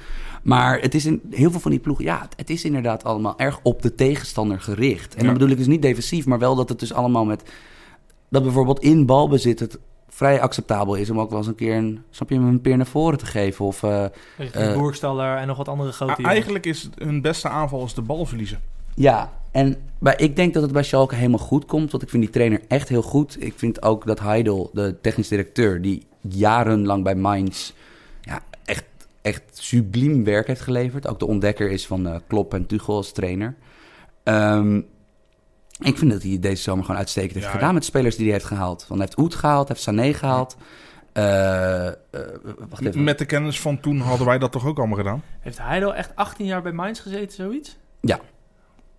Speaker 4: Maar het is in heel veel van die ploegen, ja, het, het is inderdaad allemaal erg op de tegenstander gericht. En
Speaker 2: Ja.
Speaker 4: dan bedoel ik dus niet defensief, maar wel dat het dus allemaal met dat bijvoorbeeld in balbezit het vrij acceptabel is om ook wel eens een keer een, snap je, een peer naar voren te geven. Of, eh,
Speaker 3: Richting
Speaker 4: Eh,
Speaker 3: Boerstaller en nog wat andere grote
Speaker 2: Ah,
Speaker 3: jongens.
Speaker 2: eigenlijk is het- hun beste aanval is de bal verliezen.
Speaker 4: ja, en bij, ik denk dat het bij Schalke helemaal goed komt, want ik vind die trainer echt heel goed. Ik vind ook dat Heidel, de technisch directeur, die jarenlang bij Mainz ja, echt, echt subliem werk heeft geleverd. Ook de ontdekker is van eh Klopp en Tuchel als trainer. Ehm, ik vind dat hij het deze zomer gewoon uitstekend heeft
Speaker 2: Ja,
Speaker 4: gedaan
Speaker 2: ja.
Speaker 4: met de spelers die hij heeft gehaald. Want hij heeft Oet gehaald, hij heeft Sané gehaald. Eh, eh, wacht even.
Speaker 2: Met de kennis van toen hadden wij dat toch ook allemaal gedaan?
Speaker 3: Heeft Heidel echt 18 jaar bij Mainz gezeten, zoiets?
Speaker 4: Ja.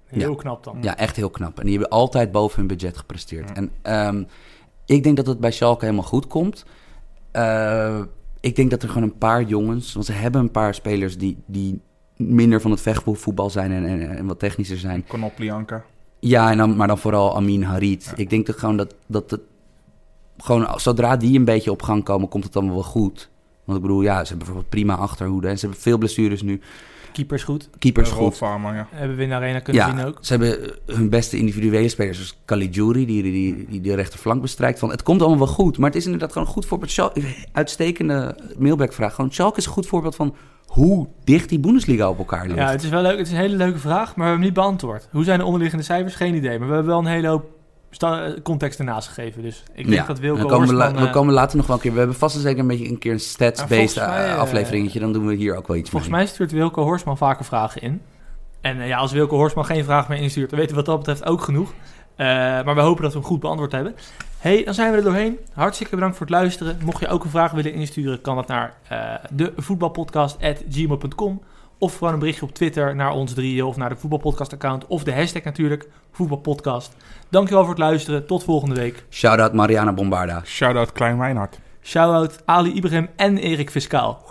Speaker 3: Heel knap dan.
Speaker 4: Ja, echt heel knap. En die hebben altijd boven hun budget gepresteerd.
Speaker 2: Ja.
Speaker 4: En ehm, ik denk dat het bij Schalke helemaal goed komt. Eh, ik denk dat er gewoon een paar jongens... Want ze hebben een paar spelers die, die minder van het vechtvoetbal zijn en, en, en wat technischer zijn.
Speaker 2: Konoplyanka.
Speaker 4: Ja, en dan, maar dan vooral Amin Harit.
Speaker 2: Ja.
Speaker 4: Ik denk dat gewoon dat, dat het... Gewoon zodra die een beetje op gang komen, komt het dan wel goed. Want ik bedoel, ja, ze hebben bijvoorbeeld prima achterhoede. En ze hebben veel blessures nu.
Speaker 3: Keeper is goed.
Speaker 4: Keepers
Speaker 2: Eh,
Speaker 4: goed.
Speaker 2: Rolf Arman, ja.
Speaker 3: Hebben we in de arena kunnen zien ook.
Speaker 4: Ze hebben eh, hun beste individuele spelers, zoals Caligiuri, die, die, die de rechterflank bestrijkt. Van, het komt allemaal wel goed, maar het is inderdaad gewoon een goed voorbeeld. Schal- Uitstekende mailbackvraag. Gewoon, Schalke is een goed voorbeeld van hoe dicht die Bundesliga op elkaar ligt.
Speaker 3: Ja, het is wel leuk. Het is een hele leuke vraag, maar we hebben hem niet beantwoord. Hoe zijn de onderliggende cijfers? Geen idee. Maar we hebben wel een hele hoop sta- context ernaast gegeven. Dus ik denk
Speaker 4: Ja,
Speaker 3: dat
Speaker 4: en
Speaker 3: Wilco
Speaker 4: dan komen we, la-
Speaker 3: Horsman,
Speaker 4: we
Speaker 3: eh,
Speaker 4: komen later nog wel een keer. We hebben vast en zeker een beetje een keer een
Speaker 3: Ja,
Speaker 4: stats-based
Speaker 3: volgens mij,
Speaker 4: eh,
Speaker 3: eh,
Speaker 4: afleveringetje. Dan doen we hier ook wel iets
Speaker 3: Volgens
Speaker 4: mee.
Speaker 3: mij stuurt Wilco Horsman vaker vragen in. En eh, ja, als Wilco Horsman geen vraag meer instuurt, dan weten we wat dat betreft ook genoeg. Eh, maar we hopen dat we hem goed beantwoord hebben. hey, dan zijn we er doorheen. Hartstikke bedankt voor het luisteren. Mocht je ook een vraag willen insturen, kan dat naar eh devoetbalpodcast.gmail.com of gewoon een berichtje op Twitter naar ons drieën of naar de voetbalpodcast-account of de hashtag natuurlijk, voetbalpodcast. Dankjewel voor het luisteren. Tot volgende week.
Speaker 4: Shout-out Mariana Bombarda.
Speaker 2: Shout-out Klein Wijnhard.
Speaker 3: Shout-out Ali Ibrahim en Erik Fiscaal.